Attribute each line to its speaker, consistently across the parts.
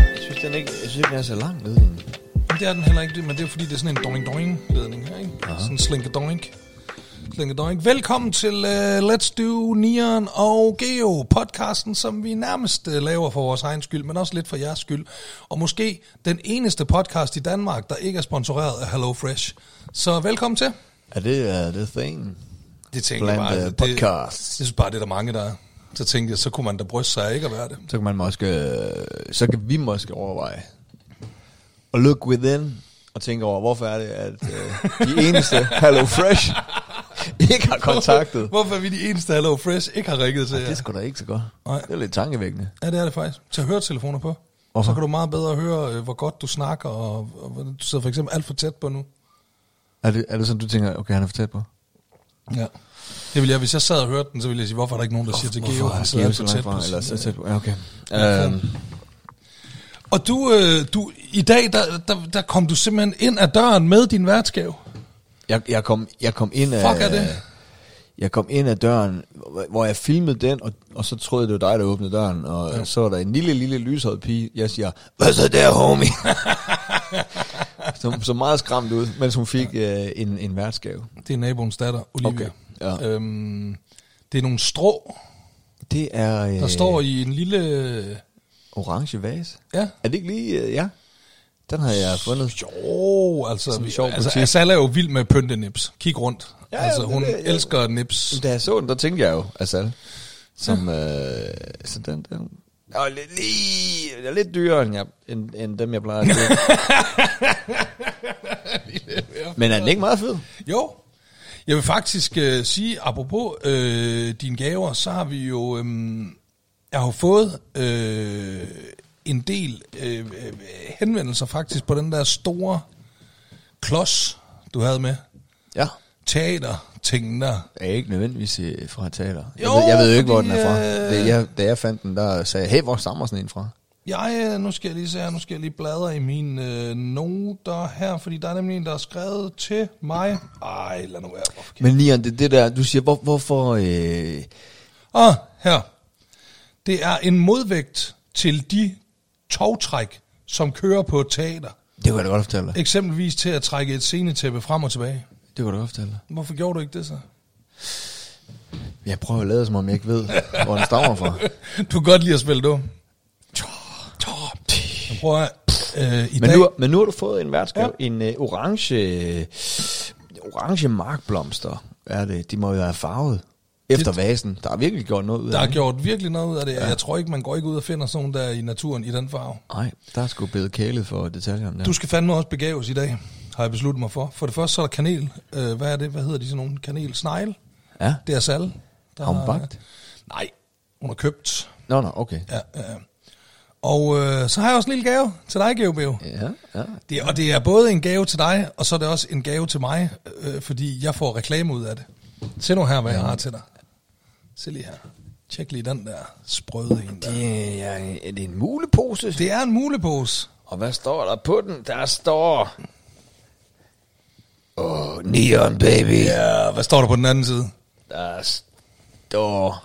Speaker 1: ikke, jeg synes ikke, den er så lang ledning.
Speaker 2: Det er den heller ikke, det- men det er fordi, det er sådan en doink-doink-ledning her, ikke? Aha. Sådan en slinke-doink. Slinke-doink. Velkommen til uh, Let's Do Neon og Geo, podcasten, som vi nærmest uh, laver for vores egen skyld, men også lidt for jeres skyld. Og måske den eneste podcast i Danmark, der ikke er sponsoreret af HelloFresh. Så velkommen til.
Speaker 1: Er det uh, the thing?
Speaker 2: Det tænker jeg
Speaker 1: Blandt
Speaker 2: bare,
Speaker 1: uh,
Speaker 2: det, jeg
Speaker 1: podcasts.
Speaker 2: synes bare, det er der mange, der er. Så tænkte jeg, så kunne man da bryste sig af ikke at være det.
Speaker 1: Så kan man måske, øh, så kan vi måske overveje at look within og tænke over, hvorfor er det, at øh, de eneste Hello Fresh ikke har kontaktet.
Speaker 2: Hvorfor er vi de eneste Hello Fresh ikke har ringet til jer?
Speaker 1: Det er sgu da ikke så godt.
Speaker 2: Nej.
Speaker 1: Det er lidt tankevækkende.
Speaker 2: Ja, det er det faktisk. Tag høretelefoner på.
Speaker 1: Hvorfor?
Speaker 2: Så kan du meget bedre høre, øh, hvor godt du snakker, og, og hvordan- du sidder for eksempel alt for tæt på nu.
Speaker 1: Er det, er det sådan, du tænker, okay, han er for tæt på?
Speaker 2: Ja. Det ville jeg, hvis jeg sad og hørte den, så ville jeg sige, hvorfor er der ikke nogen, der siger til Geo, han sidder alt for tæt på.
Speaker 1: Eller
Speaker 2: sin-
Speaker 1: så tæt på, ja, okay.
Speaker 2: Ja.
Speaker 1: Øhm,
Speaker 2: Og du, øh, du, i dag, der, der, der kom du simpelthen ind ad døren med din værtsgave.
Speaker 1: jeg, jeg, kom, jeg kom ind af...
Speaker 2: Fuck er det?
Speaker 1: Jeg kom ind ad døren, hvor- hvor jeg filmede den, og, og så troede jeg, det var dig, der åbnede døren. Og ja. så var der en lille, lille lyshåret pige. Jeg siger, hvad så der, homie? som, som meget skræmt ud, mens hun fik øh, en, en værtsgave.
Speaker 2: Det er naboens datter, Olivia.
Speaker 1: Okay, ja.
Speaker 2: Øhm, det er nogle strå,
Speaker 1: Det er... Øh,
Speaker 2: der står i en lille...
Speaker 1: Orange vase.
Speaker 2: Ja.
Speaker 1: Er det ikke lige... Øh, ja? Den har jeg fundet.
Speaker 2: Jo, altså,
Speaker 1: en
Speaker 2: vi,
Speaker 1: sjov
Speaker 2: altså
Speaker 1: butik.
Speaker 2: Asala er jo vild med pyntenips. Kig rundt. Ja,
Speaker 1: Ja,
Speaker 2: altså,
Speaker 1: det er
Speaker 2: hun
Speaker 1: det, jeg-
Speaker 2: elsker nips.
Speaker 1: Da jeg så den, der tænkte jeg jo, altså, som, øh, så den, den, og lidt, lige, det er lidt dyrere, end, jeg, end, end dem, jeg plejer at købe. Men er den ikke meget fed?
Speaker 2: Jo. Jeg vil faktisk øh, sige, apropos øh, dine gaver, så har vi jo... Øh, jeg har jo fået øh, en del øh, øh, henvendelser faktisk på den der store klods, du havde med.
Speaker 1: Ja.
Speaker 2: Teater-tingen der.
Speaker 1: Jeg er ikke nødvendigvis øh, fra teater. Jeg,
Speaker 2: Jo,
Speaker 1: jo, ved, jeg ved jo ikke, hvor
Speaker 2: fordi,
Speaker 1: den er fra.
Speaker 2: øh,
Speaker 1: Det, jeg, da jeg fandt den, der sagde jeg, hey, hvor stammer sådan en fra?
Speaker 2: Jeg, øh, nu skal jeg lige se her, nu skal jeg lige bladre i mine øh, noter her, fordi der er nemlig en, der har skrevet til mig. Ej, lad nu være. hvorfor kan-
Speaker 1: Men Nian, det, det der, du siger, hvor, hvorfor... Øh,
Speaker 2: Og Ah, her. Det er en modvægt til de togtræk, som kører på et teater.
Speaker 1: det kunne jeg da godt fortælle dig.
Speaker 2: Eksempelvis til at trække et scenetæppe frem og tilbage.
Speaker 1: Det kunne jeg da godt fortælle dig.
Speaker 2: Hvorfor gjorde du ikke det så?
Speaker 1: Jeg prøver at lade, som om jeg ikke ved, hvor den stammer fra.
Speaker 2: Du kan godt lide at spille dum. Jeg prøver at, øh, i
Speaker 1: Men
Speaker 2: dag...
Speaker 1: nu, men nu har du fået en værtsgave, ja. en øh, orange, øh, orange markblomster, er det. De må jo være farvet efter
Speaker 2: Det-
Speaker 1: vasen. Der er virkelig gjort noget ud
Speaker 2: Der
Speaker 1: af
Speaker 2: har
Speaker 1: det.
Speaker 2: gjort virkelig noget ud af det. Ja. Jeg tror ikke, man går ikke ud og finder sådan nogle der i naturen i den farve.
Speaker 1: Nej, der er sgu blevet kælet for detaljerne.
Speaker 2: Du
Speaker 1: Du...
Speaker 2: skal fandme også begaves i dag, har jeg besluttet mig for. For det første så er der kanel. Øh, hvad er det? Hvad hedder de sådan nogle? Kanelsnegle?
Speaker 1: Ja.
Speaker 2: Det er Sal. Der
Speaker 1: Har hun bagt?
Speaker 2: Nej, hun har købt.
Speaker 1: Nå, nå, okay.
Speaker 2: Ja, ja. ja. Og øh, så har jeg også en lille gave til dig, Geo
Speaker 1: Ja, ja.
Speaker 2: det, Og det er både en gave til dig, og så er det også en gave til mig, øh, fordi jeg får reklame ud af det. Se nu her, hvad jeg har til dig. Se lige her. Tjek lige den der sprøde en der.
Speaker 1: Det er, er det en mulepose? Det...
Speaker 2: Det er en mulepose.
Speaker 1: Og hvad står der på den? Der står... Åh, oh, neon baby.
Speaker 2: Ja, hvad står der på den anden side?
Speaker 1: Der står...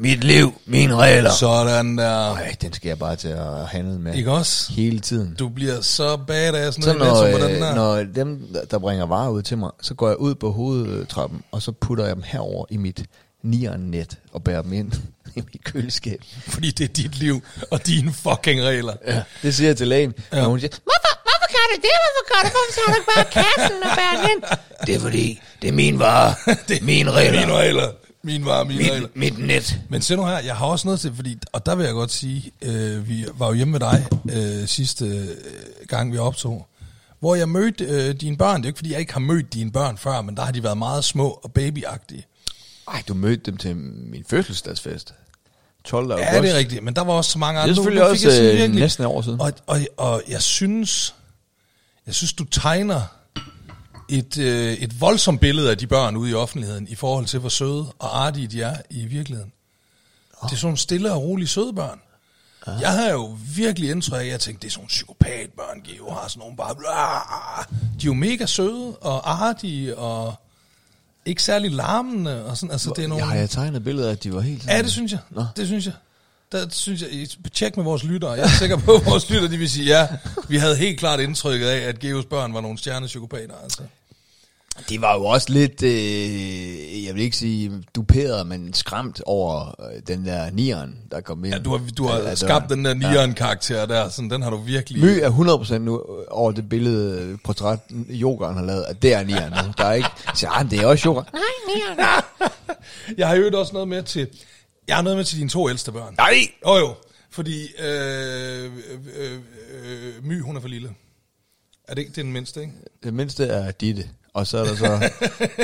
Speaker 1: Mit liv, mine regler. Så...
Speaker 2: Sådan der.
Speaker 1: Ej, den skal jeg bare til at handle med.
Speaker 2: Ikke også?
Speaker 1: Hele tiden.
Speaker 2: Du bliver så badass, når,
Speaker 1: Så
Speaker 2: så
Speaker 1: når,
Speaker 2: når, på
Speaker 1: øh,
Speaker 2: den der.
Speaker 1: når dem, der- der bringer varer ud til mig, så går jeg ud på hovedtrappen, og så putter jeg dem herover i mit nieren-net og bærer dem ind i mit køleskab.
Speaker 2: Fordi det er dit liv og dine fucking regler.
Speaker 1: Ja. Det siger jeg til lægen, ja. og hun siger,
Speaker 3: Hvorfor, hvorfor gør du det? Hvorfor gør du? Hvorfor tager du ikke bare kassen og bærer den ind?
Speaker 1: det er fordi, det er min vare, det er mine regler,
Speaker 2: Mine regler. Min var mine regler.
Speaker 1: mit, mit net.
Speaker 2: Men se nu her, jeg har også noget til, fordi, og der vil jeg godt sige, øh, vi var jo hjemme med dig øh, sidste øh, gang, vi optog, hvor jeg mødte øh, dine børn. Det er jo ikke, fordi jeg ikke har mødt dine børn før, men der har de været meget små og babyagtige.
Speaker 1: Ej, du mødte dem til min fødselsdagsfest. 12. august.
Speaker 2: Ja, det er rigtigt, men der var også så mange andre.
Speaker 1: selvfølgelig
Speaker 2: Nu fik
Speaker 1: også,
Speaker 2: jeg sådan
Speaker 1: øh,
Speaker 2: virkelig-
Speaker 1: næsten et år siden.
Speaker 2: Og, og, og jeg synes, jeg synes du tegner et, øh, et voldsomt billede af de børn ude i offentligheden, i forhold til, hvor søde og artige de er i virkeligheden. Det er sådan nogle stille og rolige søde børn. Jeg havde jo virkelig indtryk af, at jeg tænkte, det er sådan nogle psykopatbørn, de jo har sådan nogle bare... Blah. De er jo mega søde og artige og ikke særlig larmende. Og sådan. Altså, det er nogle...
Speaker 1: Jeg har jeg tegnet billeder af, at de var helt
Speaker 2: Ja,
Speaker 1: sådan-
Speaker 2: det synes jeg.
Speaker 1: Nå.
Speaker 2: Det synes jeg. der synes jeg, I- tjek med vores lyttere. Jeg er sikker på, at vores lyttere de vil sige, ja, vi havde helt klart indtrykket af, at Geos børn var nogle stjernepsykopater. Altså.
Speaker 1: Det var jo også lidt, øh, jeg vil ikke sige duperet, men skræmt over øh, den der nieren, der kom ind.
Speaker 2: Ja, du har, du har
Speaker 1: Af- af
Speaker 2: skabt den
Speaker 1: døren.
Speaker 2: der nieren-karakter der, sådan, den har du virkelig...
Speaker 1: My er 100% nu øh, over det billede, øh, portræt, Jokeren har lavet, at det er nieren nu. Der er ikke, så han, det er også Jokeren.
Speaker 3: Nej, mere.
Speaker 2: Jeg har jo også noget med til... Jeg har noget med til dine to ældste børn.
Speaker 1: Nej!
Speaker 2: Jo jo, fordi øh, øh, øh, øh, My, hun er for lille. Er det ikke det er den mindste, ikke?
Speaker 1: Det mindste er Ditte, og så er der så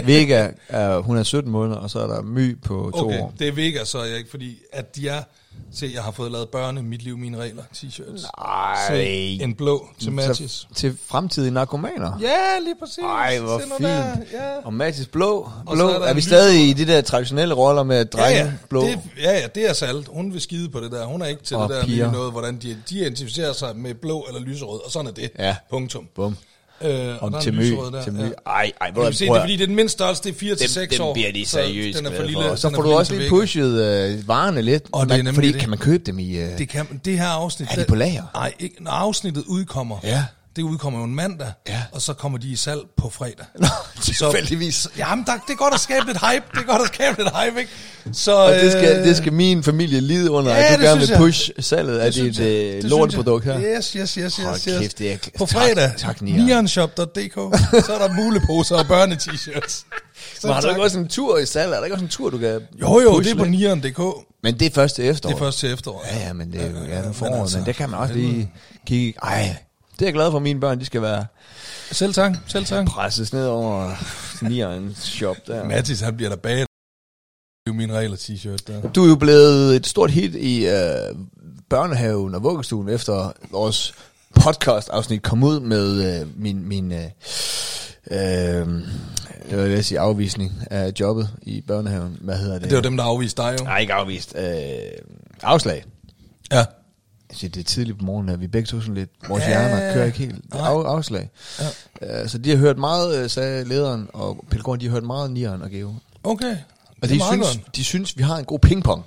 Speaker 1: Vega, er, hun er 17 måneder, og så er der My på to
Speaker 2: Okay,
Speaker 1: år.
Speaker 2: det er Vega så jeg ikke, fordi at de er... Se, jeg har fået lavet børne, mit liv, mine regler, t-shirts. Se, en blå til Mathis.
Speaker 1: Så, til fremtidige narkomaner.
Speaker 2: Ja, lige præcis.
Speaker 1: Ej, hvor
Speaker 2: Se nu der,
Speaker 1: fint.
Speaker 2: Ja.
Speaker 1: Og Mathis blå.
Speaker 2: Og
Speaker 1: blå.
Speaker 2: så er der
Speaker 1: er,
Speaker 2: en
Speaker 1: vi
Speaker 2: lys-
Speaker 1: stadig i de der traditionelle roller med drenge
Speaker 2: ja, ja.
Speaker 1: blå?
Speaker 2: Det, ja, ja, det er salt. Hun vil skide på det der. Hun er ikke til
Speaker 1: Og
Speaker 2: det der
Speaker 1: piger.
Speaker 2: lille noget, hvordan de, de identificerer sig med blå eller lyserød, og sådan er det.
Speaker 1: Ja.
Speaker 2: Punktum.
Speaker 1: Bum.
Speaker 2: Øh,
Speaker 1: Om
Speaker 2: der er
Speaker 1: til
Speaker 2: en
Speaker 1: my.
Speaker 2: lyserød der,
Speaker 1: Til Ah,
Speaker 2: ja.
Speaker 1: my. Ej, ej,
Speaker 2: Du
Speaker 1: hvor
Speaker 2: kan se, det er fordi, det er den mindste størrelse, det er 4 til 6 år.
Speaker 1: dem bliver de
Speaker 2: så
Speaker 1: seriøst
Speaker 2: den er for
Speaker 1: glade
Speaker 2: lille,
Speaker 1: for. Og Så
Speaker 2: den er for
Speaker 1: får du
Speaker 2: lille
Speaker 1: også
Speaker 2: til
Speaker 1: lige
Speaker 2: væggen.
Speaker 1: pushet øh, varerne lidt.
Speaker 2: Og det er
Speaker 1: man,
Speaker 2: nemlig
Speaker 1: fordi
Speaker 2: det.
Speaker 1: kan man købe dem i... Øh,
Speaker 2: Det, kan, det her afsnit...
Speaker 1: Er de på lager?
Speaker 2: Nej, ikke, når afsnittet udkommer.
Speaker 1: Ja.
Speaker 2: Det udkommer jo en mandag,
Speaker 1: Ja.
Speaker 2: og så kommer de i salg på fredag.
Speaker 1: Nå, tilfældigvis.
Speaker 2: Så, jamen, der, det er godt at skabe lidt hype. Det er godt at skabe lidt hype, ikke? Så,
Speaker 1: Og det skal,
Speaker 2: øh,
Speaker 1: det skal min familie lide under,
Speaker 2: Ja,
Speaker 1: ja, at
Speaker 2: det
Speaker 1: du gerne
Speaker 2: synes
Speaker 1: vil
Speaker 2: jeg.
Speaker 1: pushe salget af
Speaker 2: synes
Speaker 1: dit
Speaker 2: jeg.
Speaker 1: øh,
Speaker 2: synes
Speaker 1: lorteprodukt her.
Speaker 2: jeg. Yes, yes, yes, yes.
Speaker 1: Hold
Speaker 2: yes.
Speaker 1: kæft, det er-
Speaker 2: På
Speaker 1: tak-
Speaker 2: fredag,
Speaker 1: tak, Nieren.
Speaker 2: nianshop.dk, så er der muleposer og børnete-shirts. Så
Speaker 1: Men har du
Speaker 2: tak.
Speaker 1: ikke også en tur i salget? Er der ikke også en tur, du kan
Speaker 2: Jo, jo,
Speaker 1: pushe
Speaker 2: det er på
Speaker 1: lidt?
Speaker 2: nieren.dk.
Speaker 1: Men det er første efterår.
Speaker 2: Det er først til efteråret.
Speaker 1: Ja, ja, men det er jo ja,
Speaker 2: men
Speaker 1: nu foråret,
Speaker 2: altså,
Speaker 1: altså, men det kan man også lige kigge. Ej, det er jeg glad for, at mine børn, de skal være
Speaker 2: Selv tak, selv tak.
Speaker 1: presses ned over nieren shop der.
Speaker 2: Mathis, han bliver der bag. Det er jo min regler t-shirt der.
Speaker 1: Du er jo blevet et stort hit i øh, børnehaven og vuggestuen, efter vores podcast-afsnit kom ud med øh, min, min øh, øh, jeg vil sige, afvisning af jobbet i børnehaven. Hvad hedder det?
Speaker 2: Det var dem, der afviste dig jo.
Speaker 1: Nej, ikke afvist. Øh, afslag.
Speaker 2: Ja.
Speaker 1: Jeg siger, det er tidligt på morgenen, at vi er begge to sådan lidt, vores
Speaker 2: Ja.
Speaker 1: ja, hjerner kører ikke helt. Det er
Speaker 2: Nej.
Speaker 1: af, afslag. Ja. Uh, så de har hørt meget, øh, sagde lederen og Pellegården, de har hørt meget Nieren og Geo.
Speaker 2: Okay.
Speaker 1: Og
Speaker 2: Det er
Speaker 1: de
Speaker 2: meget
Speaker 1: synes,
Speaker 2: godt.
Speaker 1: de synes, vi har en god pingpong.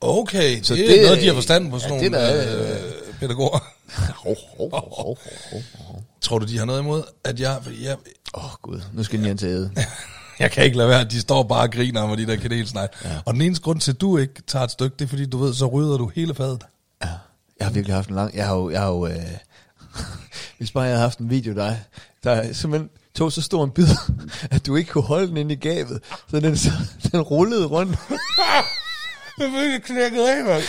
Speaker 2: Okay, så
Speaker 1: Så
Speaker 2: det, er
Speaker 1: det-
Speaker 2: noget, de har forstand på sådan
Speaker 1: ja, det
Speaker 2: nogle
Speaker 1: er da-
Speaker 2: øh, pædagoger.
Speaker 1: Åh, oh, oh, oh, oh, oh.
Speaker 2: Tror du, de har noget imod, at jeg... fordi jeg
Speaker 1: oh, gud, nu skal Nieren til at æde.
Speaker 2: Jeg kan ikke lade være, at de står bare og griner med de der kanelsnegle. Ja. Og den eneste grund til, at du ikke tager et stykke, det er fordi, du ved, så rydder du hele fadet.
Speaker 1: Ja. Jeg har virkelig haft en lang... Jeg har jo... Jeg har jo øh, hvis bare jeg havde haft en video af dig, der simpelthen tog så stor en bid, at du ikke kunne holde den inde i gabet, så den, så, den rullede rundt.
Speaker 2: Jeg blev ikke knækket af,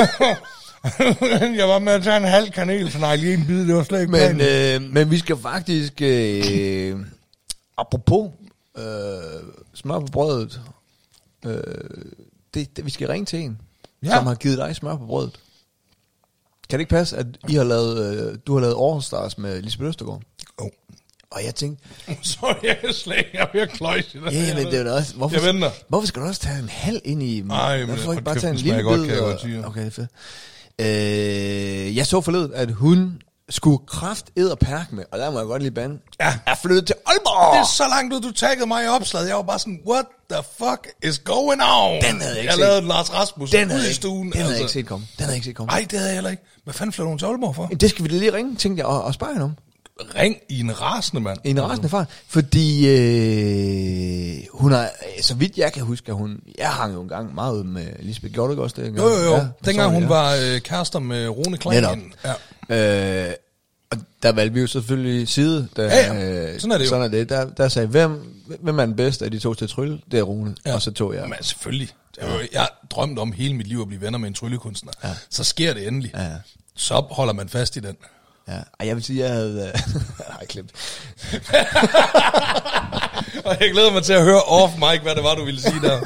Speaker 2: mand. jeg var med at tage en halv kanelsnegle i en bid, det var slet ikke
Speaker 1: Men, øh, men vi skal faktisk... Øh, apropos øh, smør på brødet, øh, det, det, vi skal ringe til en,
Speaker 2: Ja.
Speaker 1: ja. som har givet dig smør på brødet. Kan det ikke passe, at I har lavet, øh, du har lavet Aarhus Stars med Lisbeth Østergaard?
Speaker 2: Oh.
Speaker 1: Og jeg tænkte,
Speaker 2: Så jeg kan slet ikke, jeg bliver kløjs i det.
Speaker 1: Ja, men det er da også... Hvorfor,
Speaker 2: Jeg venter.
Speaker 1: Hvorfor skal du også tage en halv ind i...
Speaker 2: Ej, men
Speaker 1: hvorfor
Speaker 2: hold
Speaker 1: ikke bare
Speaker 2: kæft,
Speaker 1: tage en
Speaker 2: den
Speaker 1: lille
Speaker 2: smager godt,
Speaker 1: bid?
Speaker 2: kan jeg
Speaker 1: og-
Speaker 2: godt sige.
Speaker 1: Okay, det er fedt. Øh, jeg så forleden, at hun skulle kraft og perk med, og der må jeg godt lige bande,
Speaker 2: Ja.
Speaker 1: er flyttet til Aalborg.
Speaker 2: Det er så langt ud, du taggede mig i opslaget. Jeg var bare sådan, what the fuck is going on?
Speaker 1: Den havde jeg ikke
Speaker 2: Jeg
Speaker 1: set.
Speaker 2: lavede Lars Rasmus
Speaker 1: den
Speaker 2: ud
Speaker 1: havde,
Speaker 2: i
Speaker 1: jeg-
Speaker 2: stuen. altså.
Speaker 1: den havde jeg ikke set komme. Den havde jeg ikke set komme.
Speaker 2: Nej, det havde jeg heller ikke. Hvad fanden flytter hun til Aalborg for?
Speaker 1: Det skal vi da lige ringe, tænkte jeg, og, og spørge hende om.
Speaker 2: Ring i en rasende mand.
Speaker 1: En rasende far. Fordi øh, hun har, øh, så vidt jeg kan huske, at hun, jeg hang jo en gang meget ud med Lisbeth Gjorde også dengang.
Speaker 2: Jo, jo, jo. Ja,
Speaker 1: sorry,
Speaker 2: Dengang hun
Speaker 1: ja.
Speaker 2: ja. var øh, kærester med Rune
Speaker 1: Netop.
Speaker 2: Klagen. Ja.
Speaker 1: Øh, og der valgte vi jo selvfølgelig side. Da, øh,
Speaker 2: Ja, ja. Sådan er det jo.
Speaker 1: Sådan er det. Der, der sagde, hvem, hvem er den bedste af de to til at trylle? Det er Rune. Ja. Og så tog jeg.
Speaker 2: Men altså, selvfølgelig. Det var, jo- jeg drømte om hele mit liv at blive venner med en tryllekunstner. Ja. Så sker det endelig.
Speaker 1: Ja.
Speaker 2: Så holder man fast i den.
Speaker 1: Ja. Ej, jeg vil sige, jeg havde... Nej, klemt.
Speaker 2: Og jeg glæder mig til at høre off mic, hvad det var, du ville sige der.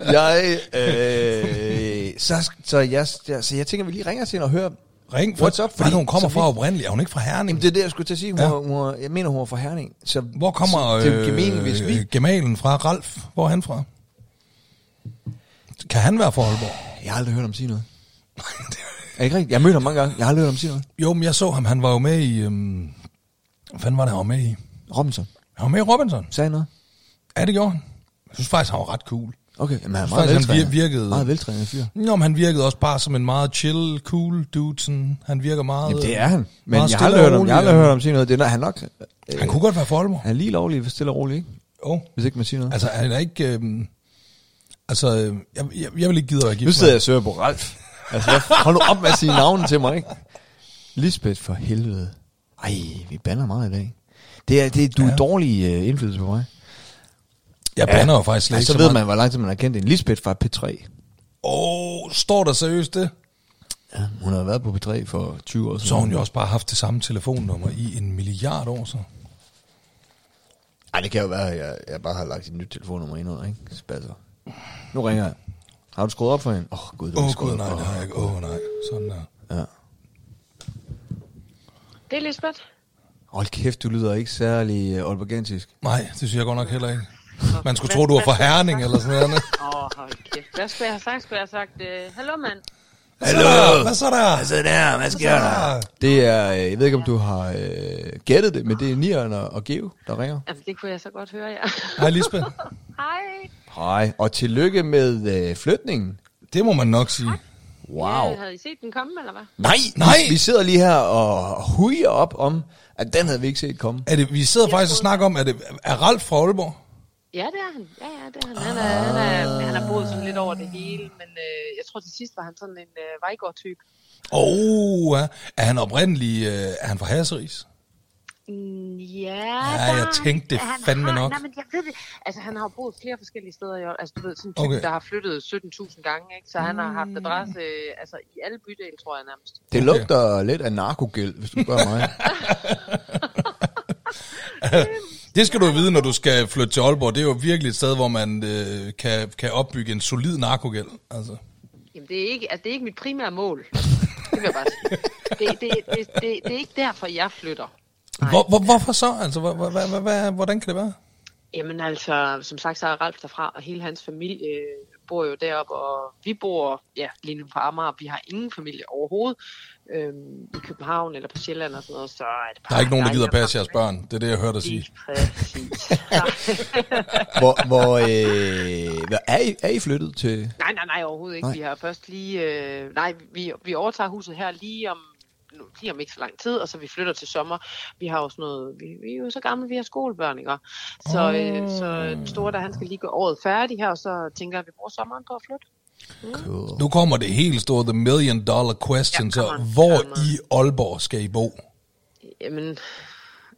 Speaker 1: Jeg, øh, så, så, jeg, jeg, så jeg tænker, vi lige ringer til hende og hører...
Speaker 2: Ring, for,
Speaker 1: What's up,
Speaker 2: fordi,
Speaker 1: fordi-
Speaker 2: hun kommer
Speaker 1: så
Speaker 2: fra
Speaker 1: vi-
Speaker 2: oprindeligt. Er hun ikke fra Herning?
Speaker 1: Jamen, det er det, jeg skulle til at sige. Hun,
Speaker 2: Ja.
Speaker 1: ja. hun, hun, jeg mener, hun er fra Herning. Så,
Speaker 2: Hvor kommer
Speaker 1: så, det er jo gemen, hvis vi...
Speaker 2: øh, gemalen fra? Ralf, hvor er han fra? Kan han være fra Aalborg?
Speaker 1: Jeg har aldrig hørt ham sige noget. Er det ikke rigtigt? Jeg mødte ham mange gange. Jeg har aldrig hørt ham sige noget.
Speaker 2: jo, men jeg så ham. Han var jo med i... Øhm, hvad fanden var det, han var med i?
Speaker 1: Robinson.
Speaker 2: Han var med i Robinson.
Speaker 1: Sagde han noget?
Speaker 2: Ja, det gjorde han. Jeg synes faktisk, han var ret cool.
Speaker 1: Okay, men han er
Speaker 2: synes
Speaker 1: meget
Speaker 2: faktisk, han
Speaker 1: veltrænet.
Speaker 2: vir- virkede-
Speaker 1: Meget veltrænet fyr.
Speaker 2: Nå, men han virkede også bare som en meget chill, cool dude. Sådan. Han virker meget... øh,
Speaker 1: Jamen, det er han. Men
Speaker 2: meget
Speaker 1: jeg
Speaker 2: stille
Speaker 1: har aldrig hørt
Speaker 2: og
Speaker 1: om, jeg har
Speaker 2: rolig,
Speaker 1: aldrig
Speaker 2: og-
Speaker 1: hørt om sige noget. Det er han nok... Øh,
Speaker 2: Han kunne godt være for Aalborg.
Speaker 1: han er lige lovlig stille og rolig, ikke?
Speaker 2: Jo.
Speaker 1: Hvis ikke man siger noget.
Speaker 2: Altså, han er ikke... Øhm, altså, øh, jeg, jeg, jeg vil ikke gide at være
Speaker 1: nu
Speaker 2: gift
Speaker 1: sidder
Speaker 2: med
Speaker 1: jeg og søger på Ralf. Altså, jeg, hold nu op med at sige navnet til mig, ikke? Lisbeth for helvede. Ej, vi banner meget i dag. Det er, det, du er
Speaker 2: Ja.
Speaker 1: dårlig øh, indflydelse på mig.
Speaker 2: ham. Jeg bander jo faktisk slet
Speaker 1: Ja,
Speaker 2: ikke
Speaker 1: så ved
Speaker 2: meget.
Speaker 1: man, hvor lang tid man har kendt en Lisbeth fra P3.
Speaker 2: Åh, oh, står der seriøst det?
Speaker 1: Ja, hun har været på P3 for 20 år siden.
Speaker 2: Så har hun jo også bare haft det samme telefonnummer i en milliard år så.
Speaker 1: Ej, det kan jo være, at jeg, jeg bare har lagt et nyt telefonnummer ind under, ikke? Spasser. Nu ringer jeg. Har du skruet op for hende? Åh, oh, gud, det
Speaker 2: Åh
Speaker 1: var
Speaker 2: oh,
Speaker 1: skruet
Speaker 2: gud,
Speaker 1: op.
Speaker 2: nej, det
Speaker 1: Åh,
Speaker 2: har jeg ikke. Åh, oh, nej. Sådan der.
Speaker 1: Ja.
Speaker 3: Det er Lisbeth.
Speaker 1: Hold kæft, du lyder ikke særlig øh, aalborgensisk.
Speaker 2: Nej, det synes jeg godt nok heller ikke. Man skulle tro, du var fra Herning eller sådan noget. andet.
Speaker 3: Åh, oh, hold kæft. Hvad skulle jeg have sagt? Skulle jeg have sagt, øh, hallo mand?
Speaker 2: Hallo! Hvad så der?
Speaker 1: Så der, hvad sker
Speaker 2: der?
Speaker 1: Det er, øh, jeg ved ikke, om du har øh, gættet det, men det er Nieren og, og Geo, der ringer.
Speaker 3: Jamen, Altså, det kunne jeg så godt høre, ja.
Speaker 2: Hej Lisbeth.
Speaker 3: Hej.
Speaker 1: Hej, og tillykke med øh, flytningen.
Speaker 2: Det må man nok sige.
Speaker 3: Ja, Øh, havde I set den komme, eller hvad?
Speaker 1: Nej,
Speaker 2: Nej!
Speaker 1: Vi, vi sidder lige her og hujer op om, at den havde vi ikke set komme.
Speaker 2: Er det, vi sidder faktisk og snakker om, er, det, er Ralf fra Aalborg?
Speaker 3: Ja, det er han. Ja, ja, det er han. Han, er, han, er, han har boet sådan lidt over det hele, men øh, jeg tror til sidst var han sådan en øh, Vejgaard-type.
Speaker 2: Åh, oh, er han oprindelig, øh, er han fra Hasseris?
Speaker 3: Mm, Ja,
Speaker 2: Ja,
Speaker 3: der
Speaker 2: jeg
Speaker 3: er-
Speaker 2: tænkte det
Speaker 3: han
Speaker 2: fandme
Speaker 3: har,
Speaker 2: nok.
Speaker 3: Nej, men jeg ved det. Altså, han har jo boet flere forskellige steder. i år. Altså, du ved, sådan en type,
Speaker 2: Okay.
Speaker 3: okay. der har flyttet 17.000 gange, ikke? Så han har haft adresse øh, altså, i alle bydele, tror jeg nærmest.
Speaker 1: Det
Speaker 2: Okay.
Speaker 1: lugter lidt af narkogæld, hvis du spørger mig.
Speaker 2: Det skal du vide, når du skal flytte til Aalborg. Det er jo virkelig et sted, hvor man øh, kan, kan opbygge en solid narkogæld. Altså.
Speaker 3: Jamen, det er ikke, altså, det er ikke mit primære mål. Det vil jeg bare sige. Det, det, det, det, det er ikke derfor, jeg flytter. Nej.
Speaker 2: Hvor, hvor, hvorfor så? Altså, hvor, hvor, hvor, hvor, hvor, hvordan kan det være?
Speaker 3: Jamen altså, som sagt, så er Ralf derfra, og hele hans familie øh, bor jo deroppe, og vi bor ja, lige nu på Amager, vi har ingen familie overhovedet øhm, i København eller på Sjælland og sådan noget, så er det bare
Speaker 2: Der er ikke nogen, der gider
Speaker 3: dejligt at
Speaker 2: passe jeres
Speaker 3: komme
Speaker 2: børn. Det er det, jeg hørte dig
Speaker 3: væk.
Speaker 2: sige.
Speaker 3: Lige Præcis.
Speaker 1: hvor, hvor, øh, hvad, er, I, er I flyttet til...
Speaker 3: nej, nej, nej, overhovedet ikke.
Speaker 1: Nej.
Speaker 3: Vi har først lige... Øh, nej, vi, vi overtager huset her lige om nu- lige om ikke så lang tid, og så vi flytter til sommer. Vi har jo sådan noget, vi, vi er jo så gamle, vi har skolebørn, ikke? Så, øh, så den store, der han skal lige gå året færdig her, og så tænker jeg, at vi bruger sommeren på at flytte.
Speaker 1: Cool.
Speaker 2: Nu kommer det helt store, the million dollar question.
Speaker 3: Ja,
Speaker 2: så
Speaker 3: kommer.
Speaker 2: hvor
Speaker 3: Kommer.
Speaker 2: i Aalborg skal I bo?
Speaker 3: Jamen,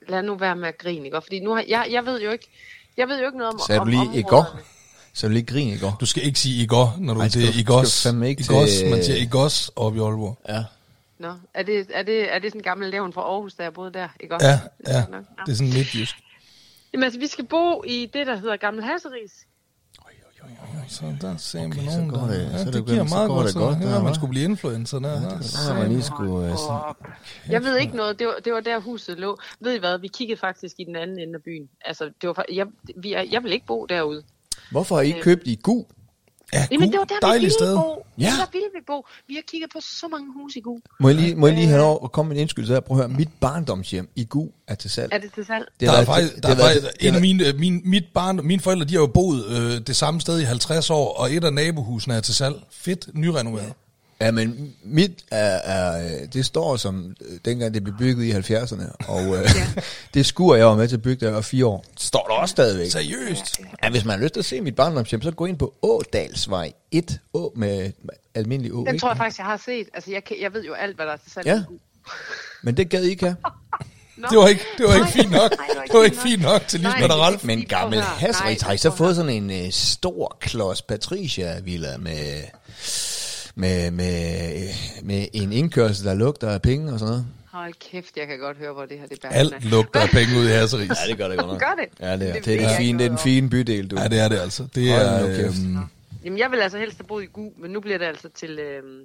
Speaker 3: lad nu være med at grine, ikke? Fordi nu har, jeg, jeg ved jo ikke, jeg ved jo ikke noget om
Speaker 1: Sagde
Speaker 3: om,
Speaker 1: du lige i
Speaker 3: områderne.
Speaker 1: går? Så du lige grin i går?
Speaker 2: Du skal ikke sige Igor, når du
Speaker 1: Nej,
Speaker 2: Ej,
Speaker 1: skal
Speaker 2: det
Speaker 1: du-
Speaker 2: er Igos.
Speaker 1: skal du fandme ikke
Speaker 2: Igos,
Speaker 1: til-
Speaker 2: man siger Igos op i Aalborg.
Speaker 1: Ja.
Speaker 3: Nå, er det, er, det, er det sådan en gammel levn fra Aarhus, der jeg boede der, ikke? også?
Speaker 2: Ja, ja.
Speaker 3: Nå, nå.
Speaker 2: Det er sådan midtjysk.
Speaker 3: Jamen, altså, vi skal bo i det, der hedder Gammel Hasseris.
Speaker 2: Så der ser man
Speaker 1: Okay, så
Speaker 2: nogen,
Speaker 1: går
Speaker 2: der...
Speaker 1: det-
Speaker 2: Ja,
Speaker 1: så er det
Speaker 2: det
Speaker 1: jo
Speaker 2: giver
Speaker 1: godt, så
Speaker 2: meget
Speaker 1: går
Speaker 2: godt.
Speaker 1: det
Speaker 2: Så
Speaker 1: godt
Speaker 2: det
Speaker 1: der,
Speaker 2: man
Speaker 1: hva'?
Speaker 2: skulle blive influencer der. altså. Ja,
Speaker 1: Så man lige skulle... Øh, sådan-
Speaker 3: Og jeg ved ikke noget, det var, det var der huset lå. Ved I hvad, vi kiggede faktisk i den anden ende af byen. Altså, det var, fa- jeg, vi er, jeg vil ikke bo derude.
Speaker 1: Hvorfor har I ikke købt i gu?
Speaker 2: ja
Speaker 3: Jamen,
Speaker 2: Gug,
Speaker 3: det var der, vi ville
Speaker 2: dejligt sted.
Speaker 3: bo.
Speaker 1: Ja.
Speaker 3: Ja. Der ville vi bo. Vi har kigget på så mange huse i Gug.
Speaker 1: Må jeg lige, må jeg lige have lov at komme med en indskyldelse her? Prøv at høre, mit barndomshjem i gu er til salg.
Speaker 3: Er det til salg?
Speaker 1: Det
Speaker 2: Der
Speaker 1: har
Speaker 2: er
Speaker 1: været-
Speaker 2: faktisk,
Speaker 1: det
Speaker 2: der
Speaker 1: har
Speaker 2: er
Speaker 1: været-
Speaker 2: faktisk,
Speaker 1: det
Speaker 2: en
Speaker 1: har-
Speaker 2: af mine, øh, min, mit barn, mine forældre, de har jo boet øh, det samme sted i 50 år, og et af nabohusene er til salg. Fedt, nyrenoveret.
Speaker 1: Ja, men mit er, er, øh, det står som øh, dengang det blev bygget i 70'erne, og øh, det skur jeg var med til at bygge, da jeg var fire år. Står der også stadigvæk.
Speaker 2: Seriøst?
Speaker 1: Ja, hvis man har lyst til at se mit barndomshjem, så gå ind på Ådalsvej 1, Å med med almindelig Å,
Speaker 3: Den
Speaker 1: ikke?
Speaker 3: tror jeg faktisk, jeg har set. Altså, jeg, kan, jeg ved jo alt, hvad der er til salg
Speaker 1: Ja.
Speaker 3: i Gug.
Speaker 1: Men det gad I ikke have.
Speaker 3: Nå.
Speaker 2: Det var ikke, det var ikke
Speaker 3: Nej.
Speaker 2: fint nok.
Speaker 3: Nej,
Speaker 2: Det var ikke fint nok til Lisbeth og
Speaker 3: Nej.
Speaker 2: Ralf.
Speaker 1: Men
Speaker 3: Lige prøv
Speaker 1: gammel
Speaker 3: at høre.
Speaker 1: Hasrit,
Speaker 3: Ah, Nej,
Speaker 1: har I så
Speaker 3: prøv at høre.
Speaker 1: fået sådan en øh, stor klods Patricia-villa med, med, med, med en indkørsel, der lugter af penge og sådan noget?
Speaker 3: Hold kæft, jeg kan godt høre, hvor det her det bærer.
Speaker 2: Alt lugter af penge ud i Hasseris.
Speaker 1: det gør det godt nok.
Speaker 3: Gør det?
Speaker 1: Ja, det er,
Speaker 3: Det
Speaker 1: det
Speaker 3: ved
Speaker 1: er,
Speaker 3: jeg
Speaker 1: den,
Speaker 3: ikke
Speaker 1: fine, det er den
Speaker 3: noget
Speaker 1: fine bydel, du.
Speaker 2: Ja, det er det altså. Det
Speaker 1: Hold
Speaker 2: er,
Speaker 1: nu kæft.
Speaker 2: øhm,
Speaker 3: Jamen, jeg vil altså helst have boet i Gu, men nu bliver det altså til, øhm,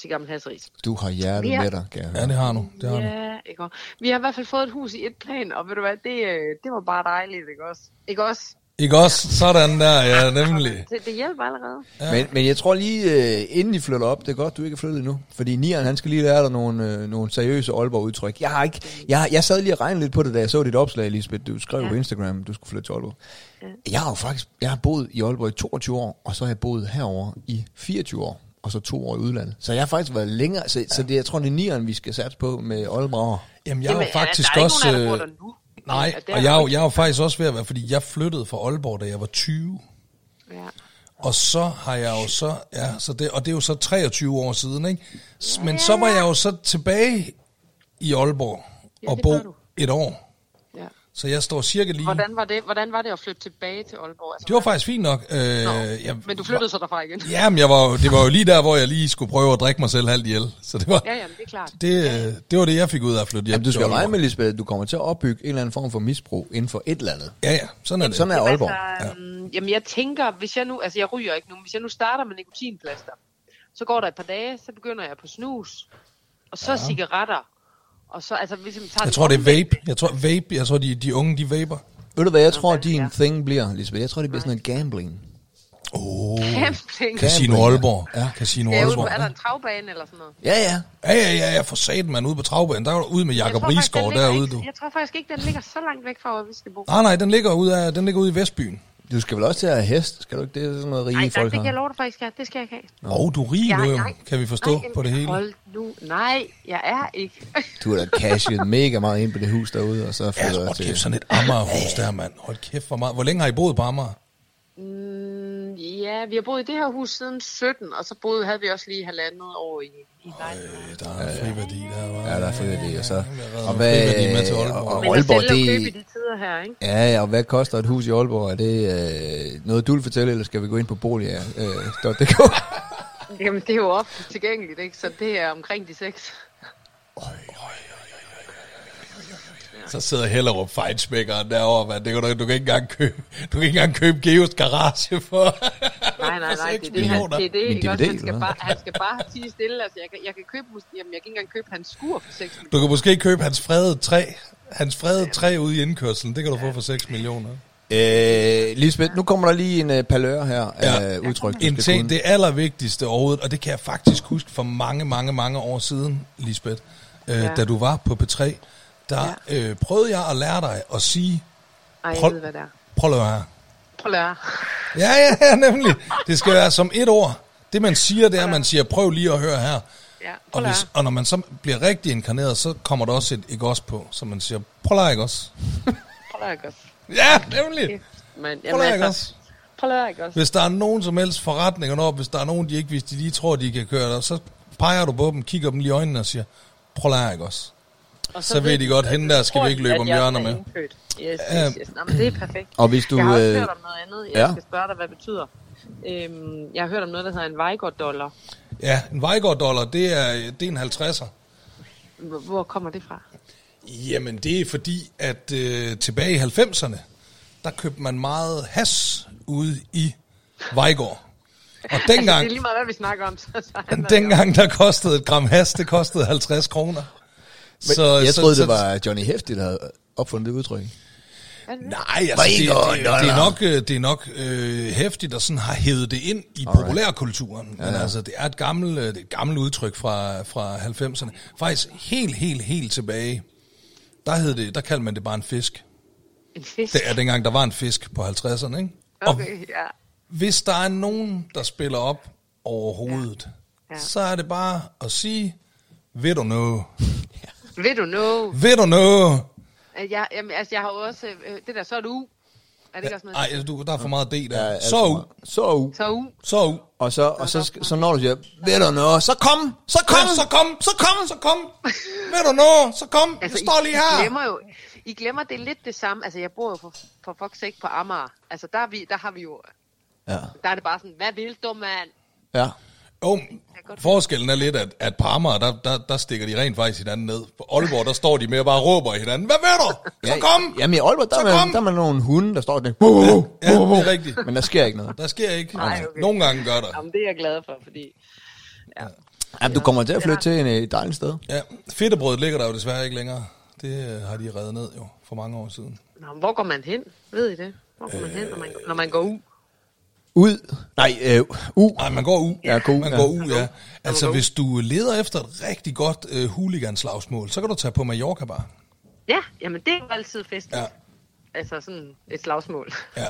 Speaker 3: til Gammel Hasseris.
Speaker 1: Du har hjertet
Speaker 3: Ja.
Speaker 1: med dig, kan jeg høre.
Speaker 2: ja, det har nu. Det har nu.
Speaker 3: Ja, ikke også? Vi har i hvert fald fået et hus i et plan, og ved du hvad, det, øh, det var bare dejligt, ikke også? Ikke også?
Speaker 2: Ikke også? Sådan der, ja, nemlig.
Speaker 3: Det, det hjælper allerede.
Speaker 1: Ja. Men, men jeg tror lige, øh, inden I flytter op, det er godt, du ikke er flyttet endnu. Fordi Nieren, han skal lige lære dig nogle, øh, nogle seriøse Aalborg-udtryk. Jeg, har ikke, jeg, jeg sad lige og regnede lidt på det, da jeg så dit opslag, Lisbeth. Du skrev ja.
Speaker 3: Ja.
Speaker 1: på Instagram, du skulle flytte til Aalborg. Ja. Jeg har jo faktisk jeg har boet i Aalborg i 22 år, og så har jeg boet herover i 24 år. Og så to år i udlandet. Så jeg har faktisk været længere. Så, ja. så det, jeg tror, det er Nieren, vi skal satse på med Aalborg.
Speaker 2: Jamen, jeg er jo
Speaker 3: Jamen,
Speaker 2: faktisk
Speaker 3: der er
Speaker 2: også...
Speaker 3: Ikke nogen, af jer,
Speaker 2: øh,
Speaker 3: der bor der nu.
Speaker 2: Nej,
Speaker 3: det
Speaker 2: og
Speaker 3: der
Speaker 2: jeg, er jo-
Speaker 3: ikke.
Speaker 2: jeg er jo faktisk også ved at være, fordi jeg flyttede fra Aalborg, da jeg var 20.
Speaker 3: Ja.
Speaker 2: Og så har jeg jo så, ja, så det, og det er jo så 23 år siden, ikke? S- Men så var jeg jo så tilbage i Aalborg
Speaker 3: Ja,
Speaker 2: og
Speaker 3: det var
Speaker 2: bo
Speaker 3: du.
Speaker 2: et år.
Speaker 3: Ja.
Speaker 2: Så jeg står cirka lige...
Speaker 3: Hvordan, var det, hvordan var det at flytte tilbage til Aalborg? Altså,
Speaker 2: Det var faktisk fint nok. Øh,
Speaker 3: Nå,
Speaker 2: jeg,
Speaker 3: men du flyttede så derfra igen?
Speaker 2: Ja, men jeg var, jo- det var jo lige der, hvor jeg lige skulle prøve at drikke mig selv halvt ihjel. Så det var,
Speaker 3: Ja, ja, men det er klart.
Speaker 2: det, øh, det, var det, jeg fik ud af at flytte hjem.
Speaker 1: Jamen, du
Speaker 2: til
Speaker 1: skal jo
Speaker 2: Aalborg.
Speaker 1: regne med, Lisbeth, at du kommer til at opbygge en eller anden form for misbrug inden for et eller andet.
Speaker 2: Ja, ja, sådan er det.
Speaker 1: Sådan er
Speaker 3: Jamen,
Speaker 1: Aalborg.
Speaker 3: Altså, øhm, jamen jeg tænker, hvis jeg nu, altså jeg ryger ikke nu, men hvis jeg nu starter med nikotinplaster, så går der et par dage, så begynder jeg på snus, og så ja. cigaretter, og så, altså hvis man tager
Speaker 2: Jeg tror, det er vape. Jeg tror, vape. Jeg tror, de, de unge, de vaper.
Speaker 1: Ved du hvad, jeg tror,
Speaker 3: den
Speaker 1: din
Speaker 3: der.
Speaker 1: thing bliver, Lisbeth? Jeg tror, det bliver sådan noget gambling.
Speaker 2: Oh. Casino
Speaker 3: Camping.
Speaker 1: Gambling, ja.
Speaker 2: Aalborg. Ja, Casino
Speaker 3: Ja, ude på,
Speaker 2: Aalborg.
Speaker 3: er
Speaker 2: Ja,
Speaker 3: der en travbane eller sådan noget?
Speaker 1: Ja, ja.
Speaker 2: ja, ja, ja, for satan, man ude på travbanen. Der er du ude med Jakob
Speaker 3: tror faktisk, den
Speaker 2: Risgaard
Speaker 3: ligger
Speaker 2: derude,
Speaker 3: ikke,
Speaker 2: du.
Speaker 3: Jeg tror faktisk ikke, den ligger så langt væk fra, hvor vi skal bo.
Speaker 2: Nej, nej, den ligger ude, af, den ligger ude i Vestbyen.
Speaker 1: Du skal vel også til at have hest? Skal du ikke? Det er sådan noget
Speaker 3: Nej,
Speaker 1: rige
Speaker 3: nej,
Speaker 1: folk
Speaker 3: det kan jeg
Speaker 1: har.
Speaker 3: love dig faktisk, ja. det skal jeg ikke have.
Speaker 2: Åh, oh, du er rig nu,
Speaker 3: Jeg-
Speaker 2: jo,
Speaker 3: nej,
Speaker 2: kan vi forstå
Speaker 3: nej,
Speaker 2: på det hele.
Speaker 3: Hold nu, nej, jeg er ikke.
Speaker 1: Du har da cashet mega meget ind på det hus derude, og så
Speaker 2: Ja,
Speaker 1: flytter jeg
Speaker 2: hold kæft,
Speaker 1: til...
Speaker 2: sådan et Amagerhus der, mand. Hold kæft for meget. Hvor længe har I boet på Amager?
Speaker 3: Mm, ja, vi har boet i det her hus siden 17, og så boede, havde vi også lige halvandet år i, i lejligheden.
Speaker 2: Øh, Der er friværdi der, var.
Speaker 1: Ja, der er flere det, og så... Og
Speaker 2: og
Speaker 1: hvad...
Speaker 2: med til
Speaker 1: Og,
Speaker 2: Aalborg.
Speaker 1: og
Speaker 3: Men at
Speaker 1: Aalborg,
Speaker 3: sælge og købe i
Speaker 1: det...
Speaker 3: de tider her, ikke?
Speaker 1: Ja, ja, og hvad koster et hus i Aalborg? Er det øh, noget, du vil fortælle, eller skal vi gå ind på boliger.dk? Øh, .dk?
Speaker 3: Jamen, det er jo ofte tilgængeligt, ikke? Så det er omkring de seks.
Speaker 2: Så sidder Hellerup fejnsmækkeren derovre, mand. Det kan du, du, kan ikke engang købe, du kan ikke engang købe Geos garage for.
Speaker 3: Nej, nej,
Speaker 2: For
Speaker 3: nej,
Speaker 2: seks
Speaker 3: det er det, han,
Speaker 2: millioner.
Speaker 3: det, er det
Speaker 1: Min
Speaker 3: ikke også?
Speaker 1: DVD,
Speaker 3: Han skal,
Speaker 1: eller
Speaker 3: bare, han skal bare tige stille. Altså, jeg, kan, jeg kan købe, mus- jamen, jeg kan ikke engang købe hans skur for 6 millioner.
Speaker 2: Du kan måske købe hans fredede træ. Hans fredede træ ude i indkørselen, det kan du få for 6 millioner.
Speaker 1: øh, Lisbeth, nu kommer der lige en øh, palør her af
Speaker 2: Ja.
Speaker 1: udtryk, du
Speaker 2: En
Speaker 1: skal
Speaker 2: ting,
Speaker 1: kunne.
Speaker 2: det allervigtigste overhovedet, og det kan jeg faktisk huske for mange, mange, mange år siden, Lisbeth, øh, ja. da du var på P3, der ja. øh, prøvede jeg at lære dig at sige,
Speaker 3: Ej, jeg
Speaker 2: Hold-
Speaker 3: ved, hvad det er.
Speaker 2: prøv lige at høre her.
Speaker 3: Prøv at lære.
Speaker 2: Ja, ja, ja, nemlig. Det skal være som et ord. Det man siger, det er, at man siger, prøv lige at høre her.
Speaker 3: Ja, prøv
Speaker 2: Og,
Speaker 3: at
Speaker 2: hvis,
Speaker 3: lære.
Speaker 2: og når man så bliver rigtig inkarneret, så kommer der også et ikke også på, så man siger, prøv lige ikke også.
Speaker 3: Prøv at lære, ikke også?
Speaker 2: Ja, nemlig.
Speaker 3: Men,
Speaker 2: Prøv
Speaker 3: jamen,
Speaker 2: lige ikke
Speaker 3: altså,
Speaker 2: også.
Speaker 3: prøv at lære, ikke også?
Speaker 2: Hvis der er nogen som helst forretninger op, hvis der er nogen, de ikke, hvis de lige tror, de kan køre dig, så peger du på dem, kigger dem lige i øjnene og siger, prøv lige ikke også.
Speaker 3: Og
Speaker 2: så ved de godt, hende der skal vi
Speaker 3: tror
Speaker 2: ikke
Speaker 3: de,
Speaker 2: løbe
Speaker 3: at
Speaker 2: om
Speaker 3: jeg
Speaker 2: hjørner
Speaker 3: er
Speaker 2: med.
Speaker 3: indfødt. Yes,
Speaker 2: Ja.
Speaker 3: yes, yes. Nå, men det er perfekt.
Speaker 1: Og hvis du...
Speaker 3: jeg har også
Speaker 1: Øh,
Speaker 3: hørt om noget andet. Jeg
Speaker 1: ja.
Speaker 3: ja. skal spørge dig, hvad det betyder. Øhm, jeg har hørt om noget, der hedder en Vejgaard-dollar.
Speaker 2: Ja, en Vejgaard-dollar, det er, det er en 50'er.
Speaker 3: Hvor hvor kommer det fra?
Speaker 2: Jamen, det er fordi, at øh, tilbage i 90'erne, der købte man meget has ude i Vejgaard. Og
Speaker 3: Altså, det
Speaker 2: dengang,
Speaker 3: er lige meget, hvad vi snakker om. Så, så handler det om-
Speaker 2: dengang der kostede et gram has, det kostede 50 kroner.
Speaker 1: men jeg troede, det var Johnny Hefti, der havde opfundet det udtryk.
Speaker 2: Nej, altså, det, det, det,
Speaker 1: Vejgaard-dollar.
Speaker 2: er nok, øh, det er nok øh, hæftigt at sådan har hævet det ind i populærkulturen. Men altså, det er et gammelt, øh, det er et gammelt udtryk fra, fra 90'erne. Faktisk helt, helt, helt tilbage, der, hed det, der kaldte man det bare en fisk.
Speaker 3: En fisk.
Speaker 2: Det er dengang, der var en fisk på 50'erne, ikke? Og
Speaker 3: Okay, ja.
Speaker 2: hvis der er nogen, der spiller op overhovedet, ja.
Speaker 3: Ja.
Speaker 2: Ja. så er det bare at sige, ved du noget?
Speaker 3: Ved du nu?
Speaker 2: Ved du noget?
Speaker 3: at Jeg, jamen, altså, jeg har jo også... Øh, det der, så er du u. Er det ikke også noget?
Speaker 2: Ej, altså, du, der er for meget D der.
Speaker 1: Ja, altså-
Speaker 2: Ja,
Speaker 1: alt
Speaker 2: så
Speaker 1: for
Speaker 2: ud,
Speaker 1: meget. Så u.
Speaker 3: Så u.
Speaker 2: så ud.
Speaker 1: Og så, og så, så når du siger, ved du noget, så kom, så kom,
Speaker 2: Kom, så kom, så kom, så kom. Ved du noget? Så kom. Jeg står lige
Speaker 3: Altså,
Speaker 2: her.
Speaker 3: I, I glemmer jo... I glemmer det er lidt det samme. Altså, jeg bor jo for, for fuck's sake på Amager. Altså, der, er vi, der har vi jo...
Speaker 1: Ja.
Speaker 3: Der er det bare sådan, hvad vil du, mand?
Speaker 1: Ja.
Speaker 2: Jo, forskellen er lidt, at, at på Amager, der, der, der stikker de rent faktisk hinanden ned. På Aalborg, der står de mere og bare råber hinanden. Hvad ved du? Så kom.
Speaker 1: Jamen i Aalborg, der, er
Speaker 2: Så
Speaker 1: man,
Speaker 2: kom!
Speaker 1: der er man nogle hunde, der står og tænker, "Wow, wow,
Speaker 2: Ja,
Speaker 1: wow, wow."
Speaker 2: det er rigtigt.
Speaker 1: Men der sker ikke noget.
Speaker 2: Der sker ikke.
Speaker 3: Nej, okay.
Speaker 2: Nogle gange gør der.
Speaker 3: Jamen, det er jeg glad for, fordi...
Speaker 1: Jamen, du kommer til at flytte til en øh, dejlig sted.
Speaker 2: Ja, fedtebrødet ligger der jo desværre ikke længere. Det øh, har de reddet ned jo for mange år siden.
Speaker 3: Nå, men hvor går man hen? Ved I det? Hvor går man hen, når man, når man går ud?
Speaker 1: Ud. Nej, øh, u.
Speaker 2: Nej, man går u.
Speaker 1: Ja, gå u,
Speaker 2: man
Speaker 1: ja.
Speaker 2: går u, ja.
Speaker 3: Man
Speaker 2: Altså,
Speaker 3: går u.
Speaker 2: hvis du leder efter et rigtig godt øh, huliganslagsmål, så kan du tage på Mallorca bare.
Speaker 3: Ja, jamen det er jo altid festligt.
Speaker 2: Ja.
Speaker 3: Ja. Altså sådan et slagsmål.
Speaker 2: Ja.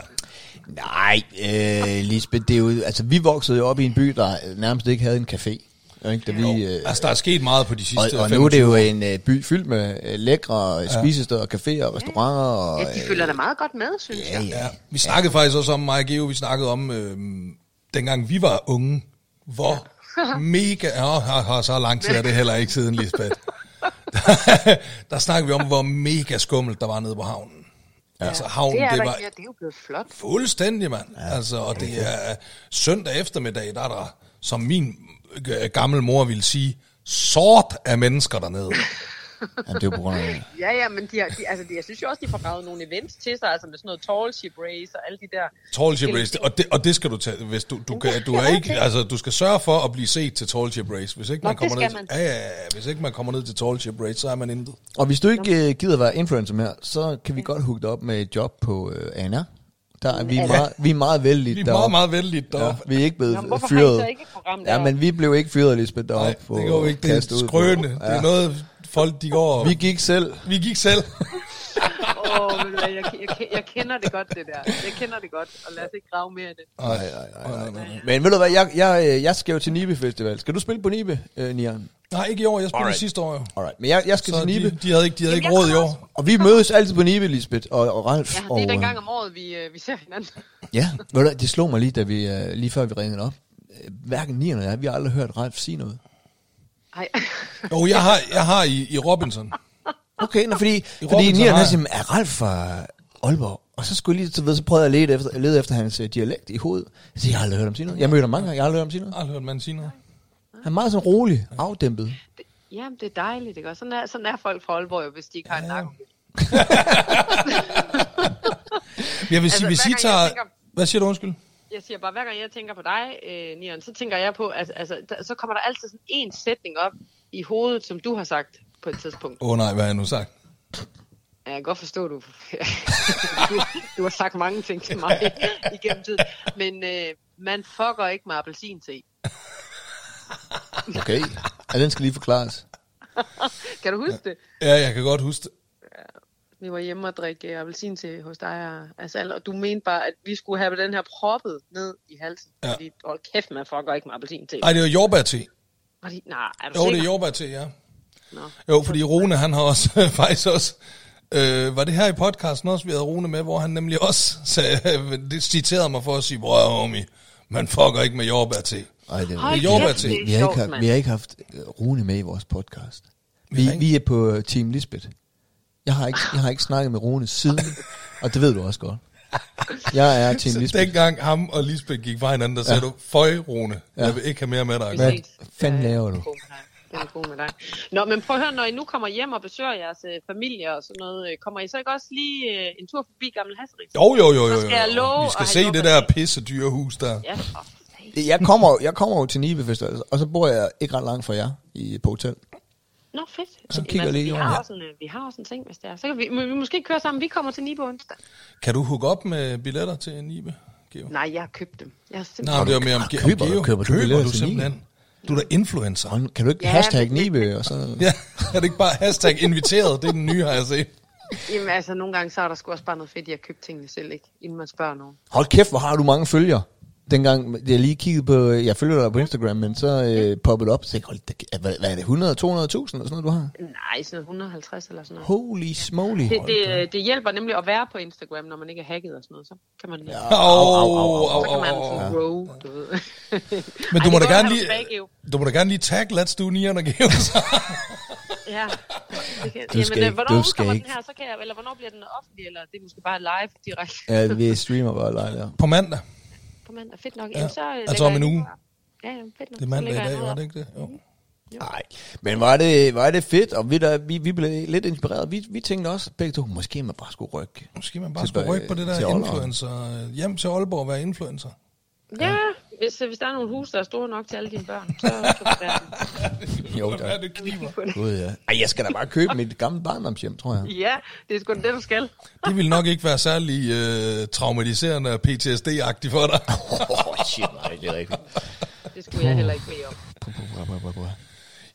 Speaker 1: Nej, øh, Lisbeth, det er jo... Altså, vi voksede jo op i en by, der øh, nærmest ikke havde en café. Ikke? Da vi, øh,
Speaker 2: Altså, der er sket meget på de
Speaker 1: og,
Speaker 2: sidste
Speaker 1: og nu er det
Speaker 2: 25
Speaker 1: jo en øh, by fyldt med øh, lækre ja. spisesteder, caféer og restauranter. Og,
Speaker 3: Ja, de
Speaker 1: øh,
Speaker 3: følger da meget godt med, synes jeg.
Speaker 1: ja, ja.
Speaker 2: Ja, vi snakkede ja. faktisk også om, mig og Geo, vi snakkede om, øh, dengang vi var unge, hvor mega... Oh, ha, ha, så lang tid er det heller ikke siden, Lisbeth. der, der snakkede vi om, hvor mega skummelt der var nede på havnen. Ja. Altså havnen,
Speaker 3: det, er
Speaker 2: det,
Speaker 3: der
Speaker 2: var
Speaker 3: ikke mere. det er jo blevet flot.
Speaker 2: fuldstændig, mand. Ja. Altså, og det er søndag eftermiddag, der er der, som min øh, gamle mor ville sige, sort af mennesker dernede.
Speaker 1: Jamen, det er jo på grund af...
Speaker 3: Ja, ja, men de har, de, altså, de, jeg synes jo også, de får gravet nogle events til sig, altså med sådan noget tall ship race og alle de der.
Speaker 2: Tallship Race, og det, og det skal du tage, hvis du, du, kan, du er ikke, altså, du skal sørge for at blive set til Tallship Race. Hvis ikke
Speaker 3: Nå,
Speaker 2: man
Speaker 3: det
Speaker 2: kommer ned,
Speaker 3: skal
Speaker 2: til- Ja, ja, ja, hvis ikke man kommer ned til Tallship Race, så er man intet.
Speaker 1: Og hvis du ikke øh, gider være influencer mere, så kan vi godt hooke dig op med et job på øh, Anna. Der er vi, er meget, vi er meget vældige
Speaker 2: Vi er meget, meget vældige
Speaker 1: Ja,
Speaker 2: deroppe.
Speaker 1: vi er ikke blevet
Speaker 3: Jamen, hvorfor har I
Speaker 1: fyret.
Speaker 3: så ikke et program
Speaker 1: ja,
Speaker 3: deroppe?
Speaker 1: men vi blev ikke fyret, Lisbeth,
Speaker 2: Ja,
Speaker 1: deroppe.
Speaker 2: Nej,
Speaker 1: på
Speaker 2: det går jo ikke. Det
Speaker 1: Kast
Speaker 2: er
Speaker 1: ud på.
Speaker 2: skrøne. Det er noget, folk de går og...
Speaker 1: Vi gik selv.
Speaker 2: Vi gik selv.
Speaker 3: Åh, oh, jeg, jeg, jeg, jeg kender det godt, det der. Jeg kender det godt, og lad os ikke grave mere i det.
Speaker 2: Nej, nej, nej, nej.
Speaker 1: Men ved du hvad, jeg, jeg, øh, jeg skal jo til Nibe Festival. Skal du spille på Nibe, øh, Nian?
Speaker 2: Nej, ikke i år. Jeg spillede
Speaker 1: Alright.
Speaker 2: sidste år jo.
Speaker 1: Alright, men jeg, jeg skal
Speaker 2: Så
Speaker 1: til Nibe.
Speaker 2: de, de havde ikke, de havde ikke
Speaker 3: Jamen, jeg
Speaker 2: råd i
Speaker 3: kommer
Speaker 2: år.
Speaker 1: Og vi mødes altid på Nibe, Lisbeth og, og Ralf.
Speaker 3: Ja,
Speaker 1: og,
Speaker 3: det er den
Speaker 1: øh,
Speaker 3: gang om året, vi, øh, vi ser hinanden.
Speaker 1: Ja, ved du, hvad, det slog mig lige, da vi, øh, lige før vi ringede op. Øh, Hverken Nian eller jeg, vi har aldrig hørt Ralf sige noget.
Speaker 3: Ej.
Speaker 2: Jo, jeg har, jeg har i, i Robinson.
Speaker 1: Okay, nå, fordi, fordi
Speaker 2: Robinson
Speaker 1: Nian
Speaker 2: har
Speaker 1: han
Speaker 2: jeg.
Speaker 1: siger, er Ralf fra Aalborg? Og så skulle jeg lige, så, ved, så prøvede jeg at lede efter, lede efter hans øh, dialekt i hovedet. Jeg siger, jeg har aldrig hørt ham sige noget. Jeg mødte ham mange gange, jeg har aldrig hørt ham sige noget.
Speaker 2: Jeg har hørt man sige noget.
Speaker 1: Han er meget sådan rolig, afdæmpet.
Speaker 3: Jamen, det er dejligt, ikke? Og sådan er, sådan er folk fra Aalborg, jo, hvis de ikke har en
Speaker 2: Ja.
Speaker 3: nakke.
Speaker 2: Jeg vil sige,
Speaker 3: Altså,
Speaker 2: hvis
Speaker 3: hver
Speaker 2: I
Speaker 3: gang jeg
Speaker 2: tager...
Speaker 3: tænker-
Speaker 2: Hvad siger du, undskyld?
Speaker 3: Jeg siger bare, hver gang jeg tænker på dig, øh, Nian, så tænker jeg på, at altså, der, så kommer der altid sådan en sætning op i hovedet, som du har sagt på et tidspunkt.
Speaker 2: Åh oh, nej, hvad har jeg nu sagt?
Speaker 3: Ja, Jeg kan godt forstå, du, du, du har sagt mange ting til mig igennem tiden. Men øh, man fucker ikke med appelsinte.
Speaker 1: Okay, ja, den skal lige forklares.
Speaker 3: Kan du huske det?
Speaker 2: Ja, jeg kan godt huske det.
Speaker 3: Vi var hjemme og drikke øh, appelsinte hos dig og Asal, og du mente bare, at vi skulle have den her proppet ned i halsen.
Speaker 2: Ja.
Speaker 3: Ja. Fordi, hold kæft, man fucker ikke med appelsinte.
Speaker 2: Ej, det var jordbærte.
Speaker 3: Fordi, nej, er du
Speaker 2: Jo, det er
Speaker 3: sikker?
Speaker 2: jordbærte, ja.
Speaker 3: Nå.
Speaker 2: Jo, fordi Rune, han har også faktisk også... Øh, var det her i podcasten også, vi havde Rune med, hvor han nemlig også sagde, det citerede mig for at sige, bror homie, man fucker ikke med jordbærte.
Speaker 1: Ej, det
Speaker 3: Hold
Speaker 2: Jo,
Speaker 3: kæft,
Speaker 2: Bertil.
Speaker 3: det
Speaker 1: vi,
Speaker 3: er
Speaker 1: vi, har ikke,
Speaker 3: sjovt,
Speaker 1: haft-
Speaker 3: mand.
Speaker 1: vi har ikke haft øh, Rune med i vores podcast. Vi,
Speaker 2: har ikke-
Speaker 1: vi er på øh, Team Lisbeth. Jeg har, ikke, jeg har ikke snakket med Rune siden, og det ved du også godt. Jeg er Team
Speaker 2: Så
Speaker 1: Lisbeth.
Speaker 2: dengang ham og Lisbeth gik fra hinanden, der sagde du, føj Rune, jeg vil ikke have mere med dig.
Speaker 1: Hvad
Speaker 3: Præcis.
Speaker 1: fanden
Speaker 3: Ja,
Speaker 1: laver
Speaker 3: den er
Speaker 1: du?
Speaker 3: god med dig. Den er god med dig. Nå, men prøv at høre, når I nu kommer hjem og besøger jeres øh, familie og sådan noget, øh, kommer I så ikke også lige øh, en tur forbi Gammel Hasseris?
Speaker 2: Jo, jo, jo, jo,
Speaker 3: Så
Speaker 2: jo.
Speaker 3: skal jeg love
Speaker 2: Vi skal
Speaker 3: at
Speaker 2: se
Speaker 3: have
Speaker 2: det der pisse dyre hus der.
Speaker 3: Ja, for satan.
Speaker 1: Jeg kommer, jo- jeg kommer jo til Nibe Festival, og så bor jeg ikke ret langt fra jer i, på hotel.
Speaker 3: Nå, fedt.
Speaker 1: Så
Speaker 3: Jamen,
Speaker 1: kigger jeg lige
Speaker 3: vi,
Speaker 1: over.
Speaker 3: har også en, øh, vi har også en ting, hvis det er. Så kan vi, må vi måske køre sammen. Vi kommer til Nibo onsdag.
Speaker 2: Kan du hooke op med billetter til Nibe, Geo?
Speaker 3: Nej, jeg har købt dem. Jeg
Speaker 2: Nej,
Speaker 3: har
Speaker 2: men
Speaker 3: simpelthen...
Speaker 2: det var mere om, om
Speaker 1: køber du-
Speaker 2: Geo.
Speaker 1: køber du billetter til
Speaker 2: simpelthen? Du er da influencer.
Speaker 1: Og Kan du ikke
Speaker 3: Ja,
Speaker 1: hashtag
Speaker 3: men det-
Speaker 1: Nibe? Og så,
Speaker 2: Ja, er det ikke bare hashtag inviteret? Det er den nye, har jeg set.
Speaker 3: Jamen, altså, nogle gange så er der sgu også bare noget fedt, jeg har købt tingene selv, ikke? Inden man spørger nogen.
Speaker 1: hold kæft, hvor har du mange følgere. Dengang jeg lige kiggede på, jeg følger dig på Instagram, men så øh, poppede det op, så tænkte jeg, hold da- hvad, hvad er det, 100-200.000 eller sådan noget, du har?
Speaker 3: Nej, sådan noget 150 eller sådan noget.
Speaker 1: Holy smoly.
Speaker 3: Det, det, øh, det hjælper nemlig at være på Instagram, når man ikke er hacket og sådan noget. Så kan man... Ja.
Speaker 2: Åh,
Speaker 3: Så kan
Speaker 2: åh,
Speaker 3: man
Speaker 2: åh, åh.
Speaker 3: sådan grow, du ved.
Speaker 2: Men
Speaker 3: Ej,
Speaker 2: du må da
Speaker 3: det er godt,
Speaker 2: gerne
Speaker 3: at du
Speaker 2: lige...
Speaker 3: tilbage, Geo.
Speaker 2: Du må da gerne lige tagge Let's Do Nian og Geo. så.
Speaker 3: Ja. Det
Speaker 1: Du
Speaker 3: kan,
Speaker 1: skal
Speaker 3: øh,
Speaker 1: ikke-
Speaker 3: hvornår
Speaker 1: du skal
Speaker 3: udkommer
Speaker 1: ikke.
Speaker 3: den her, så kan jeg, eller hvornår bliver den offentlig, eller det er måske bare live direkte
Speaker 1: Ja, vi streamer bare live der.
Speaker 2: På mandag.
Speaker 3: på mandag. Fedt nok. Ja. Jamen, så øh,
Speaker 2: Altså
Speaker 3: lægger
Speaker 2: om
Speaker 3: jeg
Speaker 2: en
Speaker 3: den
Speaker 2: uge.
Speaker 3: her. Ja, ja, fedt nok.
Speaker 2: Det er
Speaker 3: Så
Speaker 2: mandag i
Speaker 3: lægger jeg
Speaker 2: dag,
Speaker 3: den
Speaker 2: var
Speaker 3: her.
Speaker 2: det ikke det? Jo.
Speaker 1: Nej, men var det, var det fedt, og vi, der, vi, vi blev lidt inspireret. Vi, vi tænkte også begge to, måske man bare skulle rykke.
Speaker 2: Måske man bare
Speaker 1: Til-
Speaker 2: skulle rykke på det
Speaker 1: til
Speaker 2: der
Speaker 1: Aalborg.
Speaker 2: influencer. Hjem til Aalborg og være influencer.
Speaker 3: Ja, hvis, hvis der er nogle huse, der er store nok til alle dine børn, så kan du være den.
Speaker 1: Jo,
Speaker 2: Hvad
Speaker 1: der.
Speaker 2: er det kniver?
Speaker 1: Gud, ja. Ej, jeg skal da bare købe mit gamle barndomshjem, tror jeg.
Speaker 3: Ja, det er sgu da det, du skal.
Speaker 2: Det vil nok ikke være særlig øh, traumatiserende og PTSD-agtigt for dig.
Speaker 1: Åh, oh, shit, nej, det er rigtigt.
Speaker 3: Det skulle jeg heller ikke bede om.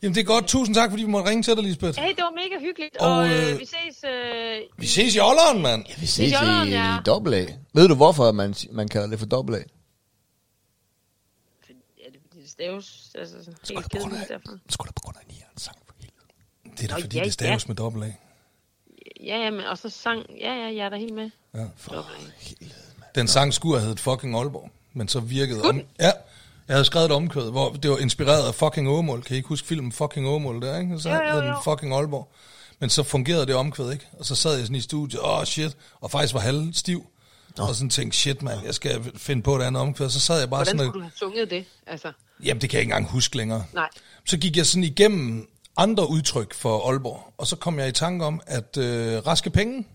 Speaker 2: Jamen det er godt. Tusind tak, fordi vi måtte ringe til dig, Lisbeth.
Speaker 3: Hey, det var mega hyggeligt,
Speaker 2: Og,
Speaker 3: og, og
Speaker 2: øh,
Speaker 3: øh, vi ses... Øh,
Speaker 2: Vi ses i ålderen, mand.
Speaker 1: Vi ses
Speaker 3: jolleren,
Speaker 1: i
Speaker 3: ja.
Speaker 1: dobbelt A. Ved du, hvorfor man, man kalder det for dobbelt A?
Speaker 3: ja, det, det staves altså, sådan helt kedeligt derfor.
Speaker 1: Skulle da på grund af nieren sang for helvede.
Speaker 2: Det er da
Speaker 3: Nå,
Speaker 2: fordi,
Speaker 3: ja,
Speaker 2: det staves
Speaker 3: ja.
Speaker 2: med dobbelt A.
Speaker 3: Ja, ja, men, og så sang... Ja, ja, jeg er da helt med.
Speaker 1: For helvede, mand.
Speaker 2: Den sang skulle have heddet fucking Aalborg, men så virkede om... Ja, jeg havde skrevet et omkvæd, hvor det var inspireret af fucking Åmål. Kan I ikke huske filmen fucking Åmål der, ikke? Så
Speaker 3: Jo, jo,
Speaker 2: hed den
Speaker 3: jo.
Speaker 2: fucking Aalborg. Men så fungerede det omkvæd, ikke? Og så sad jeg sådan i studiet, åh oh, shit, og faktisk var halvstiv. Og sådan tænkte, shit mand, jeg skal finde på et andet omkvæd. Så sad jeg bare sådan...
Speaker 3: Hvordan skulle du
Speaker 2: og-
Speaker 3: have sunget det? Altså,
Speaker 2: Jamen, det kan jeg ikke engang huske længere.
Speaker 3: nej.
Speaker 2: Så gik jeg sådan igennem andre udtryk for Aalborg, og så kom jeg i tanke om, at øh, Raske Penge,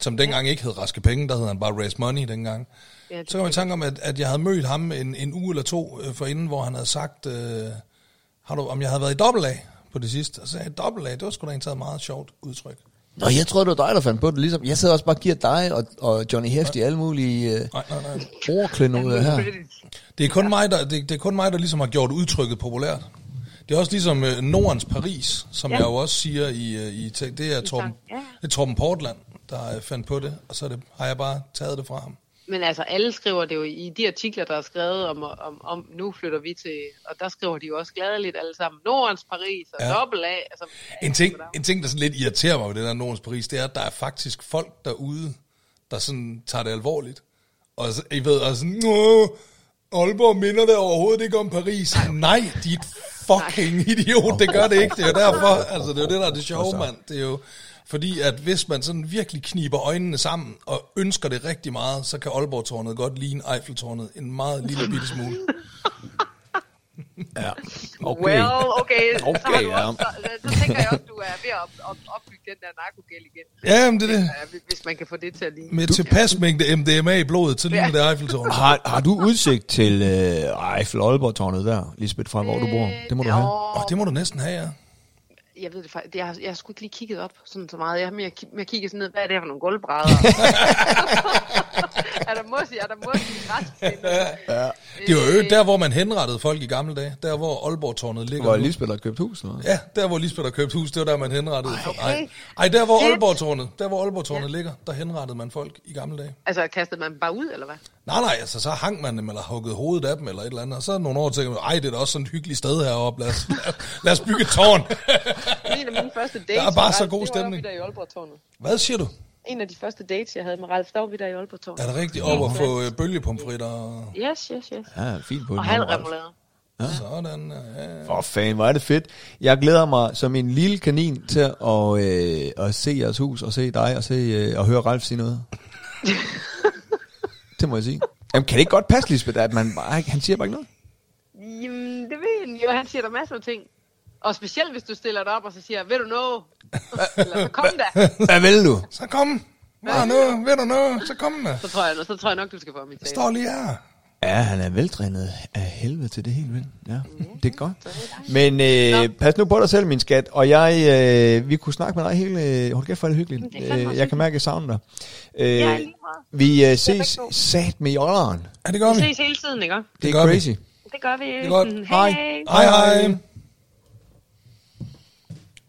Speaker 2: som dengang ikke hed Raske Penge, der hed han bare Raise Money dengang,
Speaker 3: Ja, det
Speaker 2: så kom jeg i tanke om, at, at jeg havde mødt ham en, en uge eller to øh, forinden, hvor han havde sagt, øh, har du, om jeg havde været i dobbelt A på det sidste. Og så sagde jeg, dobbelt A, det var sgu da egentlig et meget sjovt udtryk.
Speaker 1: Nå, jeg tror det var dig, der fandt på det. Ligesom, jeg sidder også bare og giver dig og, og Johnny Hefti alle mulige øh,
Speaker 2: Nej, nej, nej.
Speaker 1: ordklænder her.
Speaker 2: Det er kun, mig, der, det, det er kun mig, der ligesom har gjort udtrykket populært. Det er også ligesom øh, Nordens Paris, som ja.
Speaker 3: Ja.
Speaker 2: jeg jo også siger i, øh, i te- det er Torben,
Speaker 3: sang, ja.
Speaker 2: det er Torben Portland, der øh, fandt på det, og så er det, har jeg bare taget det fra ham.
Speaker 3: Men altså, alle skriver det jo i de artikler, der er skrevet om, om, om nu flytter vi til, og der skriver de jo også gladeligt alle sammen, Nordens Paris og
Speaker 2: Ja.
Speaker 3: ja. dobbelt A. Altså,
Speaker 2: En ting, en ting, der sådan lidt irriterer mig ved det der Nordens Paris, det er, at der er faktisk folk derude, der sådan tager det alvorligt. Og så, I ved, og sådan, Nå, Aalborg minder det overhovedet ikke om Paris. Nej, dit fucking idiot, det gør det ikke. Det er jo derfor, altså det er jo det, der er det sjove, mand. Det er jo, fordi at hvis man sådan virkelig kniber øjnene sammen og ønsker det rigtig meget, så kan Aalborg-tårnet godt ligne Eiffeltårnet en meget lille bitte smule.
Speaker 1: Ja.
Speaker 3: Well, okay, så, har
Speaker 1: Okay,
Speaker 3: du
Speaker 1: ja.
Speaker 3: også, så, så tænker jeg også, du er ved at op, op, opbygge den der narkogæld igen,
Speaker 2: Ja, men det er det.
Speaker 3: Ja, hvis- øh, hvis man kan få det til at ligne.
Speaker 2: Med tilpas mængde MDMA i blodet, så ligner det Eiffeltårnet.
Speaker 1: Har, har du udsigt til øh, Eiffel Aalborg-tårnet der, Lisbeth, fra hvor du bor? Det må du have.
Speaker 2: Åh, oh, det må du næsten have, ja.
Speaker 3: Øh, Jeg ved det faktisk, det- jeg har, jeg har sgu ikke lige kigget op sådan så meget. Jeg har mere, ki- mere kigget sådan ned, hvad er det her for nogle gulvbrædder? er der måske, er der måske græspinde? Ja.
Speaker 2: Det var jo
Speaker 3: Øh.
Speaker 2: der, hvor man henrettede folk i gamle dage. Der, hvor Aalborg-tårnet ligger
Speaker 1: Hvor
Speaker 2: nu.
Speaker 1: Lisbeth har købt hus, eller hvad?
Speaker 2: Ja, der, hvor Lisbeth har købt hus, det var der, man henrettede. Ej,
Speaker 3: Okay.
Speaker 2: Ej der, hvor
Speaker 3: Shit.
Speaker 2: Aalborg-tårnet, der, hvor Aalborg-tårnet ligger, der henrettede man folk i gamle dage.
Speaker 3: Altså, kastede man dem bare ud, eller hvad?
Speaker 2: Nej, nej, altså så hang man dem, eller huggede hovedet af dem, eller et eller andet. Og så nogle år tænkte man, ej, det er da også sådan et hyggeligt sted heroppe. Lad os, lad, lad os bygge et tårn.
Speaker 3: En af mine første dates...
Speaker 2: Der er bare
Speaker 3: med
Speaker 2: så
Speaker 3: Ralf,
Speaker 2: god
Speaker 3: det var
Speaker 2: stemning.
Speaker 3: oppe der i Aalborg-tårnet.
Speaker 2: Hvad siger du?
Speaker 3: En af de første dates, jeg havde med Ralf, der var vi der i
Speaker 2: Er
Speaker 3: Aalborg-tårnet.
Speaker 2: det rigtigt over at få øh, bølgepomfritter? og-
Speaker 3: Yes, yes, yes.
Speaker 1: Ja, fint på
Speaker 3: Og halv remoulade.
Speaker 2: Sådan, øh, ja. ja.
Speaker 1: Åh, oh, fan, hvor er det fedt. Jeg glæder mig som en lille kanin til at, øh, at se jeres hus, og se dig, og se, øh, og høre Ralf sige noget. det må jeg sige. Jamen, kan det ikke godt passe, Lisbeth, at man bare, ikke- han siger bare ikke noget?
Speaker 3: Jamen, det ved jeg jo. Han siger der masser af ting. Og specielt, hvis du stiller dig op og så siger, ved du noget? Eller, så kom da.
Speaker 1: Hvad vil du?
Speaker 2: Så kom. Var nu, ved du nu, så kom med.
Speaker 3: Så tror jeg, så tror jeg nok, du skal få min
Speaker 2: Jeg
Speaker 3: tale.
Speaker 2: står lige her.
Speaker 1: Ja, han er veltrænet af helvede til det hele, vel? Ja, det er godt. Men øh, pas nu på dig selv, min skat, og jeg, øh, vi kunne snakke med dig hele, øh, hold kæft for er det hyggeligt.
Speaker 3: Det er fandme
Speaker 1: Øh, jeg kan mærke, at jeg savner dig. Øh,
Speaker 3: lige meget.
Speaker 1: vi øh, ses
Speaker 3: begge to.
Speaker 1: sat med jolleren.
Speaker 2: Ja, det gør
Speaker 3: Vi
Speaker 2: vi.
Speaker 3: ses hele tiden, ikke?
Speaker 1: Det
Speaker 2: gør
Speaker 1: er
Speaker 2: vi.
Speaker 1: crazy.
Speaker 3: Det gør vi. Det
Speaker 2: er godt.
Speaker 1: Hej.
Speaker 3: Hej. hej.
Speaker 2: Hej, hej.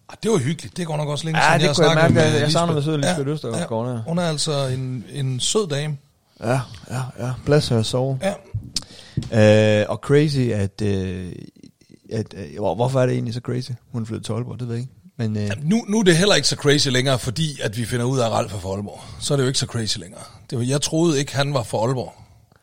Speaker 2: Ah, det var hyggeligt. Det går nok også længe
Speaker 1: Ja,
Speaker 2: siden,
Speaker 1: det
Speaker 2: jeg har
Speaker 1: kunne jeg
Speaker 2: snakket
Speaker 1: mærke, at
Speaker 2: med
Speaker 1: jeg savner
Speaker 2: Lisbeth.
Speaker 1: min søde Lisbeth Østergaard, går
Speaker 2: ja.
Speaker 1: der.
Speaker 2: Hun er altså en, en sød dame.
Speaker 1: Ja, ja, ja. Bless her soul.
Speaker 2: Ja.
Speaker 1: Øh, og crazy, at... Øh, at øh, hvor- hvorfor er det egentlig så crazy? Hun flyttede til Aalborg, det ved jeg ikke. Men øh,
Speaker 2: Nu, nu er det heller ikke så crazy længere, fordi at vi finder ud af at Ralf er fra Aalborg. Så er det jo ikke så crazy længere. Det var, jeg troede ikke, han var fra Aalborg.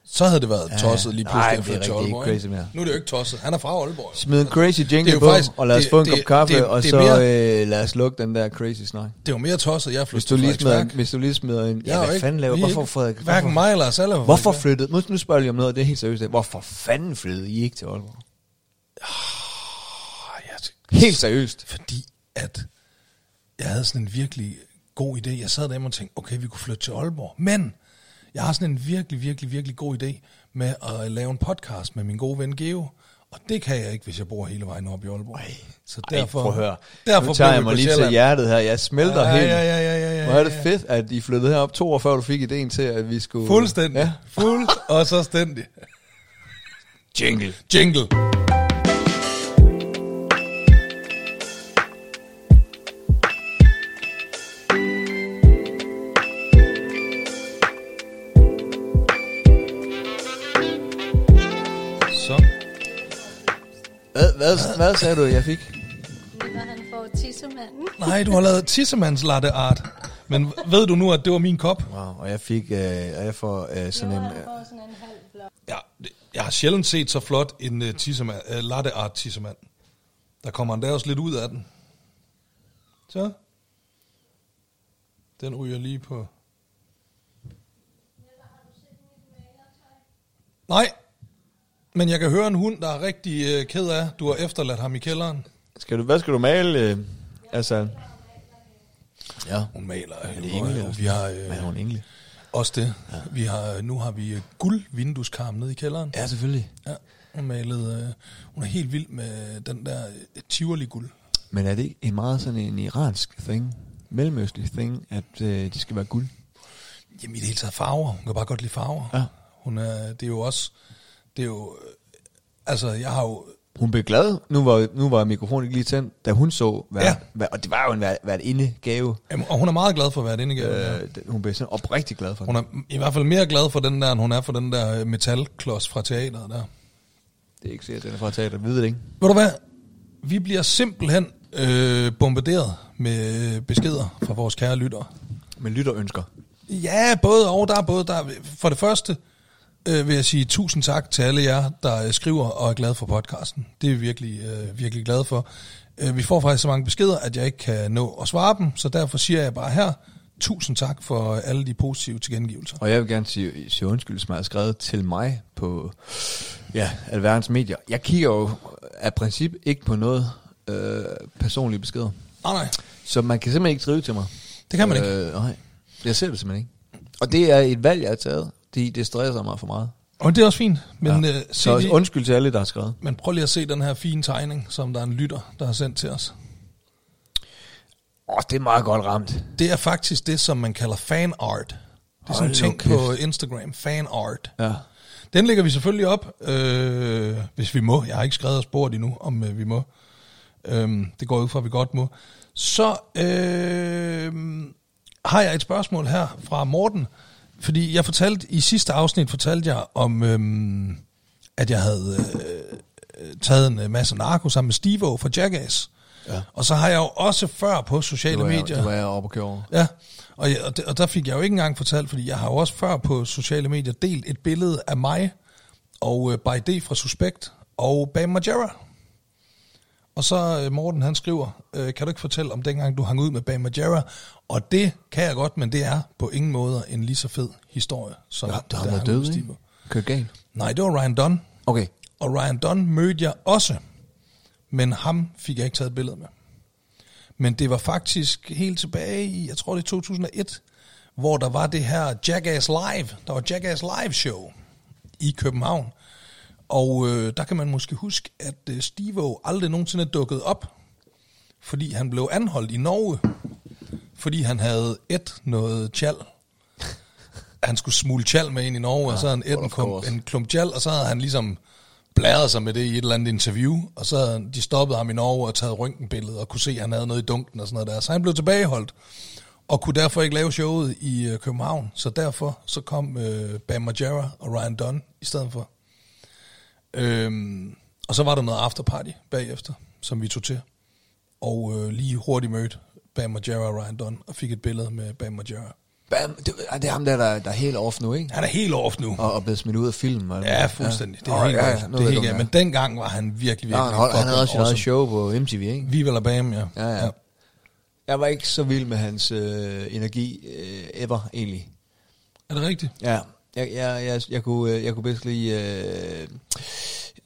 Speaker 2: Så havde det været tosset lige
Speaker 1: nej,
Speaker 2: pludselig, at
Speaker 1: det er
Speaker 2: flytte til
Speaker 1: rigtig ikke
Speaker 2: Aalborg.
Speaker 1: crazy mere.
Speaker 2: Nu er det jo ikke tosset. Han er fra Aalborg.
Speaker 1: smid en crazy jingle
Speaker 2: jo
Speaker 1: på,
Speaker 2: faktisk-
Speaker 1: og lad os
Speaker 2: det-
Speaker 1: få en
Speaker 2: det-
Speaker 1: kop kaffe,
Speaker 2: det-
Speaker 1: og
Speaker 2: det er
Speaker 1: så
Speaker 2: mere-
Speaker 1: øh, lad os lukke den der crazy snak.
Speaker 2: Det er jo mere tosset, at jeg
Speaker 1: Hvis
Speaker 2: flyttede
Speaker 1: du, lige
Speaker 2: til
Speaker 1: smider en,
Speaker 2: Frederiksværk.
Speaker 1: hvis du lige smider en...
Speaker 2: Jeg er
Speaker 1: Ja,
Speaker 2: jo
Speaker 1: hvad
Speaker 2: ikke-
Speaker 1: fanden laver...
Speaker 2: vi er
Speaker 1: Hvorfor,
Speaker 2: ikke-
Speaker 1: Frederik?
Speaker 2: Hverken
Speaker 1: hvorfor,
Speaker 2: mig eller os alle. var fra
Speaker 1: hvorfor
Speaker 2: Frederiksværk.
Speaker 1: flyttede... Nu, nu spørger jeg lige om noget, det er helt seriøst. Hvorfor fanden flyttede I ikke til Aalborg?
Speaker 2: Ah, ja, det-
Speaker 1: Helt seriøst.
Speaker 2: fordi at jeg havde sådan en virkelig god idé. Jeg sad derhjemme og tænkte, okay, vi kunne flytte til Aalborg, men jeg har sådan en virkelig, virkelig, virkelig god idé. med at lave en podcast med min gode ven Geo. Og det kan jeg ikke, hvis jeg bor hele vejen op i Aalborg. Ej, så derfor,
Speaker 1: Ej, prøv at høre.
Speaker 2: derfor
Speaker 1: nu tager
Speaker 2: blev
Speaker 1: jeg
Speaker 2: vi
Speaker 1: mig
Speaker 2: på
Speaker 1: lige til
Speaker 2: Sjælland.
Speaker 1: hjertet her. Jeg smelter
Speaker 2: Ja,
Speaker 1: helt.
Speaker 2: ja, ja, ja, ja, ja,
Speaker 1: Hvor er det
Speaker 2: ja.
Speaker 1: fedt, at I flyttede herop to år før, du fik idéen til, at vi skulle...
Speaker 2: Fuldstændig.
Speaker 1: Ja.
Speaker 2: Ja. Fuld og så stændig.
Speaker 1: Jingle.
Speaker 2: Jingle. Så.
Speaker 1: Hvad, hvad, hvad sagde du, jeg fik?
Speaker 4: Når han får tissemanden.
Speaker 2: Nej, du har lavet tissemands latte art. Men ved du nu, at det var min kop?
Speaker 1: Wow, og jeg fik... Øh, og jeg får øh, sådan en...
Speaker 4: Når han
Speaker 1: Øh,
Speaker 4: får sådan en halv blå.
Speaker 2: Ja, det- jeg har sjældent set så flot en uh, tissemand, uh, latte art tissemand. Der kommer endda også lidt ud af den. Så. Den ryger lige på. Nej, men jeg kan høre en hund, der er rigtig uh, ked af, du har efterladt ham i kælderen.
Speaker 1: skal du, hvad skal du male? Øh, altså... Ja.
Speaker 2: Hun maler.
Speaker 1: Er
Speaker 2: øh,
Speaker 1: det engle?
Speaker 2: og Vi har
Speaker 1: Men er
Speaker 2: øh,
Speaker 1: hun engle?
Speaker 2: også det. Vi har, nu har vi øh, guld vindueskarm nede i kælderen.
Speaker 1: Ja, selvfølgelig.
Speaker 2: Ja, hun malede, øh, hun er helt vild med den der øh, Tivoli guld.
Speaker 1: Men er det ikke en meget sådan en iransk thing? Mellemøstlig thing, at øh, de skal være guld?
Speaker 2: Jamen i det hele taget farver, hun kan bare godt lide farver.
Speaker 1: Ja.
Speaker 2: Hun er, det er jo også, det er jo, øh, altså jeg har jo,
Speaker 1: Hun blev glad. Nu var, nu var mikrofonen ikke lige tændt, da hun så... Hvad, ja.
Speaker 2: Ja.
Speaker 1: hvad, og det var jo en vært, vært inde gave.
Speaker 2: jamen, og hun er meget glad for at være den Øh.
Speaker 1: Øh, den- hun blev sådan oprigtig glad for
Speaker 2: Hun
Speaker 1: det.
Speaker 2: er i hvert fald mere glad for den der, end hun er for den der øh, metalklods fra teateret der.
Speaker 1: Det er ikke sikkert, den er fra teater. Ved det ikke?
Speaker 2: Ved du hvad? Vi bliver simpelthen øh, bombarderet med øh, beskeder fra vores kære lyttere.
Speaker 1: Men lytter ønsker.
Speaker 2: Ja, både og. Der er både der. For det første øh, vil jeg sige tusind tak til alle jer, der øh, skriver og er glade for podcasten. Det er vi virkelig, øh, virkelig glade for. Øh, vi får faktisk så mange beskeder, at jeg ikke kan nå at svare dem, så derfor siger jeg bare her, tusind tak for øh, alle de positive tilkendegivelser.
Speaker 1: Og jeg vil gerne sige, sige undskyld, som har skrevet til mig på ja, alverdens medier. Jeg kigger jo af princip ikke på noget øh, personlige beskeder.
Speaker 2: Nej, nej,
Speaker 1: Så man kan simpelthen ikke skrive til mig.
Speaker 2: det kan man ikke.
Speaker 1: Øh, nej, jeg ser det simpelthen ikke. Og det er et valg, jeg har taget, fordi det stresser mig for meget.
Speaker 2: Og det er også fint, men, ja. øh, se
Speaker 1: Så
Speaker 2: lige,
Speaker 1: undskyld til alle, der har skrevet.
Speaker 2: men prøv lige at se den her fine tegning, som der er en lytter, der har sendt til os.
Speaker 1: Åh, det er meget godt ramt.
Speaker 2: Det er faktisk det, som man kalder fanart. Det er sådan
Speaker 1: Hold
Speaker 2: en
Speaker 1: nu
Speaker 2: ting
Speaker 1: kæft.
Speaker 2: på Instagram, fanart.
Speaker 1: Ja.
Speaker 2: Den lægger vi selvfølgelig op, øh, hvis vi må. Jeg har ikke skrevet og spurgt endnu, om øh, vi må. Øhm, det går jo ikke fra, at vi godt må. Så øh, har jeg et spørgsmål her fra Morten. Fordi jeg fortalte, i sidste afsnit fortalte jeg om, øh, at jeg havde øh, øh, taget en øh, masse narko sammen med Stivo fra Jackass.
Speaker 1: Ja.
Speaker 2: Ja. Og så har jeg jo også før på sociale
Speaker 1: Det var, jeg,
Speaker 2: medier...
Speaker 1: det var jeg oppe at køre over.
Speaker 2: Ja, og, jeg, og, det, og der fik jeg jo ikke engang fortalt, fordi jeg har jo også før på sociale medier delt et billede af mig og øh, By D fra Suspekt og Bam Margera. Og så øh, Morten han skriver, øh, kan du ikke fortælle om dengang du hang ud med Bam Margera? Og det kan jeg godt, men det er på ingen måder en lige så fed historie. Som
Speaker 1: Ja, der
Speaker 2: da
Speaker 1: har
Speaker 2: jeg
Speaker 1: været
Speaker 2: hang ud med
Speaker 1: død, ikke?
Speaker 2: Steve.
Speaker 1: Kørt galt.
Speaker 2: Nej, det var Ryan Dunn.
Speaker 1: Okay.
Speaker 2: Og Ryan Dunn mødte jeg også, men ham fik jeg ikke taget et billede med. Men det var faktisk helt tilbage i, jeg tror det er 2001, hvor der var det her Jackass Live, der var Jackass Live Show i København. Og øh, der kan man måske huske, at øh, Stivo aldrig nogensinde dukkede op, fordi han blev anholdt i Norge, fordi han havde et noget tjal. Han skulle smule tjal med ind i Norge, ja, og så havde han et en,
Speaker 1: of
Speaker 2: klump,
Speaker 1: course.
Speaker 2: en klump tjal, og så havde han ligesom bladret sig med det i et eller andet interview, og så havde de stoppet ham i Norge og taget røntgenbilleder og kunne se, at han havde noget i dunken og sådan noget der. Så han blev tilbageholdt og kunne derfor ikke lave showet i øh, København, så derfor så kom øh, Bam Margera og Ryan Dunn i stedet for. Øhm, og så var der noget afterparty bagefter, som vi tog til. Og øh, lige hurtigt mødte Bam Margera og Ryan Dunn, og fik et billede med Bam Margera.
Speaker 1: Bam, det, er det ham der, der, der er helt off nu, ikke?
Speaker 2: Han er helt off nu.
Speaker 1: Og, og blevet smidt ud af film. Og
Speaker 2: Ja, fuldstændig. Det er
Speaker 1: Alright,
Speaker 2: helt
Speaker 1: ja,
Speaker 2: ja,
Speaker 1: ja.
Speaker 2: off.
Speaker 1: Nu
Speaker 2: Det er
Speaker 1: ved
Speaker 2: helt,
Speaker 1: jeg,
Speaker 2: ja.
Speaker 1: hvem
Speaker 2: Men dengang var han virkelig,
Speaker 1: Ja,
Speaker 2: virkelig
Speaker 1: han, hold, han havde også sit eget
Speaker 2: awesome.
Speaker 1: show på MTV, ikke?
Speaker 2: Viva la Bam, ja.
Speaker 1: Ja, ja. Jeg var ikke så vild med hans øh, energi øh, ever, egentlig.
Speaker 2: Er det rigtigt?
Speaker 1: Ja, jeg, jeg, jeg, jeg, kunne, øh, jeg kunne bedst lide øh,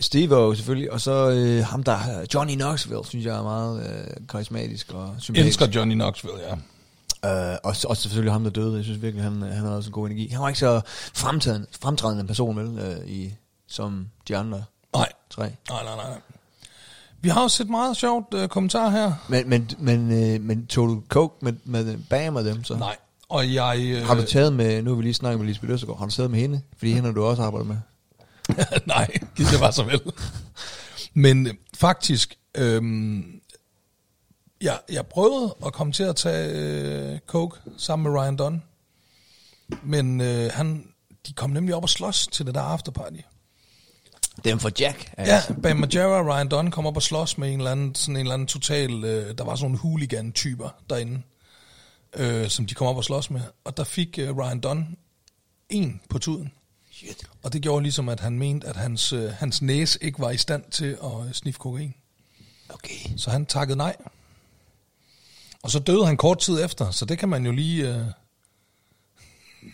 Speaker 1: Steve selvfølgelig, og så øh, ham der, Johnny Knoxville, synes jeg er meget øh, karismatisk og sympatisk.
Speaker 2: Elsker Johnny Knoxville, ja.
Speaker 1: Øh, og, så- og selvfølgelig ham, der døde. Jeg synes virkelig, han, han havde også en god energi. Han var ikke så fremtrædende, fremtrædende en person, vel, øh, i, som de andre
Speaker 2: Nej,
Speaker 1: tre.
Speaker 2: nej, nej, nej. Vi har også et meget sjovt øh, kommentar her.
Speaker 1: Men, men, men, øh, men tog du coke med, med bag med dem, så?
Speaker 2: Nej, og jeg... Øh,
Speaker 1: Har du taget med, nu har vi lige snakket med Lisbeth Østergaard, har du taget med hende? Fordi hende har du også arbejdet med.
Speaker 2: Nej, giv det var så vel. Men øh, faktisk, øhm, jeg, jeg prøvede at komme til at tage øh, coke sammen med Ryan Dunn, men øh, han, de kom nemlig op og slås til det der afterparty.
Speaker 1: Dem for Jack. altså.
Speaker 2: Ja, Bam Majera og Ryan Dunn kom op og slås med en eller anden, sådan en eller anden total, øh, der var sådan nogle hooligan-typer derinde, øh, som de kom op og slås med. Og der fik øh, Ryan Dunn en på tuden.
Speaker 1: Shit.
Speaker 2: Og det gjorde ligesom, at han mente, at hans, øh, hans næse ikke var i stand til at øh, sniffe kokain.
Speaker 1: Okay.
Speaker 2: Så han takkede nej. Og så døde han kort tid efter, så det kan man jo lige øh,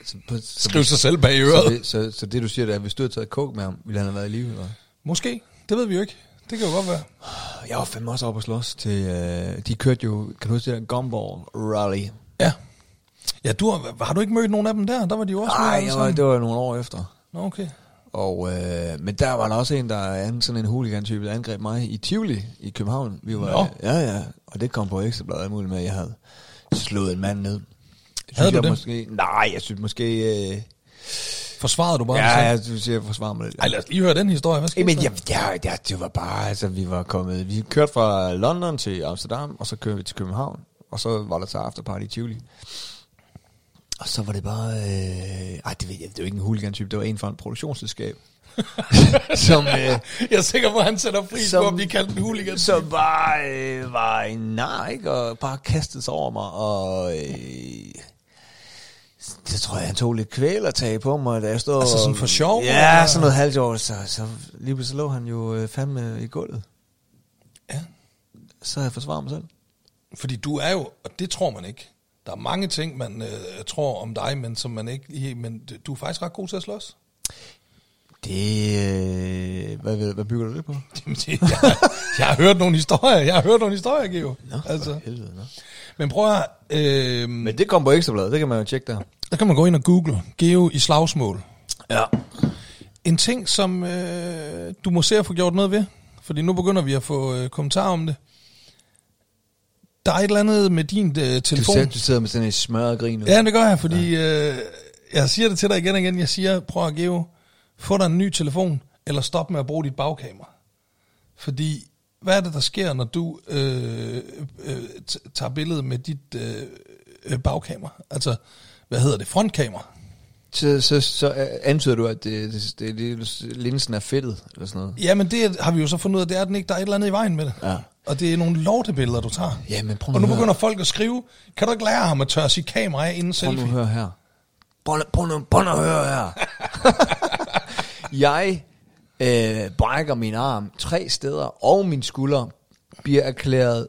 Speaker 1: Så, på, så,
Speaker 2: skrive sig selv bag
Speaker 1: så,
Speaker 2: øret.
Speaker 1: det, så, så det du siger, det er, at hvis du havde taget coke med ham, ville han have været i live, eller?
Speaker 2: Måske, det ved vi jo ikke. Det kan jo godt være.
Speaker 1: Jeg var fandme også oppe og slås til, øh, de kørte jo, kan du huske det der Gumball Rally?
Speaker 2: Ja. Ja, du har, har du ikke mødt nogen af dem der? Der var de jo også
Speaker 1: Nej,
Speaker 2: alle
Speaker 1: jeg var,
Speaker 2: sammen.
Speaker 1: det var nogle år efter.
Speaker 2: Nå, okay.
Speaker 1: Og, øh, men der var der også en, der er en- sådan en hooligan-type, der angreb mig i Tivoli i København. Vi var,
Speaker 2: Nå.
Speaker 1: Ja, ja. Og det kom på ekstrabladet muligt med, at jeg havde slået en mand ned. Synes
Speaker 2: Havde du
Speaker 1: jeg
Speaker 2: det?
Speaker 1: Måske, nej, jeg synes måske... Øh,
Speaker 2: Forsvarede du bare?
Speaker 1: ja,
Speaker 2: dig selv?
Speaker 1: jeg synes, jeg forsvarer mig lidt.
Speaker 2: Ej, lad os lige høre den historie. Hvad
Speaker 1: Ej,
Speaker 2: skete
Speaker 1: men
Speaker 2: der?
Speaker 1: jeg, jeg, jeg, det var bare, altså vi var kommet, vi kørte fra London til Amsterdam, og så kørte vi til København, og så var der så afterparty i Tivoli. Og så var det bare, øh, ej, det, ved jeg, det var ikke en hooligan-type, det var en fra en produktionsselskab, som, øh,
Speaker 2: jeg er sikker på, at han sætter pris på at blive kaldt en hooligan.
Speaker 1: Som bare øh, var en nar, ikke? Og bare kastede sig over mig, og... Øh, det tror jeg, han tog lidt kvælertag på mig, da jeg stod...
Speaker 2: Altså sådan for sjov,
Speaker 1: Ja,
Speaker 2: eller?
Speaker 1: sådan noget halvt år, så, så lige pludselig lå han jo øh, fandme i gulvet.
Speaker 2: Ja,
Speaker 1: Så havde jeg forsvaret mig selv.
Speaker 2: fordi du er jo, og det tror man ikke. Der er mange ting, man øh, tror om dig, men som man ikke lige... Men du er faktisk ret god til at slås.
Speaker 1: Det... Øh, hvad, ved- hvad bygger du det på?
Speaker 2: Jamen, det- jeg, jeg har hørt nogle historier. Jeg har hørt nogle historier, Geo. altså.
Speaker 1: helvede, nå.
Speaker 2: Men prøv at... Øh,
Speaker 1: Men det kom på Ekstrabladet, det kan man jo tjekke der.
Speaker 2: der kan man gå ind og google Geo i slagsmål.
Speaker 1: Ja.
Speaker 2: En ting, som øh, du må se at få gjort noget ved, fordi nu begynder vi at få øh, kommentarer om det. Der er et eller andet med din øh,
Speaker 1: Du,
Speaker 2: telefon.
Speaker 1: sidder, du sidder med sådan en smørret grin nu.
Speaker 2: Ja, det gør jeg, fordi øh, jeg siger det til dig igen og igen. Jeg siger, prøv at give, få dig en ny telefon, eller stop med at bruge dit bagkamera. Fordi, hvad er det, der sker, når du øh, øh, t- tager billedet med dit øh, øh, bagkamera? Altså, hvad hedder det? Frontkamera.
Speaker 1: Så, så, så øh, antyder du, at det, det, det, det, linsen er fedtet, eller sådan noget?
Speaker 2: Jamen, det har vi jo så fundet ud af, det er den ikke. Der er et eller andet i vejen med det.
Speaker 1: Ja.
Speaker 2: Og det er nogle lortebilleder, du tager.
Speaker 1: Ja, men prøv
Speaker 2: og nu
Speaker 1: at høre.
Speaker 2: begynder folk at skrive, kan du ikke lære ham at tørre sit kamera af inden
Speaker 1: Prøv nu at
Speaker 2: selfie?
Speaker 1: høre her. Prøv, nu- prøv, nu, prøv nu at høre her. jeg øh, brækker min arm tre steder, og min skulder bliver erklæret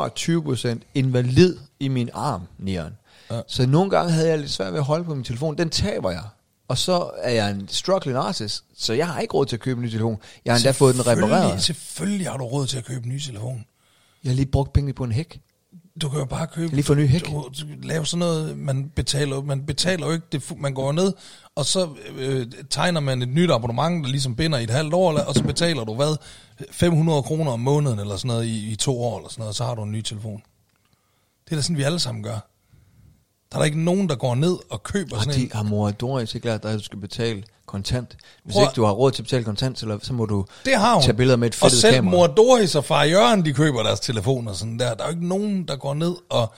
Speaker 1: 25% invalid i min arm, Nieren. Ja. Så nogle gange havde jeg lidt svært ved at holde på min telefon. Den taber jeg. Og så er jeg en struggling artist, så jeg har ikke råd til at købe en ny telefon. Jeg har endda fået den
Speaker 2: Selvfølgelig-
Speaker 1: repareret.
Speaker 2: Selvfølgelig har du råd til at købe en ny telefon.
Speaker 1: Jeg har lige brugt penge på en hæk.
Speaker 2: Du kan jo bare købe...
Speaker 1: Lige få en ny hæk.
Speaker 2: Du, du lave sådan noget, man betaler, man betaler jo ikke, det, fu- man går ned, og så øh, tegner man et nyt abonnement, der ligesom binder i et halvt år, eller- og så betaler du hvad, 500 kroner om måneden, eller sådan noget, i, i to år, eller sådan noget, og så har du en ny telefon. Det er da sådan, vi alle sammen gør. Der er der ikke nogen, der går ned og køber
Speaker 1: Og
Speaker 2: sådan
Speaker 1: de
Speaker 2: en.
Speaker 1: har mor og Doris ikke lært dig, at du skal betale kontant. Hvis
Speaker 2: Prøv
Speaker 1: Prøv.
Speaker 2: at-
Speaker 1: ikke du har råd til at betale kontant, så, så må du
Speaker 2: Det har hun.
Speaker 1: tage billeder med et
Speaker 2: Og
Speaker 1: fedtet
Speaker 2: selv
Speaker 1: kamera.
Speaker 2: mor Doris og far Jørgen, de køber deres telefoner sådan der. Der er jo ikke nogen, der går ned og,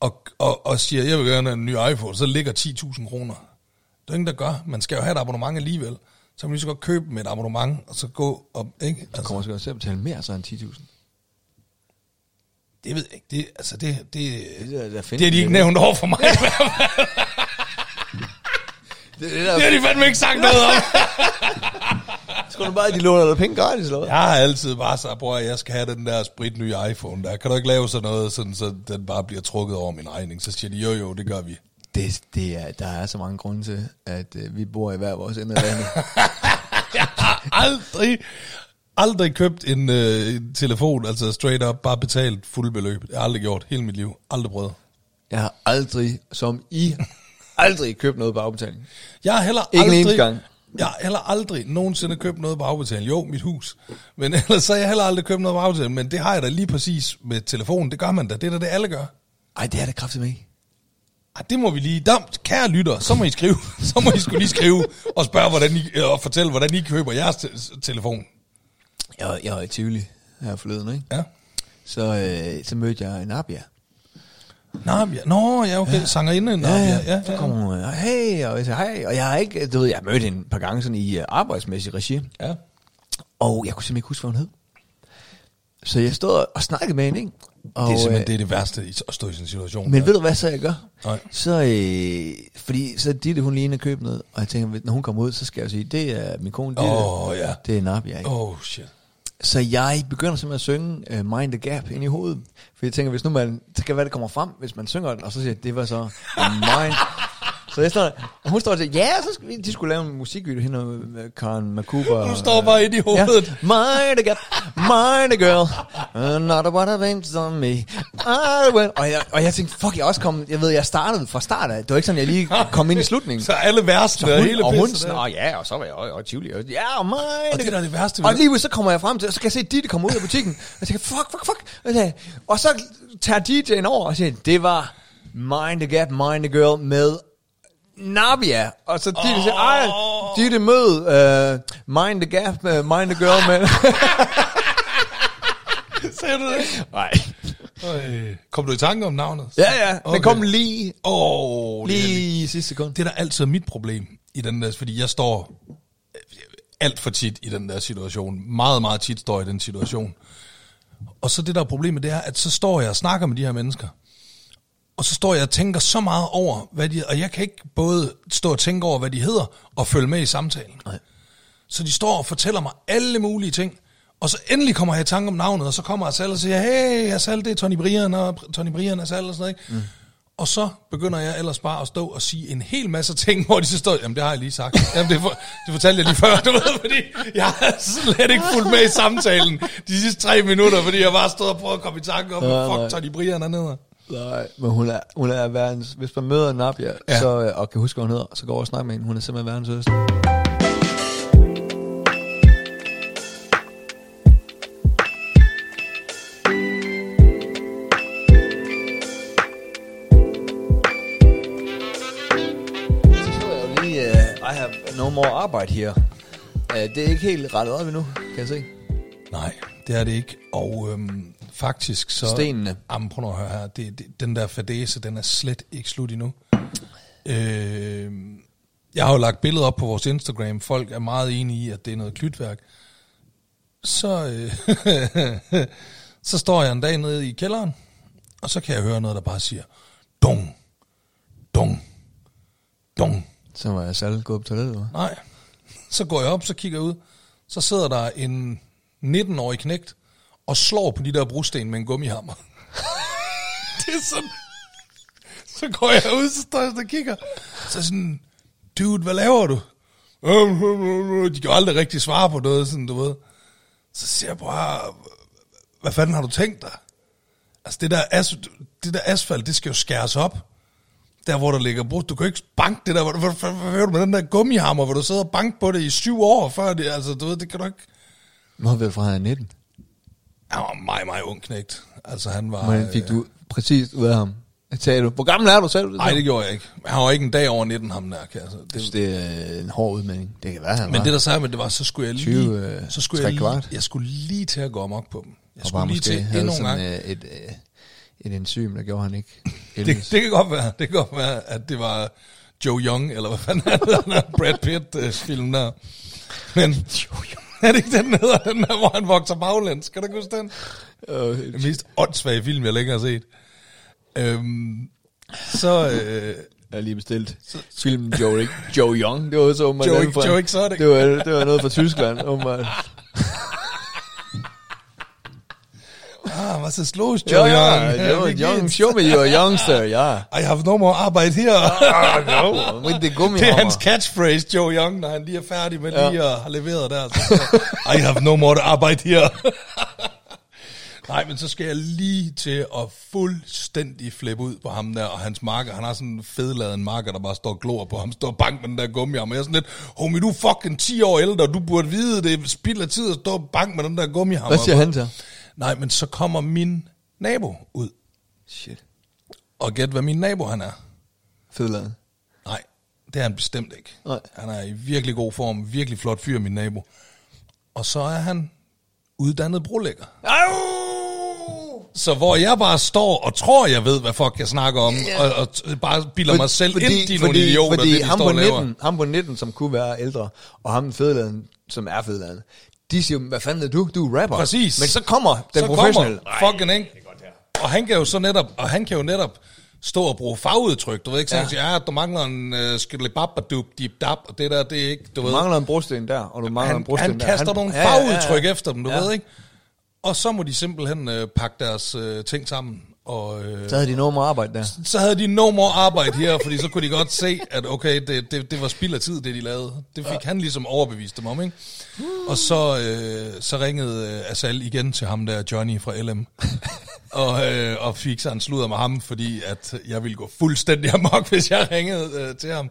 Speaker 2: og, og, og siger, jeg vil gerne have en ny iPhone, så ligger 10.000 kroner. Det er jo ingen, der gør. Man skal jo have et abonnement alligevel. Så kan man lige så godt købe dem et abonnement, og så gå op, ikke?
Speaker 1: Du
Speaker 2: Altså,
Speaker 1: kommer også til at betale mere så end 10.000.
Speaker 2: det ved jeg ikke. Det, altså, det, det, det,
Speaker 1: der- der findes
Speaker 2: det har de
Speaker 1: det,
Speaker 2: ikke
Speaker 1: ikke?
Speaker 2: nævnt over for mig.
Speaker 1: Det, det
Speaker 2: det
Speaker 1: der,
Speaker 2: har de fandme ikke sagt noget om.
Speaker 1: tror du bare, at de låner dig penge gratis, eller hvad?
Speaker 2: Jeg har altid bare sagt, bror, jeg skal have den der sprit nye iPhone der. Kan du ikke lave sådan noget, sådan, så den bare bliver trukket over min regning? Så siger de, jo jo, det gør vi.
Speaker 1: Det, det er, der er så mange grunde til, at øh, vi bor i hver vores ende af landet.
Speaker 2: Jeg har aldrig, aldrig købt en øh, en telefon, altså straight up, bare betalt fuld beløb. Jeg har aldrig gjort hele mit liv. Aldrig prøvet.
Speaker 1: Jeg har aldrig, som I, aldrig købt noget på afbetaling.
Speaker 2: Jeg har heller
Speaker 1: Ikke en
Speaker 2: aldrig,
Speaker 1: eneste gang.
Speaker 2: Jeg har heller aldrig nogensinde købt noget på afbetaling. Jo, mit hus. Men ellers så har jeg heller aldrig købt noget på afbetaling. Men det har jeg da lige præcis med telefonen. Det gør man da. Det er da det, alle gør.
Speaker 1: Ej, det er det kraftigt med ikke.
Speaker 2: Ej, det må vi lige... Der, kære lytter, så må I skrive. Så må I skulle lige skrive og spørge, hvordan I, øh, og fortælle, hvordan I køber jeres te- telefon.
Speaker 1: Jeg, var- jeg var i Tivoli her forleden, ikke?
Speaker 2: Ja.
Speaker 1: Så, øh, så mødte jeg Nabia.
Speaker 2: Nå, ja, nå, ja okay. Ja. Sanger inden. Ja, ja, ja,
Speaker 1: Så
Speaker 2: ja.
Speaker 1: kom hun, øh, hey, og jeg sagde, hej. Og jeg har ikke, du ved, jeg mødte hende et par gange sådan i øh, arbejdsmæssig regi.
Speaker 2: ja.
Speaker 1: Og jeg kunne simpelthen ikke huske, hvad hun hed. Så jeg stod og snakkede med hende, ikke? Og,
Speaker 2: Det er simpelthen
Speaker 1: øh,
Speaker 2: det, er det værste i- at stå i sådan en situation.
Speaker 1: Men ved du, hvad så jeg gør?
Speaker 2: Nej.
Speaker 1: Så, øh, fordi så er Ditte, hun lige inde og købe noget, og jeg tænker, når hun kommer ud, så skal jeg jo sige, det er min kone Ditte,
Speaker 2: Åh, ja.
Speaker 1: det er Nabia, ikke?
Speaker 2: Åh, oh, shit.
Speaker 1: Så jeg begynder simpelthen at synge uh, Mind the Gap ind i hovedet. For jeg tænker, hvis nu man, så kan være, det kommer frem, hvis man synger den, og så siger jeg, det var så Mind. så jeg står der, og hun står og siger, ja, så skal vi, de skulle lave en musikvideo hende og øh, Karen McCooper.
Speaker 2: Hun står bare inde i hovedet.
Speaker 1: Ja. Mind the gap, mind the girl, uh, not a what of aims on me. I will. Og, jeg, og jeg tænkte, fuck, jeg er også kom, jeg ved, jeg startede fra start af. Det var ikke sådan, jeg lige kom ind i slutningen.
Speaker 2: Så alle værste
Speaker 1: Og
Speaker 2: og
Speaker 1: hun,
Speaker 2: hele
Speaker 1: og hun
Speaker 2: pisset
Speaker 1: sådan,
Speaker 2: der.
Speaker 1: og ja, og så var jeg også og tvivlig. Og, ja, og mig.
Speaker 2: Og det er da det værste ved
Speaker 1: Og
Speaker 2: det.
Speaker 1: lige ved, så kommer jeg frem til, og så kan jeg se, at Ditte kommer ud af butikken. Og jeg tænker, fuck, fuck, fuck. Og, så- og så tager DJ'en over og siger, det var Mind the Gap, Mind the Girl med Nabia. Og så Ditte siger, ej, Ditte mød uh, Mind the Gap, uh, Mind the Girl med...
Speaker 2: Sagde du det?
Speaker 1: Nej.
Speaker 2: Øj. Øh, Kom du i tanke om navnet?
Speaker 1: Ja, ja, okay. den kom lige,
Speaker 2: Åh, lige.
Speaker 1: lige i sidste sekund.
Speaker 2: Det er der altid mit problem i den der, fordi jeg står øh, alt for tit i den der situation. Meget, meget tit står jeg i den situation. Og så det der er problemet, det er, at så står jeg og snakker med de her mennesker. Og så står jeg og tænker så meget over, hvad de... Og jeg kan ikke både stå og tænke over, hvad de hedder, og følge med i samtalen.
Speaker 1: Nej.
Speaker 2: Så de står og fortæller mig alle mulige ting. Og så endelig kommer jeg i tanke om navnet, og så kommer Asal og siger, hey, Asal, det er Tony Brian, og Pr- Tony Brian, Asal og sådan noget, ikke? Mm. Og så begynder jeg ellers bare at stå og sige en hel masse ting, hvor de så står, jamen det har jeg lige sagt. Jamen det, for, det fortalte jeg lige før, du ved, fordi jeg har slet ikke fulgt med i samtalen de sidste tre minutter, fordi jeg bare stod og prøvede at komme i tanke om,
Speaker 1: Nej,
Speaker 2: hvad
Speaker 1: nej.
Speaker 2: fuck Tony Brian er nede.
Speaker 1: Nej, men hun er, hun er verdens... Hvis man møder Nabia, ja.
Speaker 2: Ja.
Speaker 1: så, øh, og kan huske, hvad hun hedder, så går over og snakker med hende. Hun er simpelthen verdens sødeste. Så så jeg jo lige, øh, I have no more arbejde her. Uh, det er ikke helt rettet op endnu, kan jeg se.
Speaker 2: Nej, det er det ikke. Og øhm, faktisk så...
Speaker 1: Stenene.
Speaker 2: Jamen, prøv nu at høre her. Det, det, den der fadese, den er slet ikke slut endnu. Øh, jeg har jo lagt billeder op på vores Instagram. Folk er meget enige i, at det er noget klytværk. Så, øh, så står jeg en dag nede i kælderen, og så kan jeg høre noget, der bare siger, dong, dong, dong.
Speaker 1: Så var jeg selv gået på toilettet, eller hvad?
Speaker 2: Nej. Så går jeg op, så kigger jeg ud. Så sidder der en 19-årig knægt og slår på de der brosten med en gummihammer. det er sådan... Så går jeg ud, så står jeg sådan og kigger. Så er jeg sådan, dude, hvad laver du? De kan jo aldrig rigtig svare på noget, sådan, du ved. Så siger jeg bare, hvad fanden har du tænkt dig? Altså, det der, as, det der asfalt, det skal jo skæres op der hvor der ligger brugt. Du kan jo ikke banke det der. Hvad, hvad, hvad, hvad hører du med den der gummihammer, hvor du sidder og banker på det i syv år før det? Altså, du ved, det kan du ikke...
Speaker 1: Nå, vel fra han er 19.
Speaker 2: Han var en meget, meget ung knægt. Altså, han var...
Speaker 1: Hvordan fik du præcis ud af ham? Sagde du, hvor gammel er du selv?
Speaker 2: Nej, det gjorde jeg ikke. Han var ikke en dag over 19, ham der. kan jeg- Altså, det,
Speaker 1: det, det er en hård udmelding. Det kan være, han
Speaker 2: Men
Speaker 1: var.
Speaker 2: det der sagde med, det var, så skulle jeg lige,
Speaker 1: 20, øh,
Speaker 2: så skulle
Speaker 1: tre
Speaker 2: jeg, lige,
Speaker 1: kvart.
Speaker 2: jeg skulle lige til at gå amok på dem. Jeg
Speaker 1: og
Speaker 2: skulle
Speaker 1: bare
Speaker 2: lige
Speaker 1: måske
Speaker 2: til
Speaker 1: havde
Speaker 2: endnu en gang.
Speaker 1: sådan øh, et, øh, et enzym, der gjorde han ikke.
Speaker 2: Det,
Speaker 1: Det,
Speaker 2: det kan godt være, det kan godt være, at det var Joe Young, eller hvad fanden er det, den der Brad Pitt-film der. Men er det ikke den, der hedder, den der, hvor han vokser baglæns? Kan du ikke huske den?
Speaker 1: det,
Speaker 2: Den mest åndssvage film, jeg længe har set. Øhm, så, øh,
Speaker 1: jeg har lige bestilt filmen Joe, Joe Young. Det var så åbenbart
Speaker 2: Joe-
Speaker 1: den fra-
Speaker 2: Joe Exotic.
Speaker 1: Det var, det var noget fra Tyskland, åbenbart.
Speaker 2: ah, hvad så slås
Speaker 1: Joe
Speaker 2: Joe Young?
Speaker 1: Young, Joe Young, show me your youngster, ja.
Speaker 2: I have no more arbejde her.
Speaker 1: With the
Speaker 2: Ah, Det er hans
Speaker 1: gummihammer.
Speaker 2: catchphrase, Joe Young, når han lige er færdig med lige at have leveret der. Så, siger han, I have no more arbejde her. Nej, men så skal jeg lige til at fuldstændig flippe ud på ham der, og hans marker. Han har sådan en fedladen marker, der bare står og glor på ham, står og bank med den der gummiarm. Og jeg er sådan lidt, homie, du er fucking 10 år ældre, og du burde vide, det er spild af tid at stå og bank med den der gummiarm.
Speaker 1: Hvad siger han så?
Speaker 2: Nej, men så kommer min nabo ud.
Speaker 1: Shit.
Speaker 2: Og gæt, hvad min nabo han er.
Speaker 1: Fedladen.
Speaker 2: Nej, det er han bestemt ikke.
Speaker 1: Nej.
Speaker 2: Han er i virkelig god form, virkelig flot fyr, min nabo. Og så er han uddannet brolægger. Så hvor jeg bare står og tror, jeg ved, hvad fuck jeg snakker om, og, og t- bare bilder mig selv fordi, ind, de er nogle idioter,
Speaker 1: fordi
Speaker 2: det de
Speaker 1: ham,
Speaker 2: står
Speaker 1: på
Speaker 2: og laver.
Speaker 1: 19, ham på 19, som kunne være ældre, og ham fedladen, som er fedladen, de siger, jo, hvad fanden er du? Du er rapper.
Speaker 2: Præcis.
Speaker 1: Men så kommer den
Speaker 2: så
Speaker 1: professionelle.
Speaker 2: Kommer fucking, ikke? Og han kan jo så netop, og han kan jo netop stå og bruge fagudtryk, du ved ikke, så
Speaker 1: Ja.
Speaker 2: ja. siger, ja, du mangler en uh, skidelibabadup, dip dap, og det der, det er ikke, du
Speaker 1: Du
Speaker 2: ved.
Speaker 1: mangler en brosten der, og du mangler en
Speaker 2: han,
Speaker 1: brosten
Speaker 2: han
Speaker 1: der.
Speaker 2: kaster nogle fagudtryk efter dem, du
Speaker 1: Ja.
Speaker 2: ved ikke? Og så må de simpelthen øh, pakke deres øh, ting sammen. Og, øh,
Speaker 1: Så havde de noget med at arbejde der.
Speaker 2: så havde de no more arbejde her, fordi så kunne de godt se, at okay, det, det, det var spild af tid, det de lavede. Det fik ja. han ligesom overbevist dem om, ikke? Og så, øh, så ringede øh, Asal igen til ham der, Johnny fra LM, og, øh, og fik sig en sludder med ham, fordi at jeg ville gå fuldstændig amok, hvis jeg ringede øh, til ham.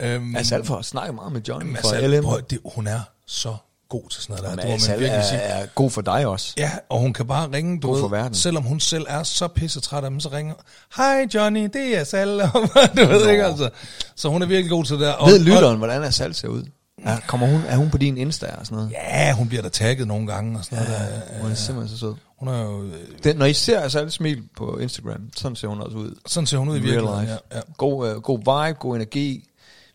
Speaker 2: Øhm,
Speaker 1: Mads Alford snakker meget med Johnny
Speaker 2: Mads
Speaker 1: fra
Speaker 2: Al-
Speaker 1: LM.
Speaker 2: Altså, prøv, det, hun er så god til sådan noget der. Det må
Speaker 1: Mads
Speaker 2: man
Speaker 1: Al er,
Speaker 2: virkelig sige.
Speaker 1: er god for dig også.
Speaker 2: Ja, og hun kan bare ringe, du
Speaker 1: God
Speaker 2: ved,
Speaker 1: for verden.
Speaker 2: selvom hun selv er så pissetræt af dem, så ringer hej Johnny, det er Sal, du ved ikke altså. Så hun er virkelig god til det der. Og,
Speaker 1: Ved lytteren, hvordan er Sal ser ud? Er, kommer hun, er hun på din Insta og sådan noget? Øh,
Speaker 2: Og, ja, hun bliver da tagget nogle gange og sådan noget der.
Speaker 1: Hun er simpelthen så sød.
Speaker 2: Hun er jo, øh,
Speaker 1: Den, når I ser Sal smil på Instagram, sådan ser hun også ud.
Speaker 2: sådan ser hun ud i
Speaker 1: I real
Speaker 2: virkeligheden.
Speaker 1: life.
Speaker 2: Ja, ja.
Speaker 1: God, øh, god vibe, god energi,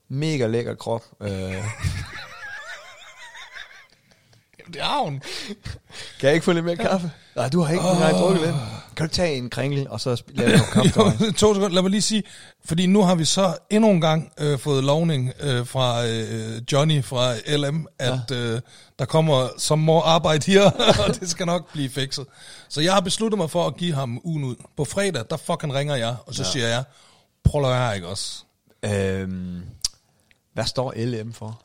Speaker 1: mega lækker krop. Øh,
Speaker 2: Jamen, Det er hun.
Speaker 1: kan jeg ikke få lidt mere kaffe? Nej, du har ikke oh. nej, drukket lidt. Kan du ikke tage en kringle, og så sp- lave noget kaffe til mig?
Speaker 2: Jo, to sekunder, lad mig lige sige, fordi nu har vi så endnu en gang øh, fået lovning øh, fra øh, Johnny fra LM, at ja. øh, der kommer som more arbejde her, og det skal nok blive fikset. Så jeg har besluttet mig for at give ham ugen ud. På fredag, der fucking ringer jeg, og så ja. siger jeg, prøv at høre her, ikke også?
Speaker 1: Øhm, hvad står LM for?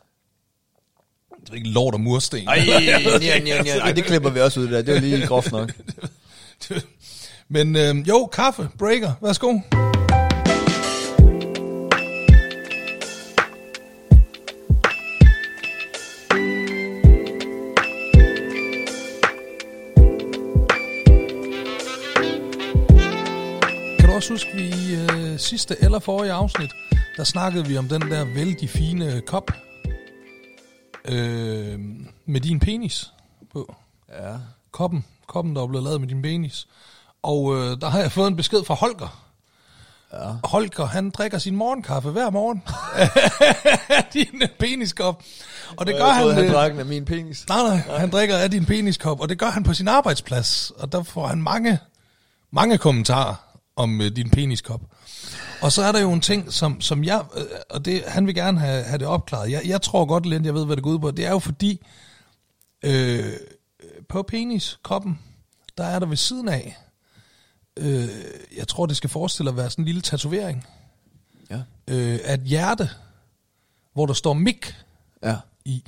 Speaker 2: Det er ikke lort og mursten.
Speaker 1: Ej, ja, ja, ja. Ej, det klipper vi også ud der. Det var lige groft nok.
Speaker 2: Men øh, jo, kaffe, breaker, værsgo. Kan du også huske, vi i øh, sidste eller forrige afsnit, der snakkede vi om den der vældig fine kop øh, med din penis på
Speaker 1: Ja.
Speaker 2: koppen, koppen der er blevet lavet med din penis. Og øh, der har jeg fået en besked fra Holger. Ja. Holger, han drikker sin morgenkaffe hver morgen. Af din peniskop. Og det gør
Speaker 1: jeg
Speaker 2: han...
Speaker 1: troede, han
Speaker 2: øh,
Speaker 1: drak den af min penis.
Speaker 2: Nej, nej, han drikker af din peniskop, og det gør han på sin arbejdsplads. Og der får han mange, mange kommentarer om øh, din peniskop. Og så er der jo en ting, som, som jeg, øh, og det, han vil gerne have, have det opklaret. Jeg, jeg tror godt lidt, jeg ved, hvad det går ud på. Det er jo fordi, øh, på peniskoppen, der er der ved siden af, øh, jeg tror, det skal forestille at være sådan en lille tatovering,
Speaker 1: Ja.
Speaker 2: øh, af et hjerte, hvor der står mik
Speaker 1: Ja.
Speaker 2: i.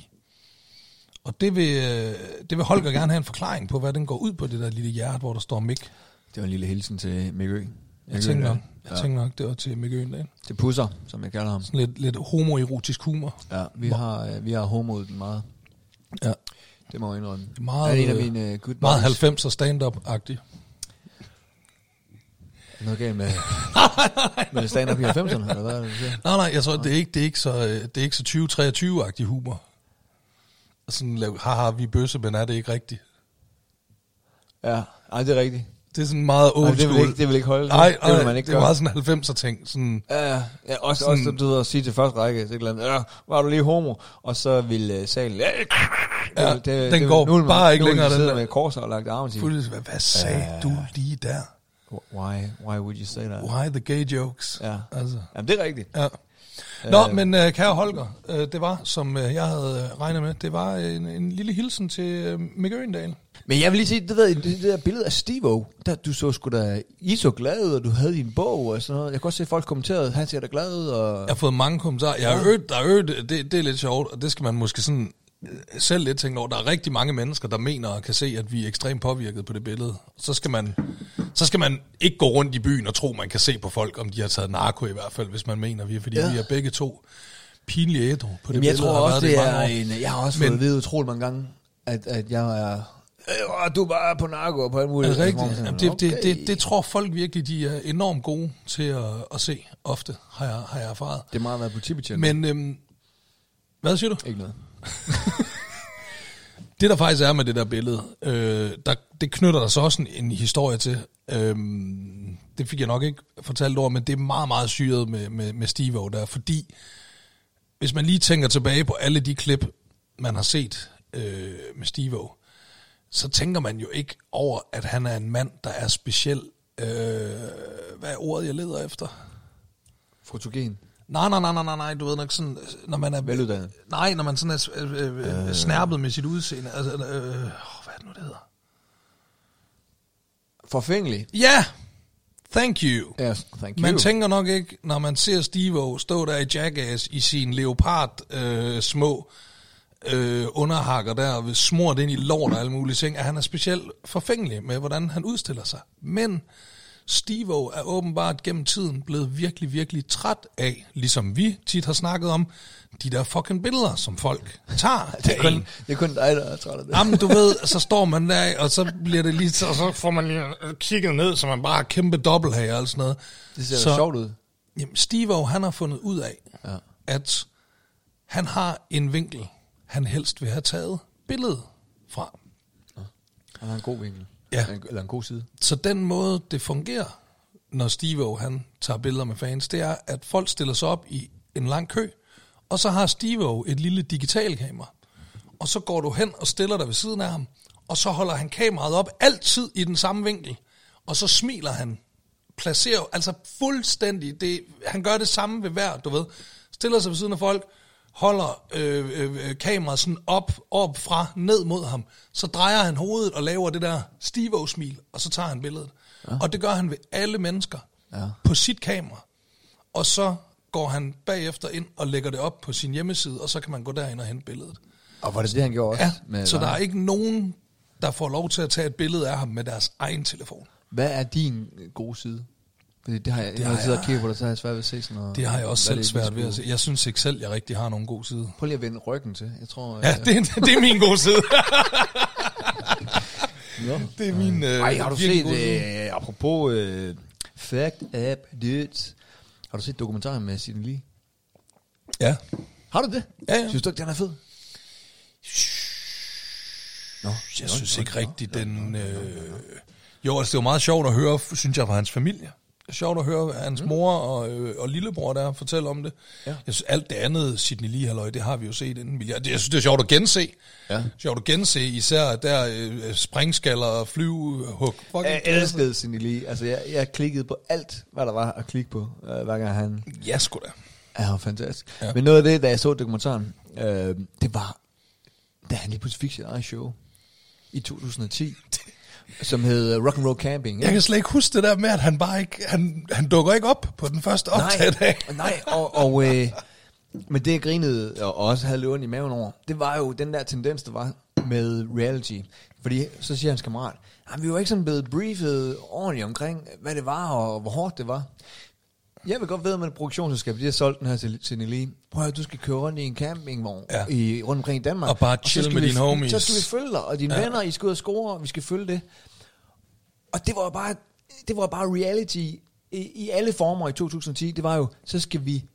Speaker 2: Og det vil, øh, det vil Holger gerne have en forklaring på, hvad den går ud på, det der lille hjerte, hvor der står Mik.
Speaker 1: Det var en lille hilsen til Mikke Ø.
Speaker 2: Jeg
Speaker 1: Mikke Ø
Speaker 2: tænker
Speaker 1: der.
Speaker 2: nok, jeg tænker nok, det var til Mik Øendal.
Speaker 1: Til pusser, som jeg kalder ham.
Speaker 2: Sådan lidt, lidt homoerotisk humor.
Speaker 1: Ja, vi har, øh, vi har homoet den meget.
Speaker 2: Ja.
Speaker 1: Det må jeg indrømme.
Speaker 2: Meget,
Speaker 1: Han er en
Speaker 2: øh,
Speaker 1: af mine uh, good
Speaker 2: Meget
Speaker 1: buddies.
Speaker 2: 90'er stand-up-agtig.
Speaker 1: Noget galt med, med stand-up i 90'erne, eller hvad er det, du siger?
Speaker 2: Nej, nej, jeg tror, det er ikke, det er ikke så, øh, det er ikke så 20-23-agtig humor. Og sådan lav, haha, vi er bøsse, men er det ikke rigtigt?
Speaker 1: Ja, ej, det er rigtigt.
Speaker 2: Det er sådan meget old
Speaker 1: Nej, det, vil
Speaker 2: school.
Speaker 1: ikke, det vil ikke holde.
Speaker 2: nej,
Speaker 1: det vil man ikke
Speaker 2: det er
Speaker 1: gøre. Mm.
Speaker 2: meget sådan 90'er-ting. Sådan,
Speaker 1: Ja, ja, ja, også,
Speaker 2: Sådan-
Speaker 1: også som du ved at sige til første række, så et eller andet, ja, var du lige homo? Og så vil øh, salen, ja, det,
Speaker 2: Ja,
Speaker 1: vil- det,
Speaker 2: den
Speaker 1: det vil-
Speaker 2: går
Speaker 1: nu vil man-
Speaker 2: bare ikke
Speaker 1: nu vil de
Speaker 2: længere, den
Speaker 1: sidde
Speaker 2: der.
Speaker 1: med korser og lagt armen til.
Speaker 2: fuldstændig, hvad, hvad sagde
Speaker 1: Ja.
Speaker 2: du lige der?
Speaker 1: Why, why would you say that?
Speaker 2: Why the gay jokes?
Speaker 1: Ja.
Speaker 2: Altså.
Speaker 1: Jamen, det er rigtigt.
Speaker 2: Ja. Nå,
Speaker 1: Øh,
Speaker 2: øh, men øh, kære Holger, øh, det var, som øh, jeg havde øh, regnet med, det var en, en lille hilsen til øh, Mikke Øgendal.
Speaker 1: Men jeg vil lige sige, det, der, det der billede af Steve der du så sgu da, I så glad ud, og du havde din bog og sådan noget. Jeg kan godt se, at folk kommenterede, han ser da glad ud, og...
Speaker 2: Jeg har fået mange kommentarer. Jeg har øvet, der er øvet, det, det er lidt sjovt, og det skal man måske sådan øh, selv lidt tænkt over, der er rigtig mange mennesker, der mener og kan se, at vi er ekstremt påvirket på det billede. Så skal, man, så skal man ikke gå rundt i byen og tro, man kan se på folk, om de har taget narko i hvert fald, hvis man mener vi er, fordi
Speaker 1: Ja.
Speaker 2: ja. vi er begge to pinlige ædru på det
Speaker 1: Jamen,
Speaker 2: billede.
Speaker 1: jeg tror
Speaker 2: og har
Speaker 1: også,
Speaker 2: været i
Speaker 1: det
Speaker 2: mange
Speaker 1: er
Speaker 2: år.
Speaker 1: en... Jeg har også
Speaker 2: Men-
Speaker 1: fået at vide utrolig mange gange, at, at jeg er... Øh, du er bare på narko og på alt muligt. Altså,
Speaker 2: Er det rigtigt?
Speaker 1: Sådan,
Speaker 2: Jamen, det, det,
Speaker 1: okay.
Speaker 2: det, det tror folk virkelig, de er enormt gode til at, at se ofte, har jeg, har jeg erfaret.
Speaker 1: det er meget at være politibetjent.
Speaker 2: Men øhm, hvad siger du?
Speaker 1: Ikke noget.
Speaker 2: Det der faktisk er med det der billede, øh, der, det knytter der så også en, en historie til. Øhm, det fik jeg nok ikke fortalt over, men det er meget, meget syret med, med, med Steve der, fordi hvis man lige tænker tilbage på alle de klip, man har set øh, med Steve så tænker man jo ikke over, at han er en mand, der er speciel. Øh, hvad er ordet, jeg leder efter?
Speaker 1: Fotogen.
Speaker 2: Nej, nej, nej, nej, nej, nej, du ved nok sådan, øh, når man er...
Speaker 1: Veluddannet.
Speaker 2: Nej, når man sådan er øh, øh, øh. snærpet med sit udseende. Altså, øh, åh, hvad er det nu, det hedder?
Speaker 1: Forfængelig.
Speaker 2: Ja, yeah! thank you.
Speaker 1: Ja, thank you.
Speaker 2: Man tænker nok ikke, når man ser Steve stå der i Jackass i sin leopard øh, små øh, underhakker der, og smurt ind i lort og alle mulige ting, at han er specielt forfængelig med, hvordan han udstiller sig. Men Steve er åbenbart gennem tiden blevet virkelig, virkelig træt af, ligesom vi tit har snakket om, de der fucking billeder, som folk tager.
Speaker 1: det, er kun,
Speaker 2: af en.
Speaker 1: det er kun dig, der er træt af det.
Speaker 2: Jamen, du ved, så står man der, og så bliver det lige, og så får man lige øh, kigget ned, så man bare har kæmpe dobbelthager og sådan noget.
Speaker 1: det ser
Speaker 2: så-
Speaker 1: så. sjovt ud.
Speaker 2: Jamen, Steve han har fundet ud af,
Speaker 1: Ja.
Speaker 2: ja. at han har en vinkel, han helst vil have taget billedet fra.
Speaker 1: Han har en god vinkel.
Speaker 2: Ja.
Speaker 1: En- Eller en god side.
Speaker 2: Så den måde, det fungerer, når Steve han tager billeder med fans, det er, at folk stiller sig op i en lang kø, og så har Steve et lille digitalkamera. Og så går du hen og stiller dig ved siden af ham, og så holder han kameraet op altid i den samme vinkel, og så smiler han. Placerer, altså fuldstændig, det, han gør det samme ved hver, du ved. Stiller sig ved siden af folk, holder øh, øh, øh, kameraet sådan op, op fra, ned mod ham. Så drejer han hovedet og laver det der Stivo-smil, og så tager han billedet. Ja. Og det gør han ved alle mennesker ja. på sit kamera. Og så går han bagefter ind og lægger det op på sin hjemmeside, og så kan man gå derind og hente billedet.
Speaker 1: Og var det det, han gjorde også?
Speaker 2: Ja, så der er
Speaker 1: ikke...
Speaker 2: ikke nogen, der får lov til at tage et billede af ham med deres egen telefon.
Speaker 1: Hvad er din øh, gode side? Fordi det har jeg, når jeg
Speaker 2: har
Speaker 1: sidder og
Speaker 2: jeg-
Speaker 1: kigger på dig, så har jeg svært ved at se sådan noget.
Speaker 2: Det har jeg også selv
Speaker 1: Hvad det
Speaker 2: svært ved
Speaker 1: misbrug?
Speaker 2: at se. Jeg synes ikke selv, jeg rigtig har nogen god side.
Speaker 1: Prøv lige at vende ryggen til. Jeg tror...
Speaker 2: Ja,
Speaker 1: øh,
Speaker 2: det, det er min gode side.
Speaker 1: nå.
Speaker 2: Det er min øh,
Speaker 1: Ej, har du
Speaker 2: virkelig
Speaker 1: set,
Speaker 2: gode side.
Speaker 1: øh, apropos øh, Fact App Dudes, har du set dokumentaren med Sidney Lee?
Speaker 2: Ja.
Speaker 1: Har du det?
Speaker 2: Ja, ja.
Speaker 1: Synes du ikke, den er fed? Nå,
Speaker 2: Jeg synes ikke rigtigt, den... Øh... Jo, altså det var meget sjovt at høre, synes jeg, fra hans familie. Sjovt at høre hans mor og, øh, og lillebror der fortælle om det.
Speaker 1: Mm. Ja.
Speaker 2: Ja. Jeg synes, alt det andet, Sidney Lee, halløj, det har vi jo set inden. Jeg, jeg synes, det er sjovt at gense.
Speaker 1: Ja.
Speaker 2: Sjovt at gense, især der øh, springskaller og flyvehug. Fucking
Speaker 1: Jeg elskede Sidney Lee. Altså, jeg, jeg klikkede på alt, hvad der var at klikke på, øh, hver gang han
Speaker 2: Ja, sgu da.
Speaker 1: er ja, fantastisk. Ja.
Speaker 2: Ja.
Speaker 1: Men noget af det, da jeg så dokumentaren, øh, det var, da han lige pludselig fik sit eget show i 2010, som hed øh, Rock'n'Roll Camping.
Speaker 2: Jeg kan slet ikke huske det der med, at han bare ikke... Han, han dukker ikke op på den første optagdag.
Speaker 1: Nej, nej og, og øh, men det jeg grinede og også havde løven i maven over, det var jo den der tendens, der var med reality. Fordi så siger hans kammerat, "Ej, vi var ikke sådan blevet briefet ordentligt omkring, hvad det var og hvor hårdt det var. Jeg vil godt ved med et produktionsselskab, de har solgt den her til, til Nelly. Prøv at høre, du skal køre rundt i en campingvogn
Speaker 2: Ja.
Speaker 1: ja. i, rundt omkring i Danmark.
Speaker 2: Og bare
Speaker 1: så
Speaker 2: chill
Speaker 1: skal
Speaker 2: med
Speaker 1: vi-
Speaker 2: dine homies."
Speaker 1: Så skal vi følge dig, og dine ja.
Speaker 2: Ja.
Speaker 1: venner, I skal ud og score, og vi skal følge det. Og det var jo bare, det var bare reality i, i alle former i 2010. Det var jo, så skal vi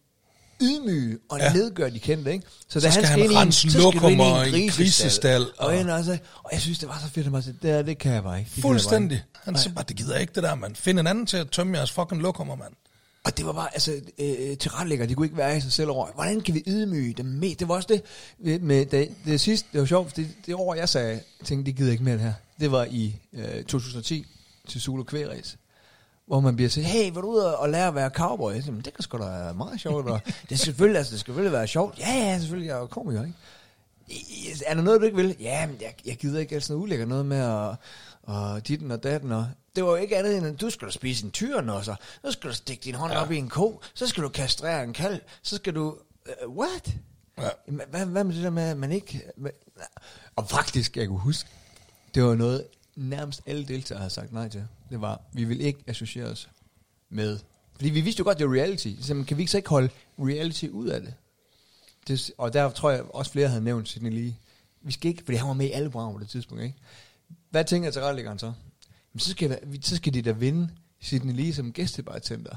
Speaker 1: ydmyge og ja.
Speaker 2: Ja.
Speaker 1: nedgøre de kendte, ikke? da
Speaker 2: Så skal han
Speaker 1: ind i en-
Speaker 2: rense
Speaker 1: så skal du ind i
Speaker 2: lokum og en grisestald,
Speaker 1: Og, og,
Speaker 2: og-
Speaker 1: ind og, så, og jeg synes, det var så fedt, at man sagde, det, her, det kan jeg bare ikke. Det kan jeg bare
Speaker 2: Fuldstændig.
Speaker 1: ikke."
Speaker 2: Han siger bare, det gider jeg ikke det der, mand. Find en anden til at tømme jeres fucking lokummer, mand.
Speaker 1: Og det var bare, altså, øh, tilrettelægger, de kunne ikke være i sig selv over, hvordan kan vi ydmyge dem med? Det var også det, øh, med, det, det sidste, det var sjovt, for det, det år, jeg sagde, jeg tænkte, det gider jeg ikke mere det her. Det var i øh, 2010 til Solo Kværæs, hvor man bliver sagt, hey, vil du ud og og lære at være cowboy? Jeg siger, "Men det kan sgu da være meget sjovt. Og det, skal selvfølgelig, altså, det skal selvfølgelig være sjovt. Ja, ja, selvfølgelig, jeg er jo komiker, ikke? I- I- Er der noget, du ikke vil? Ja, men jeg, jeg gider ikke altså noget ulækker noget med at, og ditten og datten. Og, det var jo ikke andet end, at du skal da spise en tyren og så, så skal du stikke din hånd ja. op i en ko, så skal du kastrere en kalv, så skal du... Uh, what? Ja. Hvad, hvad, hvad med det der med, at man ikke... Med, og faktisk, jeg kunne huske, det var noget, nærmest alle deltagere havde sagt nej til. Det var, vi vil ikke associere os med... Fordi vi vidste jo godt, det var reality. Så man kan vi ikke så ikke holde reality ud af det? det og der tror jeg også flere havde nævnt Sidney lige. Vi skal ikke, fordi han var med i alle programmer på det tidspunkt, ikke? Hvad tænker tilrettelæggeren så? Jamen, så, skal, vi- så skal de da vinde Sidney Lee som gæstebartender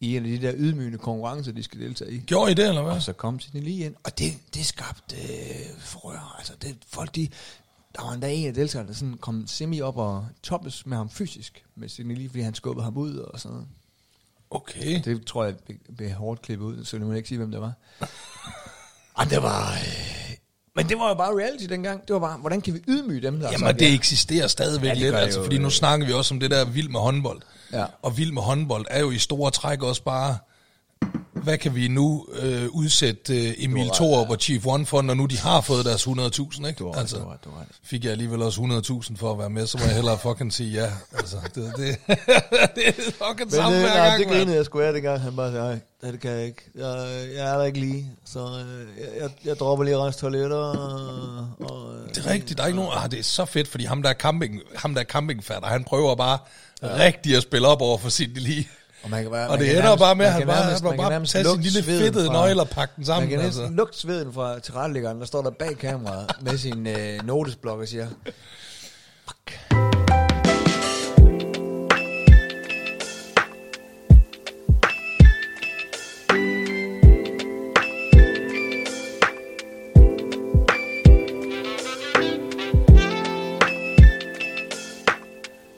Speaker 1: i en af de der ydmygende konkurrencer, de skal deltage i.
Speaker 2: Gjorde I det, eller hvad?
Speaker 1: Og så kom Sidney lige ind, og det, det skabte øh, frøer. Altså, det, folk, de, der var endda en af deltagerne, der sådan kom semi op og toppes med ham fysisk, med Sidney lige, fordi han skubbede ham ud og sådan noget. Ah.
Speaker 2: Okay.
Speaker 1: Det tror jeg blev- blev hårdt klippet ud, så det må jeg ikke sige, hvem det var. Ej, det var... Øh, men det var jo bare reality dengang. Det var bare, hvordan kan vi ydmyge dem der?
Speaker 2: Jamen,
Speaker 1: Så
Speaker 2: og det
Speaker 1: vi-
Speaker 2: eksisterer stadigvæk
Speaker 1: Ja,
Speaker 2: ja,
Speaker 1: det
Speaker 2: lidt,
Speaker 1: gør
Speaker 2: altså,
Speaker 1: jo,
Speaker 2: fordi nu
Speaker 1: øh.
Speaker 2: snakker vi også om det der vild med håndbold.
Speaker 1: Ja.
Speaker 2: Og vild med håndbold er jo i store træk også bare, hvad kan vi nu øh, udsætte øh, Emil
Speaker 1: ret,
Speaker 2: Thorup og Chief One for, når nu de har fået deres 100.000, ikke? Altså,
Speaker 1: Du har ret, du har ret, du har ret.
Speaker 2: Fik jeg alligevel også 100.000 for at være med, så må jeg hellere fucking sige ja. Altså, det, det, det er fucking
Speaker 1: Men
Speaker 2: samme
Speaker 1: det,
Speaker 2: hver
Speaker 1: nej,
Speaker 2: gang,
Speaker 1: det
Speaker 2: mand.
Speaker 1: grinede jeg sgu af dengang, han bare sagde, "Ej, det kan jeg ikke. Jeg, jeg er der ikke lige, så øh, jeg, jeg, jeg dropper lige rens toiletter. Og, og, øh,
Speaker 2: Det er rigtigt, der er ikke nogen, ah, det er så fedt, fordi ham der er camping, ham der er campingfatter, han prøver bare ja. rigtig at spille op over for sit lige.
Speaker 1: og, man kan bare,
Speaker 2: Og
Speaker 1: man
Speaker 2: det
Speaker 1: kan
Speaker 2: ender
Speaker 1: nærmest-
Speaker 2: bare med, at
Speaker 1: man
Speaker 2: han
Speaker 1: kan
Speaker 2: bare-
Speaker 1: nærmest-
Speaker 2: han
Speaker 1: man kan
Speaker 2: bare
Speaker 1: nærmest
Speaker 2: tage sin
Speaker 1: lugte
Speaker 2: lille
Speaker 1: sveden
Speaker 2: fedtede
Speaker 1: fra-
Speaker 2: nøgle og pakke den sammen,
Speaker 1: Man kan næsten
Speaker 2: altså.
Speaker 1: lugte sveden fra tilrettelæggeren, der står der bag kameraet med sin øh, notesblok og siger,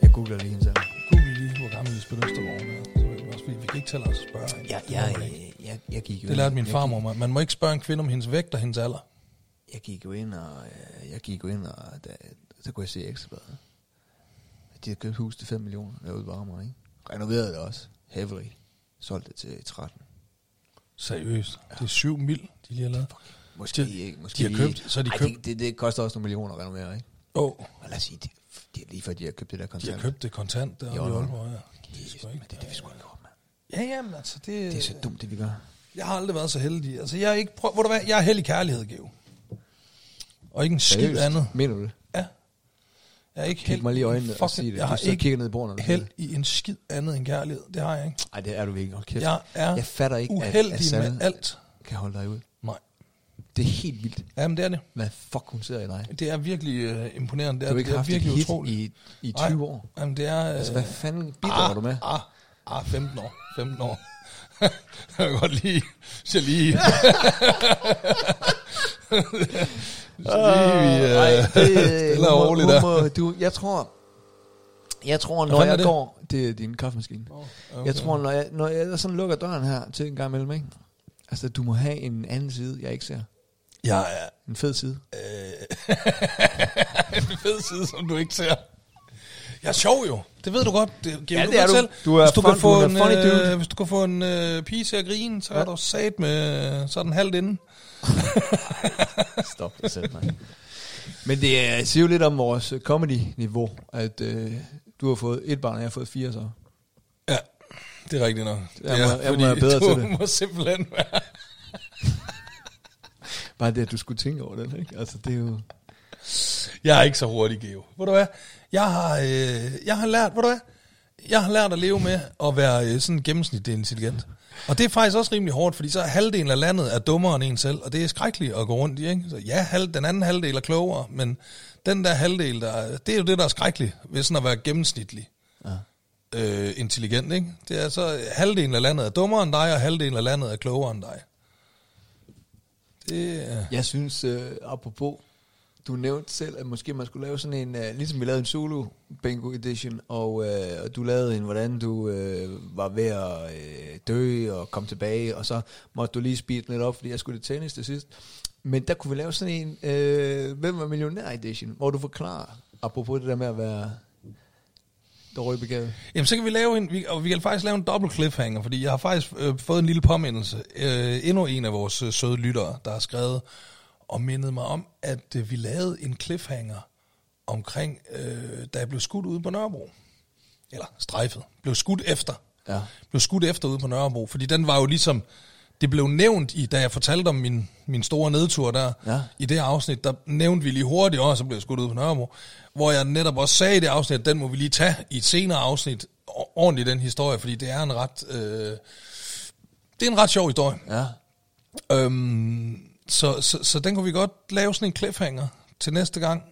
Speaker 1: jeg googler lige hende sammen.
Speaker 2: Google lige, hvor gammel Lisbeth Østergaard er. Så ved vi også, vi, vi kan ikke tælle os spørge hende.
Speaker 1: Ja,
Speaker 2: Det må
Speaker 1: jeg,
Speaker 2: man
Speaker 1: jeg,
Speaker 2: ikke.
Speaker 1: jeg, jeg gik jo
Speaker 2: Det lærte min
Speaker 1: jeg
Speaker 2: farmor mig. Man må ikke spørge en kvinde om hendes vægt og hendes alder.
Speaker 1: jeg gik jo ind og, øh, jeg gik jo ind og, da, så kunne jeg se ekstrabladet. De havde købt et hus til 5 millioner derude på Amager, ikke? Renoverede det også. Heavily. Solgte det til 13.
Speaker 2: Seriøst. Det er syv mil, de lige har lavet.
Speaker 1: Måske
Speaker 2: De-
Speaker 1: ikke. Måske
Speaker 2: de har
Speaker 1: lige-
Speaker 2: købt- så har de
Speaker 1: Ej,
Speaker 2: købt-
Speaker 1: Det, det, det, koster også nogle millioner at renovere, ikke?
Speaker 2: Åh, oh,
Speaker 1: Og lad os sige, det, det er lige før, de har købt det der
Speaker 2: de
Speaker 1: kontant.
Speaker 2: har købt det kontant der i
Speaker 1: Aalborg.
Speaker 2: Aalborg, ja. Det er
Speaker 1: det,
Speaker 2: sgu
Speaker 1: men
Speaker 2: ikke.
Speaker 1: det er det, vi skulle have gjort, mand.
Speaker 2: Ja, jamen altså, det,
Speaker 1: Det er så dumt, det vi gør.
Speaker 2: Jeg har aldrig været så heldig. Altså, jeg er ikke... Prøv, ved du hvad? Jeg er heldig kærlighed, Geo. Og ikke en skid andet.
Speaker 1: Mener du det?
Speaker 2: Ja. Jeg er ikke
Speaker 1: Kig mig lige i øjnene og sig det.
Speaker 2: Jeg
Speaker 1: Du
Speaker 2: har
Speaker 1: sidder og
Speaker 2: ikke
Speaker 1: kigger ned i bordet, når du siger
Speaker 2: held i en skid andet end kærlighed. Det har jeg ikke.
Speaker 1: Nej, det er du ikke. Hold kæft.
Speaker 2: Jeg er
Speaker 1: jeg fatter ikke, at,
Speaker 2: uheldig
Speaker 1: at Sanne
Speaker 2: med alt.
Speaker 1: kan holde dig ud.
Speaker 2: Nej.
Speaker 1: Det er helt vildt,
Speaker 2: Jamen, det er det.
Speaker 1: hvad fuck hun ser i dig.
Speaker 2: Det er virkelig øh, imponerende. Det er,
Speaker 1: Du har ikke
Speaker 2: det er
Speaker 1: haft et
Speaker 2: virkelig
Speaker 1: hit
Speaker 2: utroligt.
Speaker 1: i, i 20 år.
Speaker 2: Jamen, det er... Øh,
Speaker 1: Altså, hvad fanden bidrager du med?
Speaker 2: Ah, ah, 15 år. 15 år. jeg kan godt lige... Så lige... så lige vi...
Speaker 1: Ah, Nej,
Speaker 2: Øh, stille og roligt der.
Speaker 1: du, jeg tror, jeg tror, når
Speaker 2: fanden er
Speaker 1: jeg
Speaker 2: det?
Speaker 1: går... Det er din kaffemaskine. Okay. Jeg tror, når jeg, når jeg sådan lukker døren her til en gang imellem, ikke? Altså, du må have en anden side, jeg ikke ser.
Speaker 2: Jeg er
Speaker 1: En fed side.
Speaker 2: en fed side, som du ikke ser. Jeg er sjov jo. Det ved du godt. Det, ja,
Speaker 1: det er du. Du er
Speaker 2: hvis, du
Speaker 1: fun-
Speaker 2: kan få
Speaker 1: du er
Speaker 2: en,
Speaker 1: funny dude.
Speaker 2: øh, hvis du kan få en øh, pige til at grine, så ja.
Speaker 1: Ja.
Speaker 2: er du sat med øh, sådan halvt inden.
Speaker 1: Stop det selv, mand. Men det er- siger jo lidt om vores øh, comedy-niveau, at øh, du har fået et barn, og jeg har fået fire så.
Speaker 2: Ja, det er rigtigt nok. Det
Speaker 1: Jeg
Speaker 2: er,
Speaker 1: må- jeg må
Speaker 2: fordi
Speaker 1: være bedre
Speaker 2: du
Speaker 1: til det.
Speaker 2: må simpelthen være...
Speaker 1: Bare det, at du skulle tænke over det, ikke? Altså, det er jo...
Speaker 2: Jeg er ikke så hurtig, Geo. Ved du hvad? Jeg har, øh, jeg har lært, ved du hvad? Jeg har lært at leve med at være øh, sådan gennemsnitlig intelligent. Og det er faktisk også rimelig hårdt, fordi så er halvdelen af landet er dummere end en selv, og det er skrækkeligt at gå rundt i, ikke? Så ja, halv, den anden halvdel er klogere, men den der halvdel, der, det er jo det, der er skrækkeligt ved sådan at være gennemsnitlig øh, intelligent, ikke? Det er så, øh, halvdelen af landet er dummere end dig, og halvdelen af landet er klogere end dig. Det er...
Speaker 1: Jeg synes, øh, apropos, du nævnte selv, at måske man skulle lave sådan en, øh, ligesom vi lavede en solo bingo edition, og, øh, og du lavede en, hvordan du øh, var ved at øh, dø og komme tilbage, og så måtte du lige speede den lidt op, fordi jeg skulle til tennis til sidst. Men der kunne vi lave sådan en, øh, hvem var millionær edition, hvor du forklarer, apropos det der med at være dårlig begavet.
Speaker 2: Jamen, så kan vi lave en, vi, og vi kan faktisk lave en dobbelt cliffhanger, fordi jeg har faktisk øh, fået en lille påmindelse. Øh, endnu en af vores øh, søde lyttere, der har skrevet og mindet mig om, at øh, vi lavede en cliffhanger omkring, øh, da jeg blev skudt ude på Nørrebro. Eller strejfet. Blev skudt efter.
Speaker 1: Ja.
Speaker 2: Blev skudt efter ude på Nørrebro, fordi den var jo ligesom, det blev nævnt, i, da jeg fortalte om min, min store nedtur der,
Speaker 1: Ja.
Speaker 2: i det afsnit, der nævnte vi lige hurtigt, og så blev jeg skudt ud på Nørrebro, hvor jeg netop også sagde i det afsnit, at den må vi lige tage i et senere afsnit, o- ordentligt den historie, fordi det er en ret, øh, det er en ret sjov historie.
Speaker 1: Ja.
Speaker 2: Øhm, så, så, så den kunne vi godt lave sådan en cliffhanger til næste gang.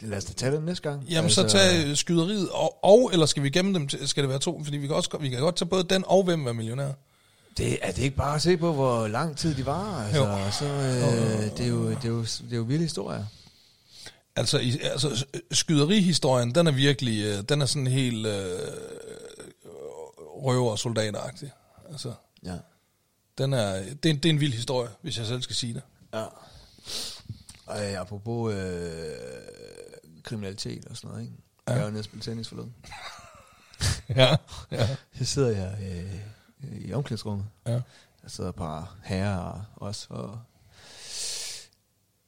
Speaker 1: Lad os da tage den næste gang.
Speaker 2: Jamen altså, så tag øh, skyderiet, og, og eller skal vi gemme dem, til, skal det være to? Fordi vi kan, også, vi kan godt tage både den og hvem er millionær.
Speaker 1: Det, er det ikke bare at se på, hvor lang tid de var? Altså,
Speaker 2: Jo.
Speaker 1: jo. Så, øh, det, er jo, det, er jo, det er jo vilde historier.
Speaker 2: Altså, i, altså s- skyderihistorien, den er virkelig, øh, den er sådan helt øh, røver- og soldateragtig. Altså,
Speaker 1: Ja.
Speaker 2: den er, det, er, en- det er en vild historie, hvis jeg selv skal sige det.
Speaker 1: ja. Og øh, apropos øh, kriminalitet og sådan noget, ikke? Ja. Jeg var nede og spille tennis forleden.
Speaker 2: Ja, ja,
Speaker 1: Så sidder jeg øh, i omklædningsrummet.
Speaker 2: ja.
Speaker 1: Der sidder et par herrer og os, og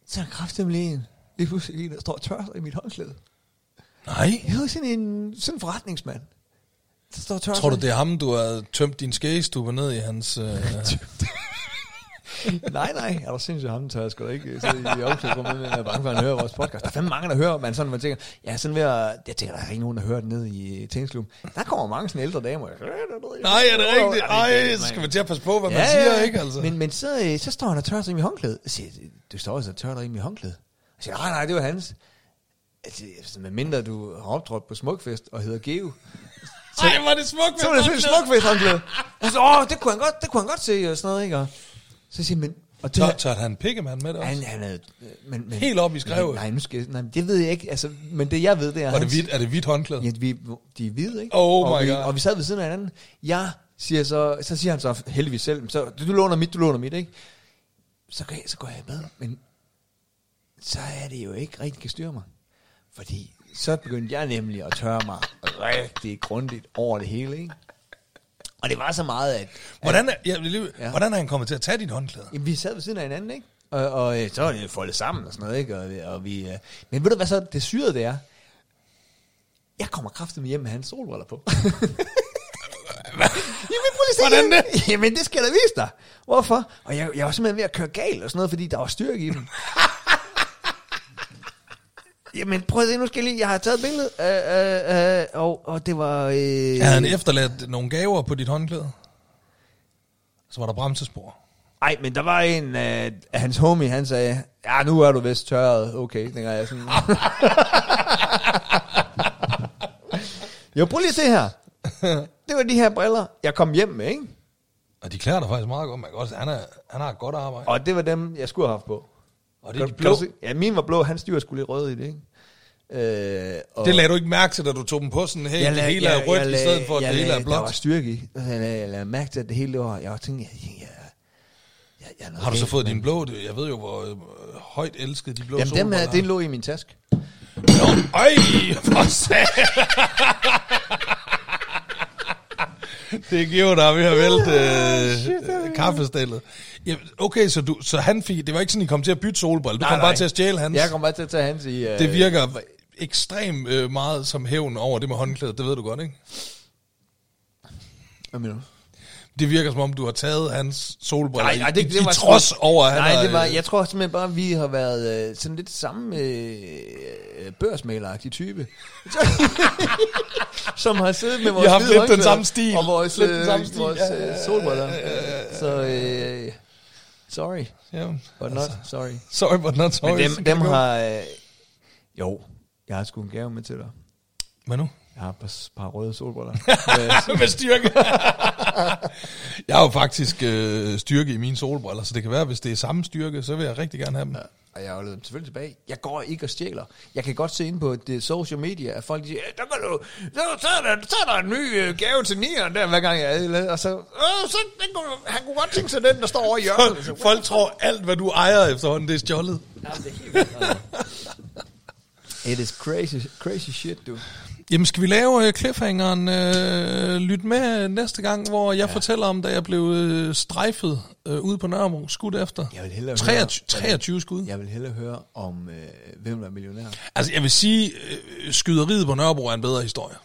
Speaker 1: så er der kraftedeme en. Lige pludselig en, der står og tør sig i mit håndklæde.
Speaker 2: Nej,
Speaker 1: Jeg er jo sådan en, sådan en forretningsmand. Der står og tør
Speaker 2: tror du,
Speaker 1: sig.
Speaker 2: det er ham, du har tømt din skægestube ned i hans... Øh,
Speaker 1: nej, nej, er du sindssygt ham, tør jeg sgu da ikke sidde i omklædningsrummet, men jeg er bange for, at han hører vores podcast. Der er fandme mange, der hører, man sådan, man tænker, ja, sådan ved at, jeg tænker, der er ikke nogen, der hører det ned i øh, tennisklubben. Der kommer mange sådan ældre damer. Nej,
Speaker 2: nej, er det rigtigt? Ej,
Speaker 1: det-
Speaker 2: så skal man til at passe på, hvad man siger, ikke? Altså.
Speaker 1: Men, men så, øh, så står han og tørrer sig i mit håndklæde. Jeg siger, du står også og tørrer dig i mit håndklæde. Jeg siger, nej, nej, det var hans. Altså, altså, med mindre du har optrådt på smukfest og hedder Geo,
Speaker 2: Ej, var det smukt,
Speaker 1: så var det selvfølgelig smukfest håndklæde. Jeg siger, åh, det kunne han godt, det kunne han godt se, og sådan noget, ikke? Og så siger jeg, men... Og det,
Speaker 2: Tør,
Speaker 1: her-
Speaker 2: tør han pikke med med det også?
Speaker 1: han, han er, men, men,
Speaker 2: Helt op i skrevet.
Speaker 1: Nej, nu skal jeg, nej, men det ved jeg ikke, altså, men det jeg ved, det er...
Speaker 2: Er det
Speaker 1: hans-
Speaker 2: hvidt, er det hvidt håndklæde?
Speaker 1: Ja, vi, de er hvide, ikke?
Speaker 2: Oh
Speaker 1: og
Speaker 2: my
Speaker 1: vi,
Speaker 2: God.
Speaker 1: Og vi sad ved siden af hinanden. Jeg siger så, så siger han så heldigvis selv, så du, du låner mit, du låner mit, ikke? Så, går jeg, så går jeg med, men så er det jo ikke rigtig kan styre mig. Fordi så begyndte jeg nemlig at tørre mig rigtig grundigt over det hele, ikke? Og det var så meget, at
Speaker 2: Hvordan er, jeg, vil lige,
Speaker 1: Ja.
Speaker 2: hvordan er han kommet til at tage dit håndklæde?
Speaker 1: Jamen, vi sad ved siden af hinanden, ikke? Og, og øh, så var det foldet sammen og sådan noget, ikke? Og, og vi, øh, men ved du, hvad så det syrede det er? Jeg kommer kraftigt med hjem med hans solbriller på. Jamen, prøv lige at se
Speaker 2: Hvordan
Speaker 1: det? Jamen, det skal jeg da vise dig. Hvorfor? Og jeg, jeg var simpelthen ved at køre galt og sådan noget, fordi der var styrke i dem. Jamen, prøv at se, nu skal jeg lige... Jeg har taget billedet, øh, øh, øh, og, og det var... Øh,
Speaker 2: Havde han efterladt nogle gaver på dit håndklæde? Så var der bremsespor.
Speaker 1: Ej, men der var en af øh, hans homie, han sagde, ja, nu er du vist tørret. Okay, tænker jeg sådan. jo, prøv lige at se her. Det var de her briller, jeg kom hjem med, ikke?
Speaker 2: Og de klæder dig faktisk meget godt. Man kan også, han, er, han har et godt arbejde. Og,
Speaker 1: Og det var dem, jeg skulle have haft på.
Speaker 2: og det er de
Speaker 1: Kan-
Speaker 2: blå.
Speaker 1: kan du se? Ja, min var blå, hans dyr skulle lidt røde i det, ikke? Øh, og
Speaker 2: Det lagde du ikke mærke til, da du tog dem på sådan, hey, jeg det hele er rødt, i stedet for, at det hele er
Speaker 1: Der var
Speaker 2: blåt.
Speaker 1: styrke i. Jeg lagde, jeg lagde mærke til, at det hele det var... Jeg tænkte, jeg, jeg, jeg, jeg er noget
Speaker 2: Har du så
Speaker 1: galt,
Speaker 2: fået
Speaker 1: men-
Speaker 2: din blå? Det- Jeg ved jo, hvor øh, højt elskede de blå
Speaker 1: Jamen, dem her,
Speaker 2: solbriller
Speaker 1: det lå i min taske.
Speaker 2: Nå, Øj, for satan. Det giver dig
Speaker 1: Ah,
Speaker 2: ved at vælte øh, kaffestillet. Ja, okay, så, du, så han fik, det var ikke sådan, I kom til at bytte solbriller. Du nej, kom nej. bare til at stjæle hans.
Speaker 1: Jeg kommer bare til at tage hans i... Øh,
Speaker 2: Det virker ekstremt øh, meget som hævn over det med håndklædet, det ved du godt, ikke?
Speaker 1: Hvad mener du?
Speaker 2: Det virker som om, du har taget hans solbriller
Speaker 1: Nej, nej, det,
Speaker 2: i,
Speaker 1: det var
Speaker 2: i trods
Speaker 1: sgu-
Speaker 2: over, at han
Speaker 1: Nej,
Speaker 2: har,
Speaker 1: det var,
Speaker 2: øh,
Speaker 1: jeg tror simpelthen bare, at vi har været øh, sådan lidt samme øh, børsmaleragtig type. som har siddet med vores
Speaker 2: har haft
Speaker 1: hvide
Speaker 2: lidt den
Speaker 1: håndklæder
Speaker 2: samme stil.
Speaker 1: Og vores,
Speaker 2: Lidt den
Speaker 1: øh,
Speaker 2: samme stil,
Speaker 1: vores
Speaker 2: ja, ja,
Speaker 1: øh,
Speaker 2: ja,
Speaker 1: solbriller.
Speaker 2: ja, ja, ja.
Speaker 1: Så øh, sorry,
Speaker 2: Ja, Altså,
Speaker 1: but not sorry.
Speaker 2: sorry, but not sorry.
Speaker 1: Men dem,
Speaker 2: Sådan
Speaker 1: dem
Speaker 2: kan det gå.
Speaker 1: har... Øh, jo, jeg har sgu en gave med til dig.
Speaker 2: Hvad nu?
Speaker 1: Jeg har et par, par røde solbriller.
Speaker 2: Med styrke. Øh, jeg har jo faktisk øh, styrke i mine solbriller, så det kan være, hvis det er samme styrke, så vil jeg rigtig gerne have dem.
Speaker 1: Og jeg har jo lavet dem selvfølgelig tilbage. Jeg går ikke og stjæler. Jeg kan godt se ind på det social media, at folk de siger, "Øh, der kan du, så, så, er der, så er der en ny øh, gave til nieren der, hver gang jeg er et eller andet." og så, øh, så den kunne, han kunne godt tænke sig den, der står over i hjørnet. Så,
Speaker 2: Folk tror, alt hvad du ejer efterhånden, det er stjålet.
Speaker 1: It is crazy, crazy shit, du.
Speaker 2: Jamen, skal vi lave øh, cliffhangeren? Øh, lyt med næste gang, hvor jeg ja. fortæller om, da jeg blev øh, strejfet øh, ude på Nørrebro, skudt efter.
Speaker 1: Jeg vil hellere
Speaker 2: 23,
Speaker 1: høre-
Speaker 2: 23 skud. Ja.
Speaker 1: Jeg vil hellere høre om, øh, hvem der er millionær.
Speaker 2: Altså, jeg vil sige, øh, skyderiet på Nørrebro er en bedre historie.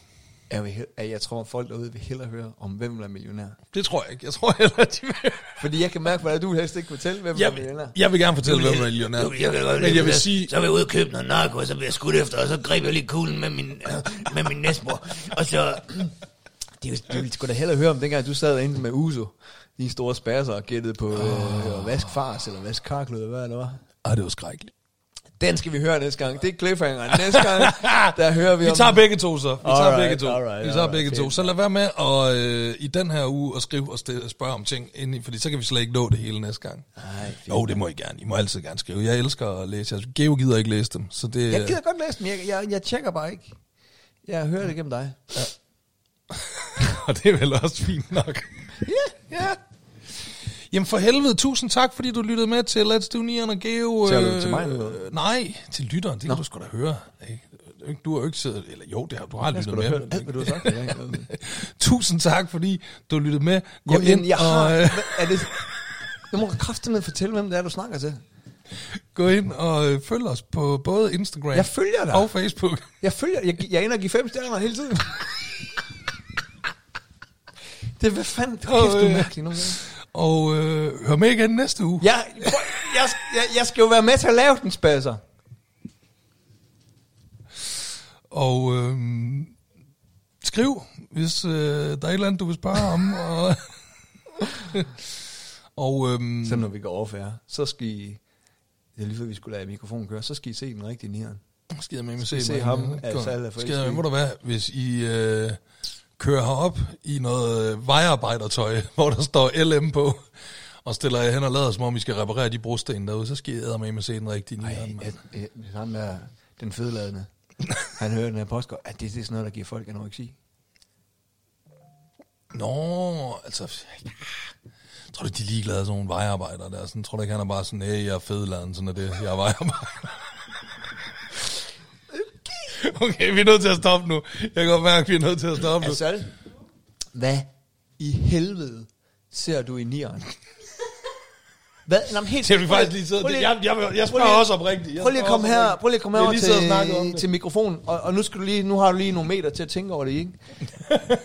Speaker 1: Jeg, vil, he- jeg tror, folk derude vil hellere høre om, hvem der er millionær.
Speaker 2: Det tror jeg ikke. Jeg tror heller, at de vil.
Speaker 1: Fordi jeg kan mærke, hvordan du helst ikke fortælle, hvem der er
Speaker 2: Jeg
Speaker 1: millionær.
Speaker 2: vil, jeg vil gerne fortælle, hvem der er millionær.
Speaker 5: Jo, jeg kan godt
Speaker 2: Men
Speaker 5: lide
Speaker 2: jeg vil
Speaker 5: det.
Speaker 2: sige,
Speaker 5: Så vil jeg ud og købe noget narko, og så bliver jeg skudt efter, og så greb jeg lige kuglen med min, øh, med min næstbror. Og så...
Speaker 1: Det er jo- Du ville sgu da hellere høre om, dengang du sad inde med Uso, de store spasser og gættede på øh, vask fars eller vask karklo, eller hvad det var.
Speaker 2: ah, det var skrækkeligt.
Speaker 1: Den skal vi høre næste gang. Det er cliffhangeren. Næste gang, der hører vi
Speaker 2: Vi
Speaker 1: om...
Speaker 2: tager begge to så. Vi tager
Speaker 1: Alright,
Speaker 2: begge to.
Speaker 1: alright,
Speaker 2: vi tager
Speaker 1: alright,
Speaker 2: begge to.
Speaker 1: fedt.
Speaker 2: Så lad være med at, øh, i den her uge at skrive og stille- spørge om ting, indeni, fordi så kan vi slet ikke nå det hele næste gang.
Speaker 1: Nej, fint.
Speaker 2: Jo, det må I gerne. I må altid gerne skrive. Jeg elsker at læse. Altså, Geo gider ikke læse dem. Så det,
Speaker 1: Jeg gider godt læse den. Jeg, jeg, jeg tjekker bare ikke. Jeg hører det gennem dig.
Speaker 2: og det er vel også fint nok. ja, ja. Jamen for helvede, tusind tak, fordi du lyttede med til Let's Do Nieren og Geo.
Speaker 1: Taler du til mig nu,
Speaker 2: Øh, nej, til lytteren. Det Nå. kan du sgu da høre. ikke? Du har jo ikke siddet... Eller jo, det har, du har lyttet
Speaker 1: skulle
Speaker 2: med. men-
Speaker 1: da hørt alt, hvad du har sagt. Jeg har ikke noget med.
Speaker 2: Tusind tak, fordi du lyttede med. Gå
Speaker 1: Jamen,
Speaker 2: ind
Speaker 1: jeg har...
Speaker 2: og... Øh,
Speaker 1: Hvad Er det, du må kraftedeme fortælle, hvem det er, du snakker til.
Speaker 2: Gå ind og øh, følg os på både Instagram
Speaker 1: Jeg følger dig.
Speaker 2: og Facebook.
Speaker 1: Jeg følger... Jeg, jeg ender og give fem stjerner hele tiden. Det er hvad fanden... Du kæft,
Speaker 2: øh.
Speaker 1: du er mærkelig nogle gange.
Speaker 2: Og øh, hør med igen næste uge.
Speaker 1: Jeg, prøv, jeg, jeg, jeg skal jo være med til at lave den, spasser.
Speaker 2: Og øh, skriv, hvis øh, der er et eller andet, du vil spørge om. Og, og øh,
Speaker 1: Så når vi går over færre, så skal I... Det er lige før, vi skulle lade mikrofonen køre. Så skal I se den rigtige nieren.
Speaker 2: skider med, med
Speaker 1: Skal vi se ham? Altså, alle er for
Speaker 2: Skider med,
Speaker 1: ikke-
Speaker 2: må du være, hvis I øh, kører herop i noget øh, vejarbejdertøj, hvor der står LM på, og stiller jer hen og lader, som om I skal reparere de brosten derude, så skal I æder med med se den rigtige
Speaker 1: Ej,
Speaker 2: nieren. mand.
Speaker 1: jeg, jeg, hvis ham der, øh, den fedladende, han hører den her postgård, at det, det er sådan noget, der giver folk anoreksi.
Speaker 2: Nå, altså... Tror du, de er ligeglade, sådan nogle vejarbejdere der? Sådan, tror du ikke, han er bare sådan, hey, jeg er fedladen, sådan er det, jeg er vejarbejder. Okay, vi er nødt til at stoppe nu. Jeg kan godt mærke, at vi er nødt til at stoppe nu.
Speaker 1: Altså, hvad i helvede ser du i nieren? Hvad? Nå, men helt,
Speaker 2: Det har vi faktisk lige
Speaker 1: prøv
Speaker 2: siddet. Jeg, jeg, jeg, jeg spørger
Speaker 1: prøv lige-
Speaker 2: også oprigtigt. Jeg
Speaker 1: Prøv lige at
Speaker 2: spørger
Speaker 1: komme
Speaker 2: også
Speaker 1: her,
Speaker 2: oprigtigt.
Speaker 1: prøv lige at
Speaker 2: Vi
Speaker 1: komme
Speaker 2: har
Speaker 1: herover
Speaker 2: lige siddet og snakket om
Speaker 1: til,
Speaker 2: det.
Speaker 1: til mikrofonen, og, og nu, skal du lige, nu har du lige nogle meter til at tænke over det, ikke?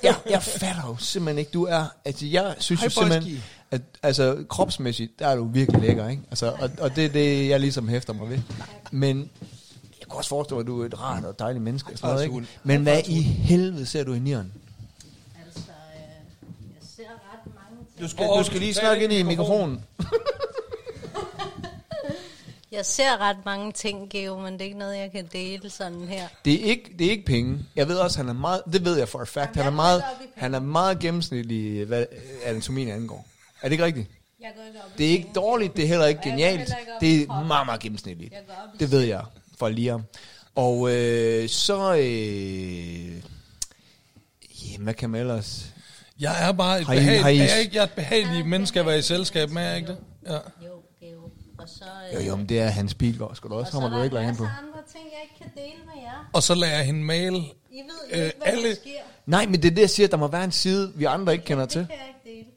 Speaker 1: Jeg, jeg fatter jo simpelthen ikke, du er, altså jeg synes
Speaker 2: Hej,
Speaker 1: jo simpelthen, at, altså kropsmæssigt, der er du virkelig lækker, ikke? Altså, og, og det er det, jeg ligesom hæfter mig ved. Men jeg kan også forestille mig, at du er et rart og dejligt menneske og sådan noget, ikke? Men hvad i helvede ser du i nieren?
Speaker 4: Altså, øh, jeg ser ret mange ting.
Speaker 1: Du skal, du skal lige snakke ind i mikrofonen.
Speaker 4: Jeg ser ret mange ting, Geo, men det er ikke noget, jeg kan dele sådan her.
Speaker 1: Det er ikke, det er ikke penge. Jeg ved også, han er meget, det ved jeg for a fact,
Speaker 4: Jamen,
Speaker 1: han er
Speaker 4: jeg
Speaker 1: meget,
Speaker 4: går ikke op i penge.
Speaker 1: han er meget gennemsnitlig, hvad anatomien angår. Er det ikke rigtigt?
Speaker 4: Jeg går ikke op i
Speaker 1: Det er ikke
Speaker 4: penge.
Speaker 1: dårligt, det er heller ikke
Speaker 4: Og jeg går
Speaker 1: genialt.
Speaker 4: heller ikke op i
Speaker 1: Det er
Speaker 4: kroppen.
Speaker 1: meget, meget gennemsnitligt.
Speaker 4: Jeg går op i
Speaker 1: Det ved jeg for lige om. Og øh, så, øh, jamen, hvad kan man ellers?
Speaker 2: Jeg er bare et
Speaker 1: Har I- har I-
Speaker 2: behageligt, jeg, er ikke- jeg er et behageligt menneske at være i selskab med, er jeg ikke det? Ja.
Speaker 4: Jo, Geo. Og så, øh,
Speaker 1: Jo, jo, men det er Hans Bilgaard, skal du
Speaker 4: og
Speaker 1: også
Speaker 4: så
Speaker 1: hammer
Speaker 4: er
Speaker 1: du ikke
Speaker 4: der
Speaker 1: lade på.
Speaker 4: masser af andre ting, jeg ikke kan dele med jer.
Speaker 2: Og så lader jeg hende male.
Speaker 4: I ved jo
Speaker 2: Øh,
Speaker 4: ikke, hvad
Speaker 2: alle-
Speaker 4: der sker.
Speaker 1: Nej, men det er det, jeg siger, der må være en side, vi andre ikke kender til.
Speaker 4: Det kan jeg ikke dele.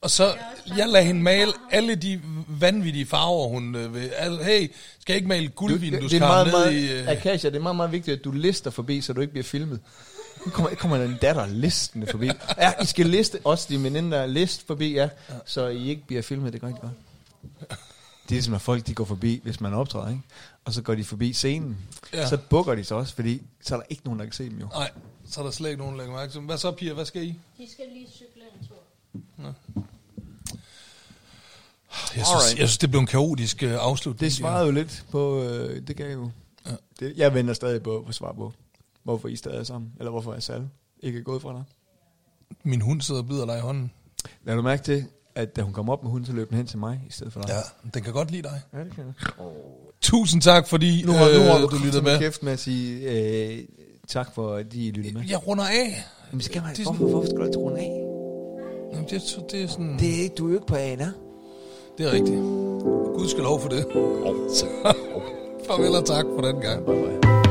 Speaker 2: Og så, jeg lader hende male alle de vanvittige farver, hun øh, vil. Altså, hey, skal jeg ikke male guldvin, du,
Speaker 1: det er
Speaker 2: skal
Speaker 1: meget,
Speaker 2: ned
Speaker 1: meget,
Speaker 2: i... Øh,
Speaker 1: Akasha, det er meget, meget vigtigt, at du lister forbi, så du ikke bliver filmet. Nu kommer, kommer der en datter listende forbi. Ja, I skal liste, også de meninde, der er list forbi, ja, så I ikke bliver filmet, det går ikke godt. Det er som, at folk de går forbi, hvis man optræder, ikke? Og så går de forbi scenen.
Speaker 2: Ja.
Speaker 1: Ja. Så bukker de sig også, fordi så er der ikke nogen, der kan se dem jo.
Speaker 2: nej, så er der slet ikke nogen, der lægger mærke til. dem. Hvad så, piger? Hvad skal I?
Speaker 4: De skal lige cykle en tur.
Speaker 2: Jeg
Speaker 1: Alright.
Speaker 2: synes, jeg synes det blev en kaotisk øh, afslutning.
Speaker 1: Det svarede jo lidt på, øh, det gav jo.
Speaker 2: Ja.
Speaker 1: Ja. Det, jeg venter stadig på at svar på, hvorfor I stadig er sammen, eller hvorfor Asal ikke er gået fra dig.
Speaker 2: Min hund sidder og bider dig i hånden.
Speaker 1: Lad du mærke til, at da hun kom op med hunden, så løb den hen til mig i stedet for dig.
Speaker 2: Ja, den kan godt lide dig.
Speaker 1: Ja, det kan jeg.
Speaker 2: Tusind tak, fordi
Speaker 1: Nu har, øh, nu har
Speaker 2: øh, du lyttede med.
Speaker 1: kæft med at sige øh, tak for, at I lyttede med.
Speaker 2: Jeg runder af.
Speaker 1: Men skal man,
Speaker 2: det er
Speaker 1: hvorfor, hvorfor skal du ikke runde af?
Speaker 2: Jamen, det, det er sådan...
Speaker 1: Det er ikke, du er jo ikke på ANA.
Speaker 2: Det er rigtigt. Gud skal lov for det. Så, farvel og tak for den gang.
Speaker 1: Bye bye.